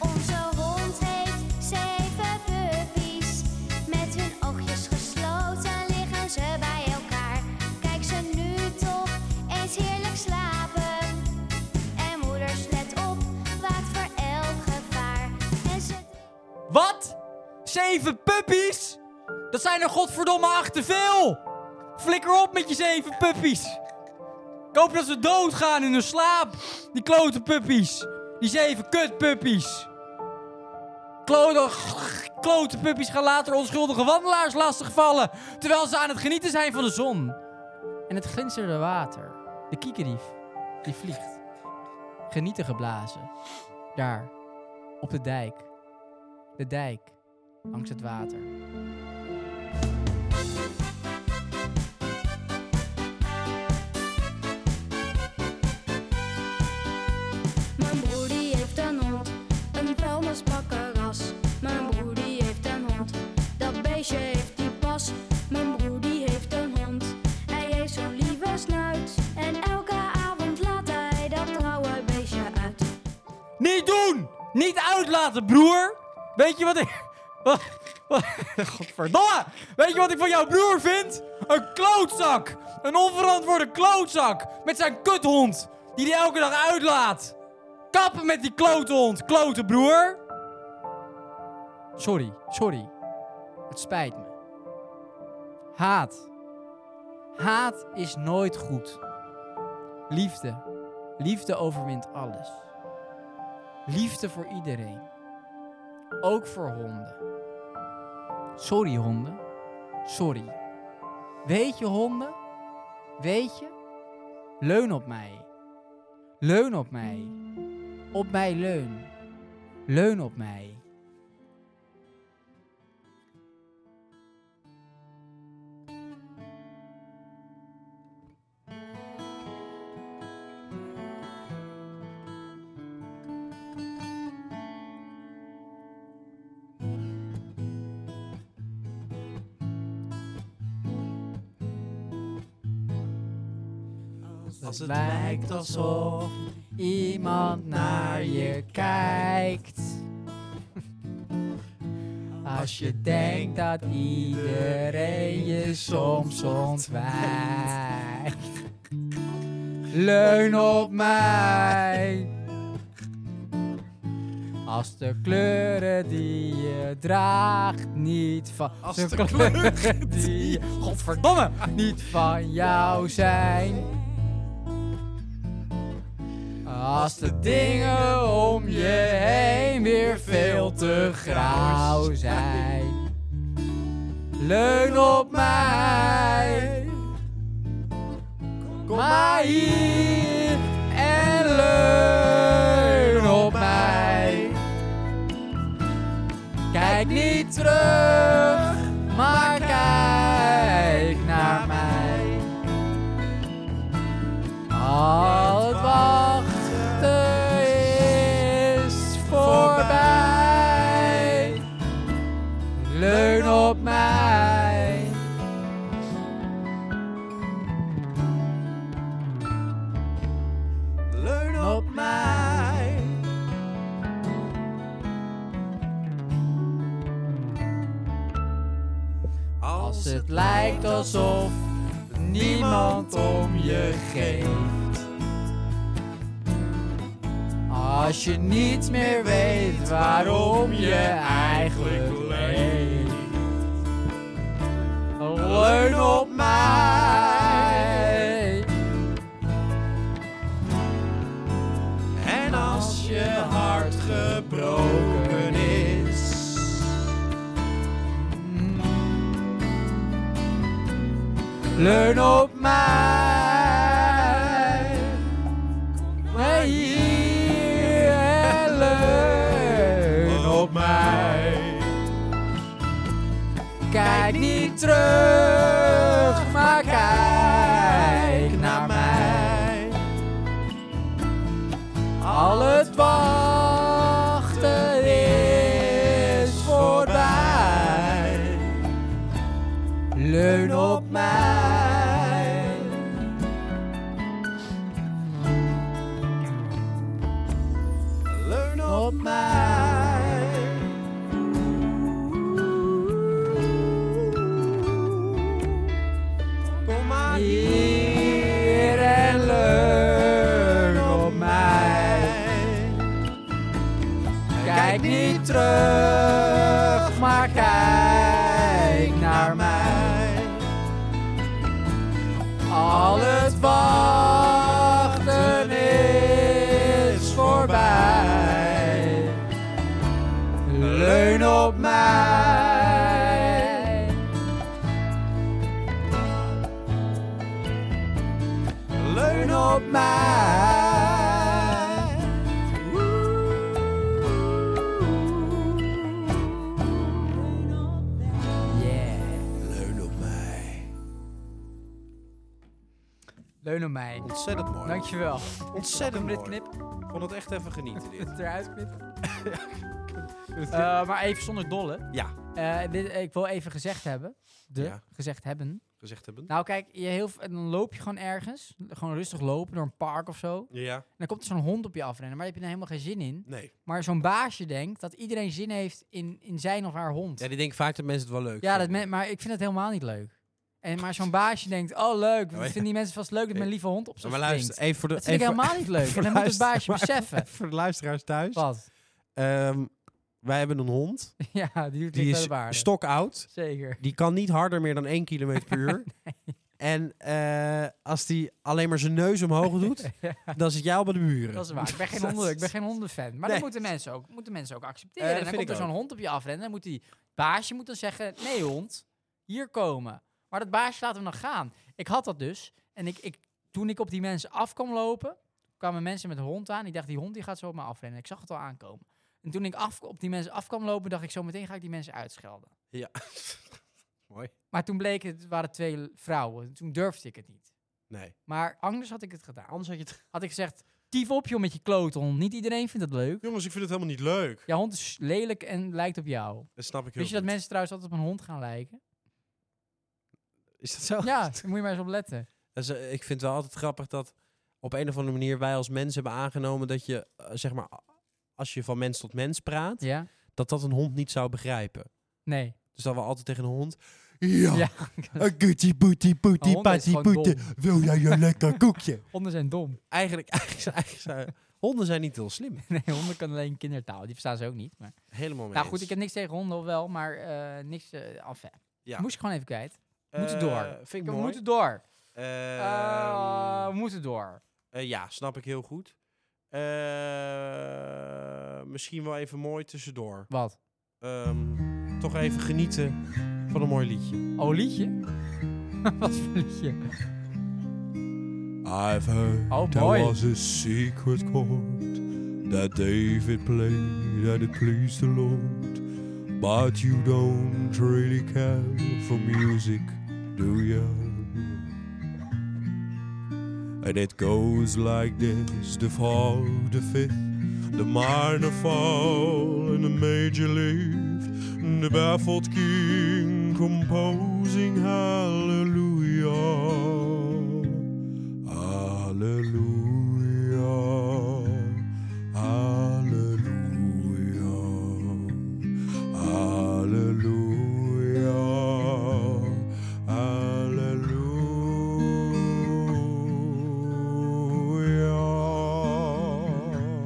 [SPEAKER 6] Onze hond heeft zeven puppies. Met hun oogjes gesloten liggen ze bij elkaar. Kijk ze nu toch eens heerlijk slapen. En moeders let op, waakt voor elk gevaar. En ze...
[SPEAKER 2] Wat? Zeven puppies? Dat zijn er godverdomme acht te veel! Flikker op met je zeven puppies! Ik hoop dat ze doodgaan in hun slaap. Die klote puppies. Die zeven kutpuppies. Klote, klote puppies gaan later onschuldige wandelaars lastigvallen. Terwijl ze aan het genieten zijn van de zon. En het glinsterende water. De kiekerief. Die vliegt. Genieten geblazen. Daar. Op de dijk. De dijk. Langs het water.
[SPEAKER 7] Mijn broer die heeft een hond, een vuilnisbakkerras. Mijn broer die heeft een hond, dat beestje heeft die pas. Mijn broer die heeft een hond, hij heeft zo'n lieve snuit. En elke avond laat hij dat trouwe beestje uit.
[SPEAKER 2] Niet doen! Niet uitlaten, broer! Weet je wat ik. Wat, wat, godverdomme! Weet je wat ik van jouw broer vind? Een klootzak! Een onverantwoorde klootzak! Met zijn kuthond! Die die elke dag uitlaat! Kappen met die kloothond, klote broer! Sorry, sorry. Het spijt me. Haat. Haat is nooit goed. Liefde. Liefde overwint alles. Liefde voor iedereen. Ook voor honden. Sorry honden. Sorry. Weet je honden? Weet je? Leun op mij. Leun op mij. Op mij leun. Leun op mij. Als het lijkt alsof iemand naar je kijkt. Als je denkt dat iedereen je soms ontwijkt. Leun op mij. Als de kleuren die je draagt niet van... Als de, kleuren die je... Godverdomme! Niet van jou zijn. Als de dingen om je heen weer veel te grauw zijn. Leun op mij. Kom maar hier en leun op mij. Kijk niet terug, maar kijk naar mij. Al het wachten is voorbij. Leun op mij. Leun op mij. Als het lijkt alsof niemand om je geeft. Als je niet meer weet waarom je eigenlijk leeft. Leun Leun op mij. Kom maar hier en leun op mij. Kijk niet terug, maar kijk naar mij. Al het wachten is voorbij. Leun op mij. Leun op mij. Kom maar hier en leun op mij. Kijk niet terug, maar kijk naar mij. Al het wachten is voorbij. Leun op mij. Leun op mij. Yeah.
[SPEAKER 1] Leun op mij.
[SPEAKER 2] Leun op mij.
[SPEAKER 1] Ontzettend mooi.
[SPEAKER 2] Dankjewel.
[SPEAKER 1] Ontzettend
[SPEAKER 2] Kunnen we dit
[SPEAKER 1] mooi.
[SPEAKER 2] knippen?
[SPEAKER 1] Ik vond het echt even genieten dit.
[SPEAKER 2] Het eruit knippen? Eh, maar even zonder dolle.
[SPEAKER 1] ja,
[SPEAKER 2] Eh, dit, ik wil even gezegd hebben. De,
[SPEAKER 1] Ja.
[SPEAKER 2] gezegd hebben.
[SPEAKER 1] gezegd hebben.
[SPEAKER 2] Nou kijk, je heel, v- dan loop je gewoon ergens. Gewoon rustig lopen door een park of zo.
[SPEAKER 1] Ja,
[SPEAKER 2] En dan komt er zo'n hond op je afrennen. Maar daar heb je er helemaal geen zin in.
[SPEAKER 1] nee.
[SPEAKER 2] Maar zo'n baasje denkt dat iedereen zin heeft in, in zijn of haar hond.
[SPEAKER 1] Ja, die denken vaak dat mensen het wel leuk
[SPEAKER 2] Ja, dat
[SPEAKER 1] vinden.
[SPEAKER 2] men- maar ik vind dat helemaal niet leuk. En maar zo'n baasje denkt, oh leuk,
[SPEAKER 1] Ja,
[SPEAKER 2] dat
[SPEAKER 1] maar ja.
[SPEAKER 2] vinden die mensen vast leuk dat mijn lieve hond op
[SPEAKER 1] Maar,
[SPEAKER 2] zo'n
[SPEAKER 1] luister, even voor de...
[SPEAKER 2] Dat vind ik
[SPEAKER 1] even-
[SPEAKER 2] helemaal niet leuk.
[SPEAKER 1] voor
[SPEAKER 2] En dan moet het
[SPEAKER 1] luister-
[SPEAKER 2] baasje
[SPEAKER 1] maar
[SPEAKER 2] beseffen.
[SPEAKER 1] even voor de luisteraars thuis.
[SPEAKER 2] Wat?
[SPEAKER 1] Ehm, wij hebben een hond.
[SPEAKER 2] Ja, die doet
[SPEAKER 1] Die
[SPEAKER 2] niet aan
[SPEAKER 1] is
[SPEAKER 2] de waarde.
[SPEAKER 1] stokoud.
[SPEAKER 2] Zeker.
[SPEAKER 1] Die kan niet harder meer dan 1 km per uur. En eh, als die alleen maar zijn neus omhoog doet, dan zit jij al bij de buren.
[SPEAKER 2] Dat is waar. Ik ben geen,
[SPEAKER 1] Dat
[SPEAKER 2] honden, ik
[SPEAKER 1] is-
[SPEAKER 2] ben geen hondenfan. Maar
[SPEAKER 1] Nee.
[SPEAKER 2] dat moeten mensen ook, moeten mensen ook accepteren.
[SPEAKER 1] Eh,
[SPEAKER 2] en
[SPEAKER 1] dat
[SPEAKER 2] dan
[SPEAKER 1] vind
[SPEAKER 2] komt er
[SPEAKER 1] ik
[SPEAKER 2] zo'n hond op je afrennen. Dan moet die baasje moet dan zeggen, nee hond, hier komen. Maar dat baasje laten we nog gaan. Ik had dat dus. En ik, ik, toen ik op die mensen af kwam lopen, kwamen mensen met een hond aan. Ik dacht, die hond die gaat zo op me afrennen. Ik zag het al aankomen. En toen ik af, op die mensen af kwam lopen, dacht ik, zo meteen ga ik die mensen uitschelden.
[SPEAKER 1] Ja. Mooi.
[SPEAKER 2] Maar toen bleek het, waren twee l- vrouwen. Toen durfde ik het niet.
[SPEAKER 1] Nee.
[SPEAKER 2] Maar anders had ik het gedaan.
[SPEAKER 1] Anders had je het...
[SPEAKER 2] Had ik gezegd, tief op joh met je kloothond. Niet iedereen vindt dat leuk.
[SPEAKER 1] Jongens, ik vind het helemaal niet leuk.
[SPEAKER 2] Jouw hond is lelijk en lijkt op jou.
[SPEAKER 1] Dat snap ik heel
[SPEAKER 2] Wist je dat
[SPEAKER 1] goed.
[SPEAKER 2] mensen trouwens altijd op een hond gaan lijken?
[SPEAKER 1] Is dat zo?
[SPEAKER 2] Ja, daar moet je maar eens op letten.
[SPEAKER 1] Dus, eh, ik vind het wel altijd grappig dat op een of andere manier wij als mensen hebben aangenomen dat je, eh, zeg maar, a- als je van mens tot mens praat,
[SPEAKER 2] Ja?
[SPEAKER 1] dat dat een hond niet zou begrijpen.
[SPEAKER 2] Nee.
[SPEAKER 1] Dus dat we altijd tegen een hond... Ja,
[SPEAKER 2] Ja.
[SPEAKER 1] een goetie boetie boetie
[SPEAKER 2] honden is
[SPEAKER 1] patie
[SPEAKER 2] gewoon
[SPEAKER 1] boete,
[SPEAKER 2] dom.
[SPEAKER 1] wil jij een lekker koekje?
[SPEAKER 2] Honden zijn dom.
[SPEAKER 1] Eigenlijk, eigenlijk, eigenlijk zijn- honden zijn niet heel slim.
[SPEAKER 2] Nee, honden kan alleen kindertaal. Die verstaan ze ook niet. Maar...
[SPEAKER 1] Helemaal mee
[SPEAKER 2] Nou
[SPEAKER 1] eens.
[SPEAKER 2] goed, ik heb niks tegen honden, of wel, maar eh, niks... eh enfin.
[SPEAKER 1] Ja.
[SPEAKER 2] Moest ik gewoon even kwijt.
[SPEAKER 1] Eh,
[SPEAKER 2] moeten door.
[SPEAKER 1] Vind
[SPEAKER 2] We
[SPEAKER 1] ik mooi.
[SPEAKER 2] moeten door.
[SPEAKER 1] Ehm,
[SPEAKER 2] Eh, we moeten door.
[SPEAKER 1] eh, ja, snap ik heel goed. Eh, misschien wel even mooi tussendoor.
[SPEAKER 2] Wat?
[SPEAKER 1] Ehm, toch even genieten van een mooi liedje.
[SPEAKER 2] Oh, liedje? Wat voor liedje?
[SPEAKER 8] I've heard
[SPEAKER 2] Oh,
[SPEAKER 8] there
[SPEAKER 2] mooi.
[SPEAKER 8] was a secret chord that David played and it pleased the Lord. But you don't really care for music, do you? And it goes like this the fall, the fifth, the minor fall, and the major leaf, the baffled king composing hallelujah. Hallelujah. Hallelujah. Hallelujah.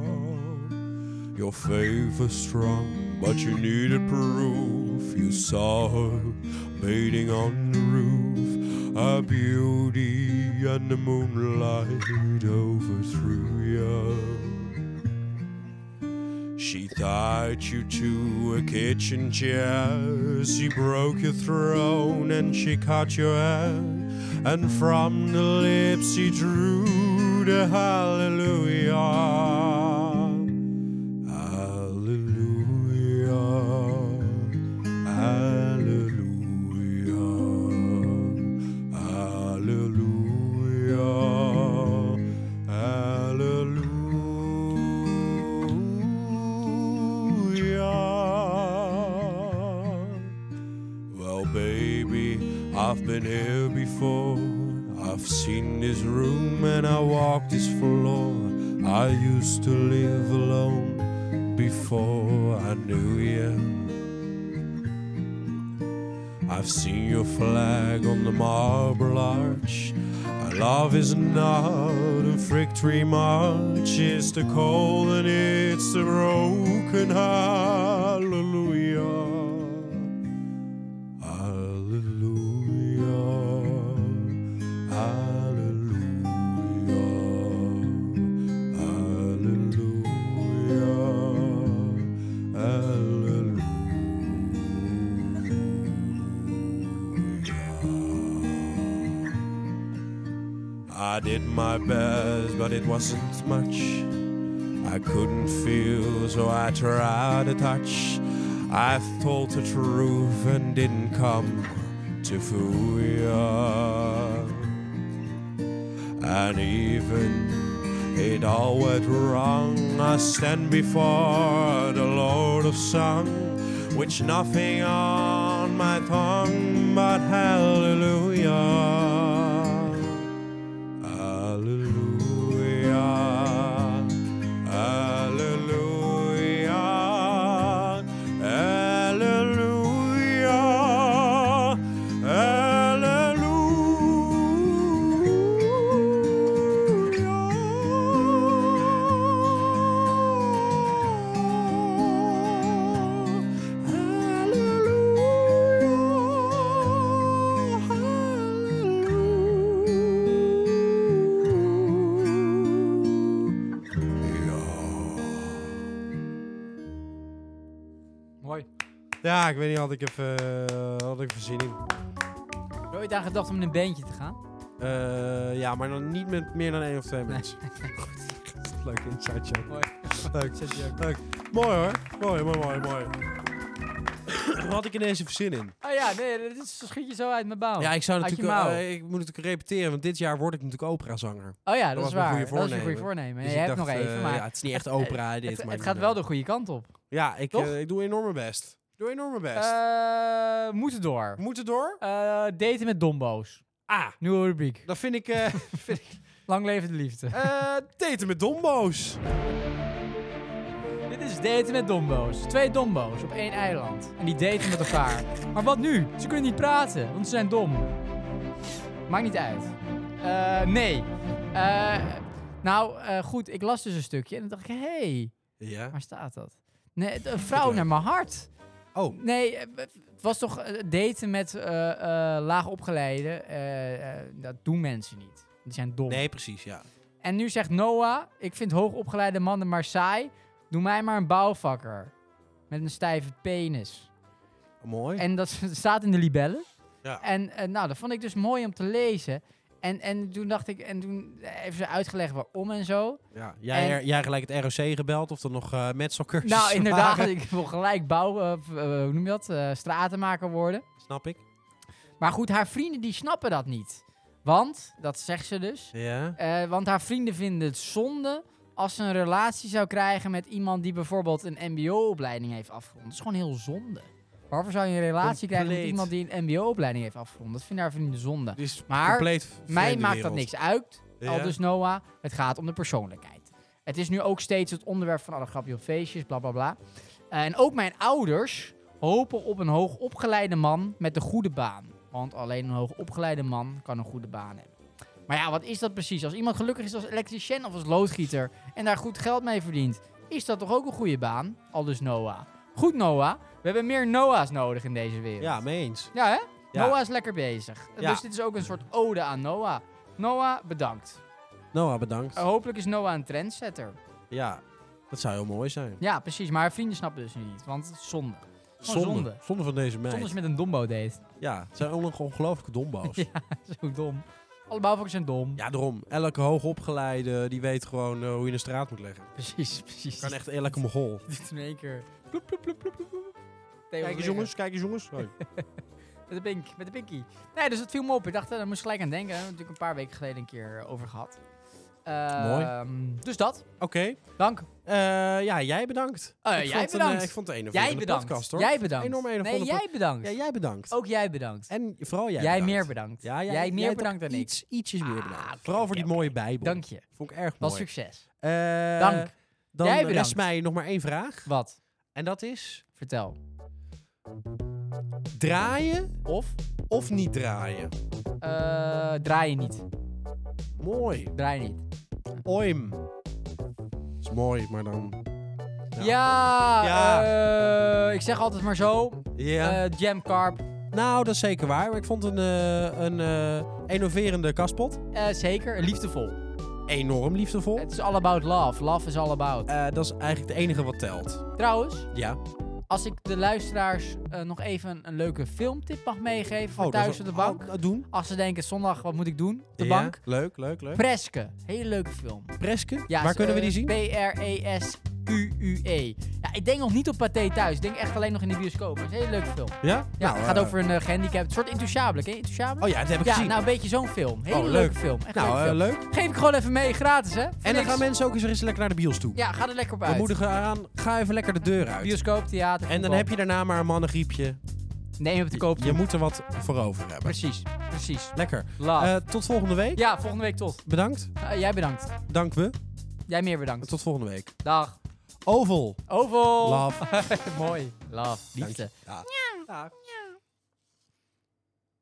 [SPEAKER 8] Hallelujah. Your faith is strong, but you needed proof. You saw her bathing on the roof. Her beauty and the moonlight overthrew you. She tied you to a kitchen chair. She broke your throne and she cut your hair.
[SPEAKER 1] and from the lips he drew the hallelujah. Hallelujah. Hallelujah. Hallelujah. Hallelujah. Well, baby, I've been here before. I've seen this room and I walked this floor. I used to live alone before I knew you. I've seen your flag on the marble arch. Our love is not a victory march. It's the cold and it's the broken hallelujah. Hallelujah. Hallelujah. Hallelujah. Hallelujah. I did my best, but it wasn't much. I couldn't feel, so I tried to touch. I told the truth and didn't come to fool you. And even it all went wrong, I stand before the Lord of Song, which nothing on my tongue but hallelujah. Hallelujah. Hallelujah. Hallelujah. Hallelujah. Hallelujah.
[SPEAKER 2] Mooi.
[SPEAKER 3] Ja, ik weet niet, had ik even, eh, had ik even zin in.
[SPEAKER 2] Heb je ooit aan gedacht om in een bandje te gaan?
[SPEAKER 3] Eh, ja, maar dan niet met meer dan één of twee mensen. Leuk inside joke.
[SPEAKER 2] Mooi.
[SPEAKER 3] Leuk. Leuk. Mooi hoor. Mooi, mooi, mooi, mooi. Wat had ik ineens even zin in?
[SPEAKER 2] Oh ja, nee, dit is, schiet je zo uit mijn bouw.
[SPEAKER 3] ja, ik zou
[SPEAKER 2] Oh. uit je
[SPEAKER 3] natuurlijk...
[SPEAKER 2] mouw.
[SPEAKER 3] eh, ik moet natuurlijk repeteren, want dit jaar word ik natuurlijk operazanger.
[SPEAKER 2] oh ja, dat,
[SPEAKER 3] was
[SPEAKER 2] is
[SPEAKER 3] mijn
[SPEAKER 2] waar.
[SPEAKER 3] goede
[SPEAKER 2] dat is je goede
[SPEAKER 3] voornemen.
[SPEAKER 2] voornemen.
[SPEAKER 3] Dus
[SPEAKER 2] je
[SPEAKER 3] ik
[SPEAKER 2] hebt nog
[SPEAKER 3] dacht,
[SPEAKER 2] even,
[SPEAKER 3] eh,
[SPEAKER 2] maar
[SPEAKER 3] ja, het is niet echt opera dit.
[SPEAKER 2] het,
[SPEAKER 3] maar
[SPEAKER 2] het
[SPEAKER 3] ik
[SPEAKER 2] gaat
[SPEAKER 3] ben,
[SPEAKER 2] wel
[SPEAKER 3] eh,
[SPEAKER 2] de goede kant op.
[SPEAKER 3] Ja, ik,
[SPEAKER 2] Toch?
[SPEAKER 3] eh, ik doe enorm mijn best. Ik doe enorm mijn best.
[SPEAKER 2] Eh moeten door.
[SPEAKER 3] We moeten door.
[SPEAKER 2] Eh, daten met dombo's.
[SPEAKER 3] Ah,
[SPEAKER 2] Nieuwe rubriek.
[SPEAKER 3] dan vind ik... eh vind ik
[SPEAKER 2] Lang leven de liefde.
[SPEAKER 3] eh, daten met dombo's.
[SPEAKER 2] Dit is daten met dombo's. Twee dombo's op één eiland. En die daten met elkaar. Maar wat nu? Ze kunnen niet praten, want ze zijn dom. Maakt niet uit. Eh, nee. Eh, nou, eh, goed, ik las dus een stukje en dan dacht ik, hey,
[SPEAKER 3] Ja.
[SPEAKER 2] waar staat dat? Nee, het- een vrouw naar mijn hart.
[SPEAKER 3] Oh.
[SPEAKER 2] Nee, eh, het was toch eh, daten met eh, eh, laagopgeleiden. eh, eh, dat doen mensen niet. Die zijn dom.
[SPEAKER 3] Nee, precies, ja.
[SPEAKER 2] En nu zegt Noah, ik vind hoogopgeleide mannen maar saai. Doe mij maar een bouwvakker. Met een stijve penis.
[SPEAKER 3] Mooi.
[SPEAKER 2] En dat staat in de libellen.
[SPEAKER 3] Ja.
[SPEAKER 2] En eh, nou, dat vond ik dus mooi om te lezen. En, en toen dacht ik, en toen heeft ze uitgelegd waarom en zo.
[SPEAKER 3] ja. jij,
[SPEAKER 2] en-
[SPEAKER 3] jij gelijk het ROC gebeld of dan nog eh met cursus
[SPEAKER 2] Nou, inderdaad, ik wil gelijk bouw, eh, v- eh, hoe noem je dat? Eh, stratenmaker worden.
[SPEAKER 3] Snap ik.
[SPEAKER 2] Maar goed, haar vrienden die snappen dat niet. Want, dat zegt ze dus.
[SPEAKER 3] Ja.
[SPEAKER 2] Eh, want haar vrienden vinden het zonde als ze een relatie zou krijgen met iemand die bijvoorbeeld een MBO-opleiding heeft afgerond. Dat is gewoon heel zonde. Waarvoor zou je een relatie krijgen met
[SPEAKER 3] Compleet.
[SPEAKER 2] iemand die een MBO-opleiding heeft afgerond? Dat vinden haar vrienden zonde.
[SPEAKER 3] Dit is
[SPEAKER 2] Maar
[SPEAKER 3] compleet vreemde
[SPEAKER 2] Mij maakt dat
[SPEAKER 3] wereld.
[SPEAKER 2] niks uit.
[SPEAKER 3] Ja.
[SPEAKER 2] Al dus Noah, het gaat om de persoonlijkheid. Het is nu ook steeds het onderwerp van alle grapje op feestjes, bla bla bla. Eh, en ook mijn ouders hopen op een hoogopgeleide man met een goede baan. Want alleen een hoogopgeleide man kan een goede baan hebben. Maar ja, wat is dat precies? Als iemand gelukkig is als elektricien of als loodgieter en daar goed geld mee verdient, is dat toch ook een goede baan? Al dus Noah. Goed Noah, we hebben meer Noah's nodig in deze wereld.
[SPEAKER 3] Ja, mee eens.
[SPEAKER 2] Ja, hè?
[SPEAKER 3] Ja.
[SPEAKER 2] Noah is lekker bezig.
[SPEAKER 3] Ja.
[SPEAKER 2] Dus dit is ook een soort ode aan Noah. Noah, bedankt.
[SPEAKER 3] Noah, bedankt.
[SPEAKER 2] Eh, hopelijk is Noah een trendsetter.
[SPEAKER 3] Ja, dat zou heel mooi zijn.
[SPEAKER 2] Ja, precies. Maar haar vrienden snappen dus nu niet, want het is zonde. Gewoon
[SPEAKER 1] zonde.
[SPEAKER 2] zonde.
[SPEAKER 1] Zonde van deze meid.
[SPEAKER 2] Zonde als je met een dombo deed.
[SPEAKER 1] Ja, het zijn onge- ongelooflijke dombo's. ja.
[SPEAKER 2] ja, zo dom. Alle bouwvakkers zijn dom.
[SPEAKER 1] daarom. Elke hoogopgeleide, die weet gewoon eh, hoe je een straat moet leggen.
[SPEAKER 2] Precies, precies.
[SPEAKER 1] Kan echt elke mogol.
[SPEAKER 2] Dit is in één keer. Ploep, ploep, ploep, ploep, ploep, ploep. Theo
[SPEAKER 1] Kijk eens
[SPEAKER 2] Verbrugge.
[SPEAKER 1] jongens, kijk eens jongens. Hoi.
[SPEAKER 2] Met de pink, met de pinkie. Nee, dus dat viel me op. Ik dacht, eh, daar moest ik gelijk aan denken. Daar hebben we natuurlijk een paar weken geleden een keer eh, over gehad. Ehm, Dus dat.
[SPEAKER 1] Oké.
[SPEAKER 2] Dank.
[SPEAKER 1] Eh, ja, jij bedankt.
[SPEAKER 2] Oh, ja,
[SPEAKER 1] Ik
[SPEAKER 2] jij
[SPEAKER 1] vond een,
[SPEAKER 2] bedankt.
[SPEAKER 1] eh, ik vond het een of
[SPEAKER 2] jij
[SPEAKER 1] andere
[SPEAKER 2] bedankt.
[SPEAKER 1] podcast hoor.
[SPEAKER 2] Jij bedankt.
[SPEAKER 1] Enorm een of
[SPEAKER 2] nee,
[SPEAKER 1] andere
[SPEAKER 2] jij bedankt.
[SPEAKER 1] Ja, jij bedankt.
[SPEAKER 2] Ook jij bedankt.
[SPEAKER 1] En vooral jij
[SPEAKER 2] jij
[SPEAKER 1] bedankt.
[SPEAKER 2] meer bedankt.
[SPEAKER 1] Ja, jij,
[SPEAKER 2] jij meer
[SPEAKER 1] toch
[SPEAKER 2] bedankt dan ik.
[SPEAKER 1] iets, Ietsjes meer
[SPEAKER 2] Ah,
[SPEAKER 1] bedankt.
[SPEAKER 2] oké,
[SPEAKER 1] Vooral voor
[SPEAKER 2] oké,
[SPEAKER 1] die mooie bijbel.
[SPEAKER 2] Dank je.
[SPEAKER 1] Vond ik erg
[SPEAKER 2] Wat
[SPEAKER 1] mooi.
[SPEAKER 2] succes.
[SPEAKER 1] Eh,
[SPEAKER 2] Dank.
[SPEAKER 1] Dan
[SPEAKER 2] Jij
[SPEAKER 1] rest
[SPEAKER 2] bedankt.
[SPEAKER 1] mij nog maar één vraag.
[SPEAKER 2] Wat?
[SPEAKER 1] En dat is...
[SPEAKER 2] Vertel.
[SPEAKER 1] Draaien
[SPEAKER 2] Of
[SPEAKER 1] of niet draaien?
[SPEAKER 2] eh, draai je niet.
[SPEAKER 1] Mooi.
[SPEAKER 2] Draai je niet.
[SPEAKER 1] Oim. is mooi, maar dan...
[SPEAKER 2] Ja,
[SPEAKER 1] Ja.
[SPEAKER 2] eh, ik zeg altijd maar zo.
[SPEAKER 1] Ja.
[SPEAKER 2] Eh jam carp.
[SPEAKER 1] nou, dat is zeker waar. Maar ik vond een, eh, een eh, innoverende kaspot.
[SPEAKER 2] Eh, zeker. Liefdevol.
[SPEAKER 1] Enorm liefdevol.
[SPEAKER 2] Het is all about love. Love is all about.
[SPEAKER 1] Eh, dat is eigenlijk het enige wat telt.
[SPEAKER 2] Trouwens,
[SPEAKER 1] Ja. Oh,
[SPEAKER 2] als ik de luisteraars eh, nog even een leuke filmtip mag meegeven voor
[SPEAKER 1] Oh, dat
[SPEAKER 2] thuis
[SPEAKER 1] is-
[SPEAKER 2] op de bank.
[SPEAKER 1] oh, dat doen.
[SPEAKER 2] Als ze denken, zondag, wat moet ik doen? Op de
[SPEAKER 1] Ja,
[SPEAKER 2] bank.
[SPEAKER 1] Leuk, leuk, leuk.
[SPEAKER 2] Preske. Hele leuke film.
[SPEAKER 1] Preske?
[SPEAKER 2] Ja,
[SPEAKER 1] Waar
[SPEAKER 2] is,
[SPEAKER 1] kunnen we die
[SPEAKER 2] eh, E
[SPEAKER 1] zien?
[SPEAKER 2] P-R-E-S-Q-U-E. E. Ja, ik denk nog niet op Pathé thuis. Ik denk echt alleen nog in de bioscoop. Het is een hele leuke film.
[SPEAKER 1] Ja?
[SPEAKER 2] Ja,
[SPEAKER 1] Nou,
[SPEAKER 2] het gaat
[SPEAKER 1] eh,
[SPEAKER 2] over een eh, gehandicapt. Een soort intouchable. Ken je intouchable?
[SPEAKER 1] Oh ja, dat heb ik
[SPEAKER 2] ja,
[SPEAKER 1] gezien.
[SPEAKER 2] nou een beetje zo'n film. Hele
[SPEAKER 1] Oh,
[SPEAKER 2] leuke
[SPEAKER 1] leuk.
[SPEAKER 2] film. Echt
[SPEAKER 1] nou,
[SPEAKER 2] leuke
[SPEAKER 1] eh,
[SPEAKER 2] film.
[SPEAKER 1] leuk.
[SPEAKER 2] Geef ik gewoon even mee. Gratis, hè? Voor
[SPEAKER 1] En dan
[SPEAKER 2] niks.
[SPEAKER 1] gaan mensen ook eens eens lekker naar de bios toe.
[SPEAKER 2] Ja, ga er lekker op
[SPEAKER 1] We
[SPEAKER 2] uit.
[SPEAKER 1] moedigen aan, ga even lekker de deur uit.
[SPEAKER 2] Bioscoop, theater.
[SPEAKER 1] En dan
[SPEAKER 2] voetbal.
[SPEAKER 1] heb je daarna maar een mannengriepje.
[SPEAKER 2] Neem hem te
[SPEAKER 1] Je,
[SPEAKER 2] koop.
[SPEAKER 1] je moet er wat voor over hebben.
[SPEAKER 2] Precies, precies.
[SPEAKER 1] Lekker.
[SPEAKER 2] Love.
[SPEAKER 1] Eh, tot volgende week.
[SPEAKER 2] ja, volgende week tot.
[SPEAKER 1] Bedankt.
[SPEAKER 2] Eh, jij bedankt.
[SPEAKER 1] Dank we.
[SPEAKER 2] Jij meer bedankt.
[SPEAKER 1] Tot volgende week.
[SPEAKER 2] Dag.
[SPEAKER 1] Oval.
[SPEAKER 2] Oval.
[SPEAKER 1] Love.
[SPEAKER 2] Mooi. Love. Liefde.
[SPEAKER 1] Ja.
[SPEAKER 2] Dag.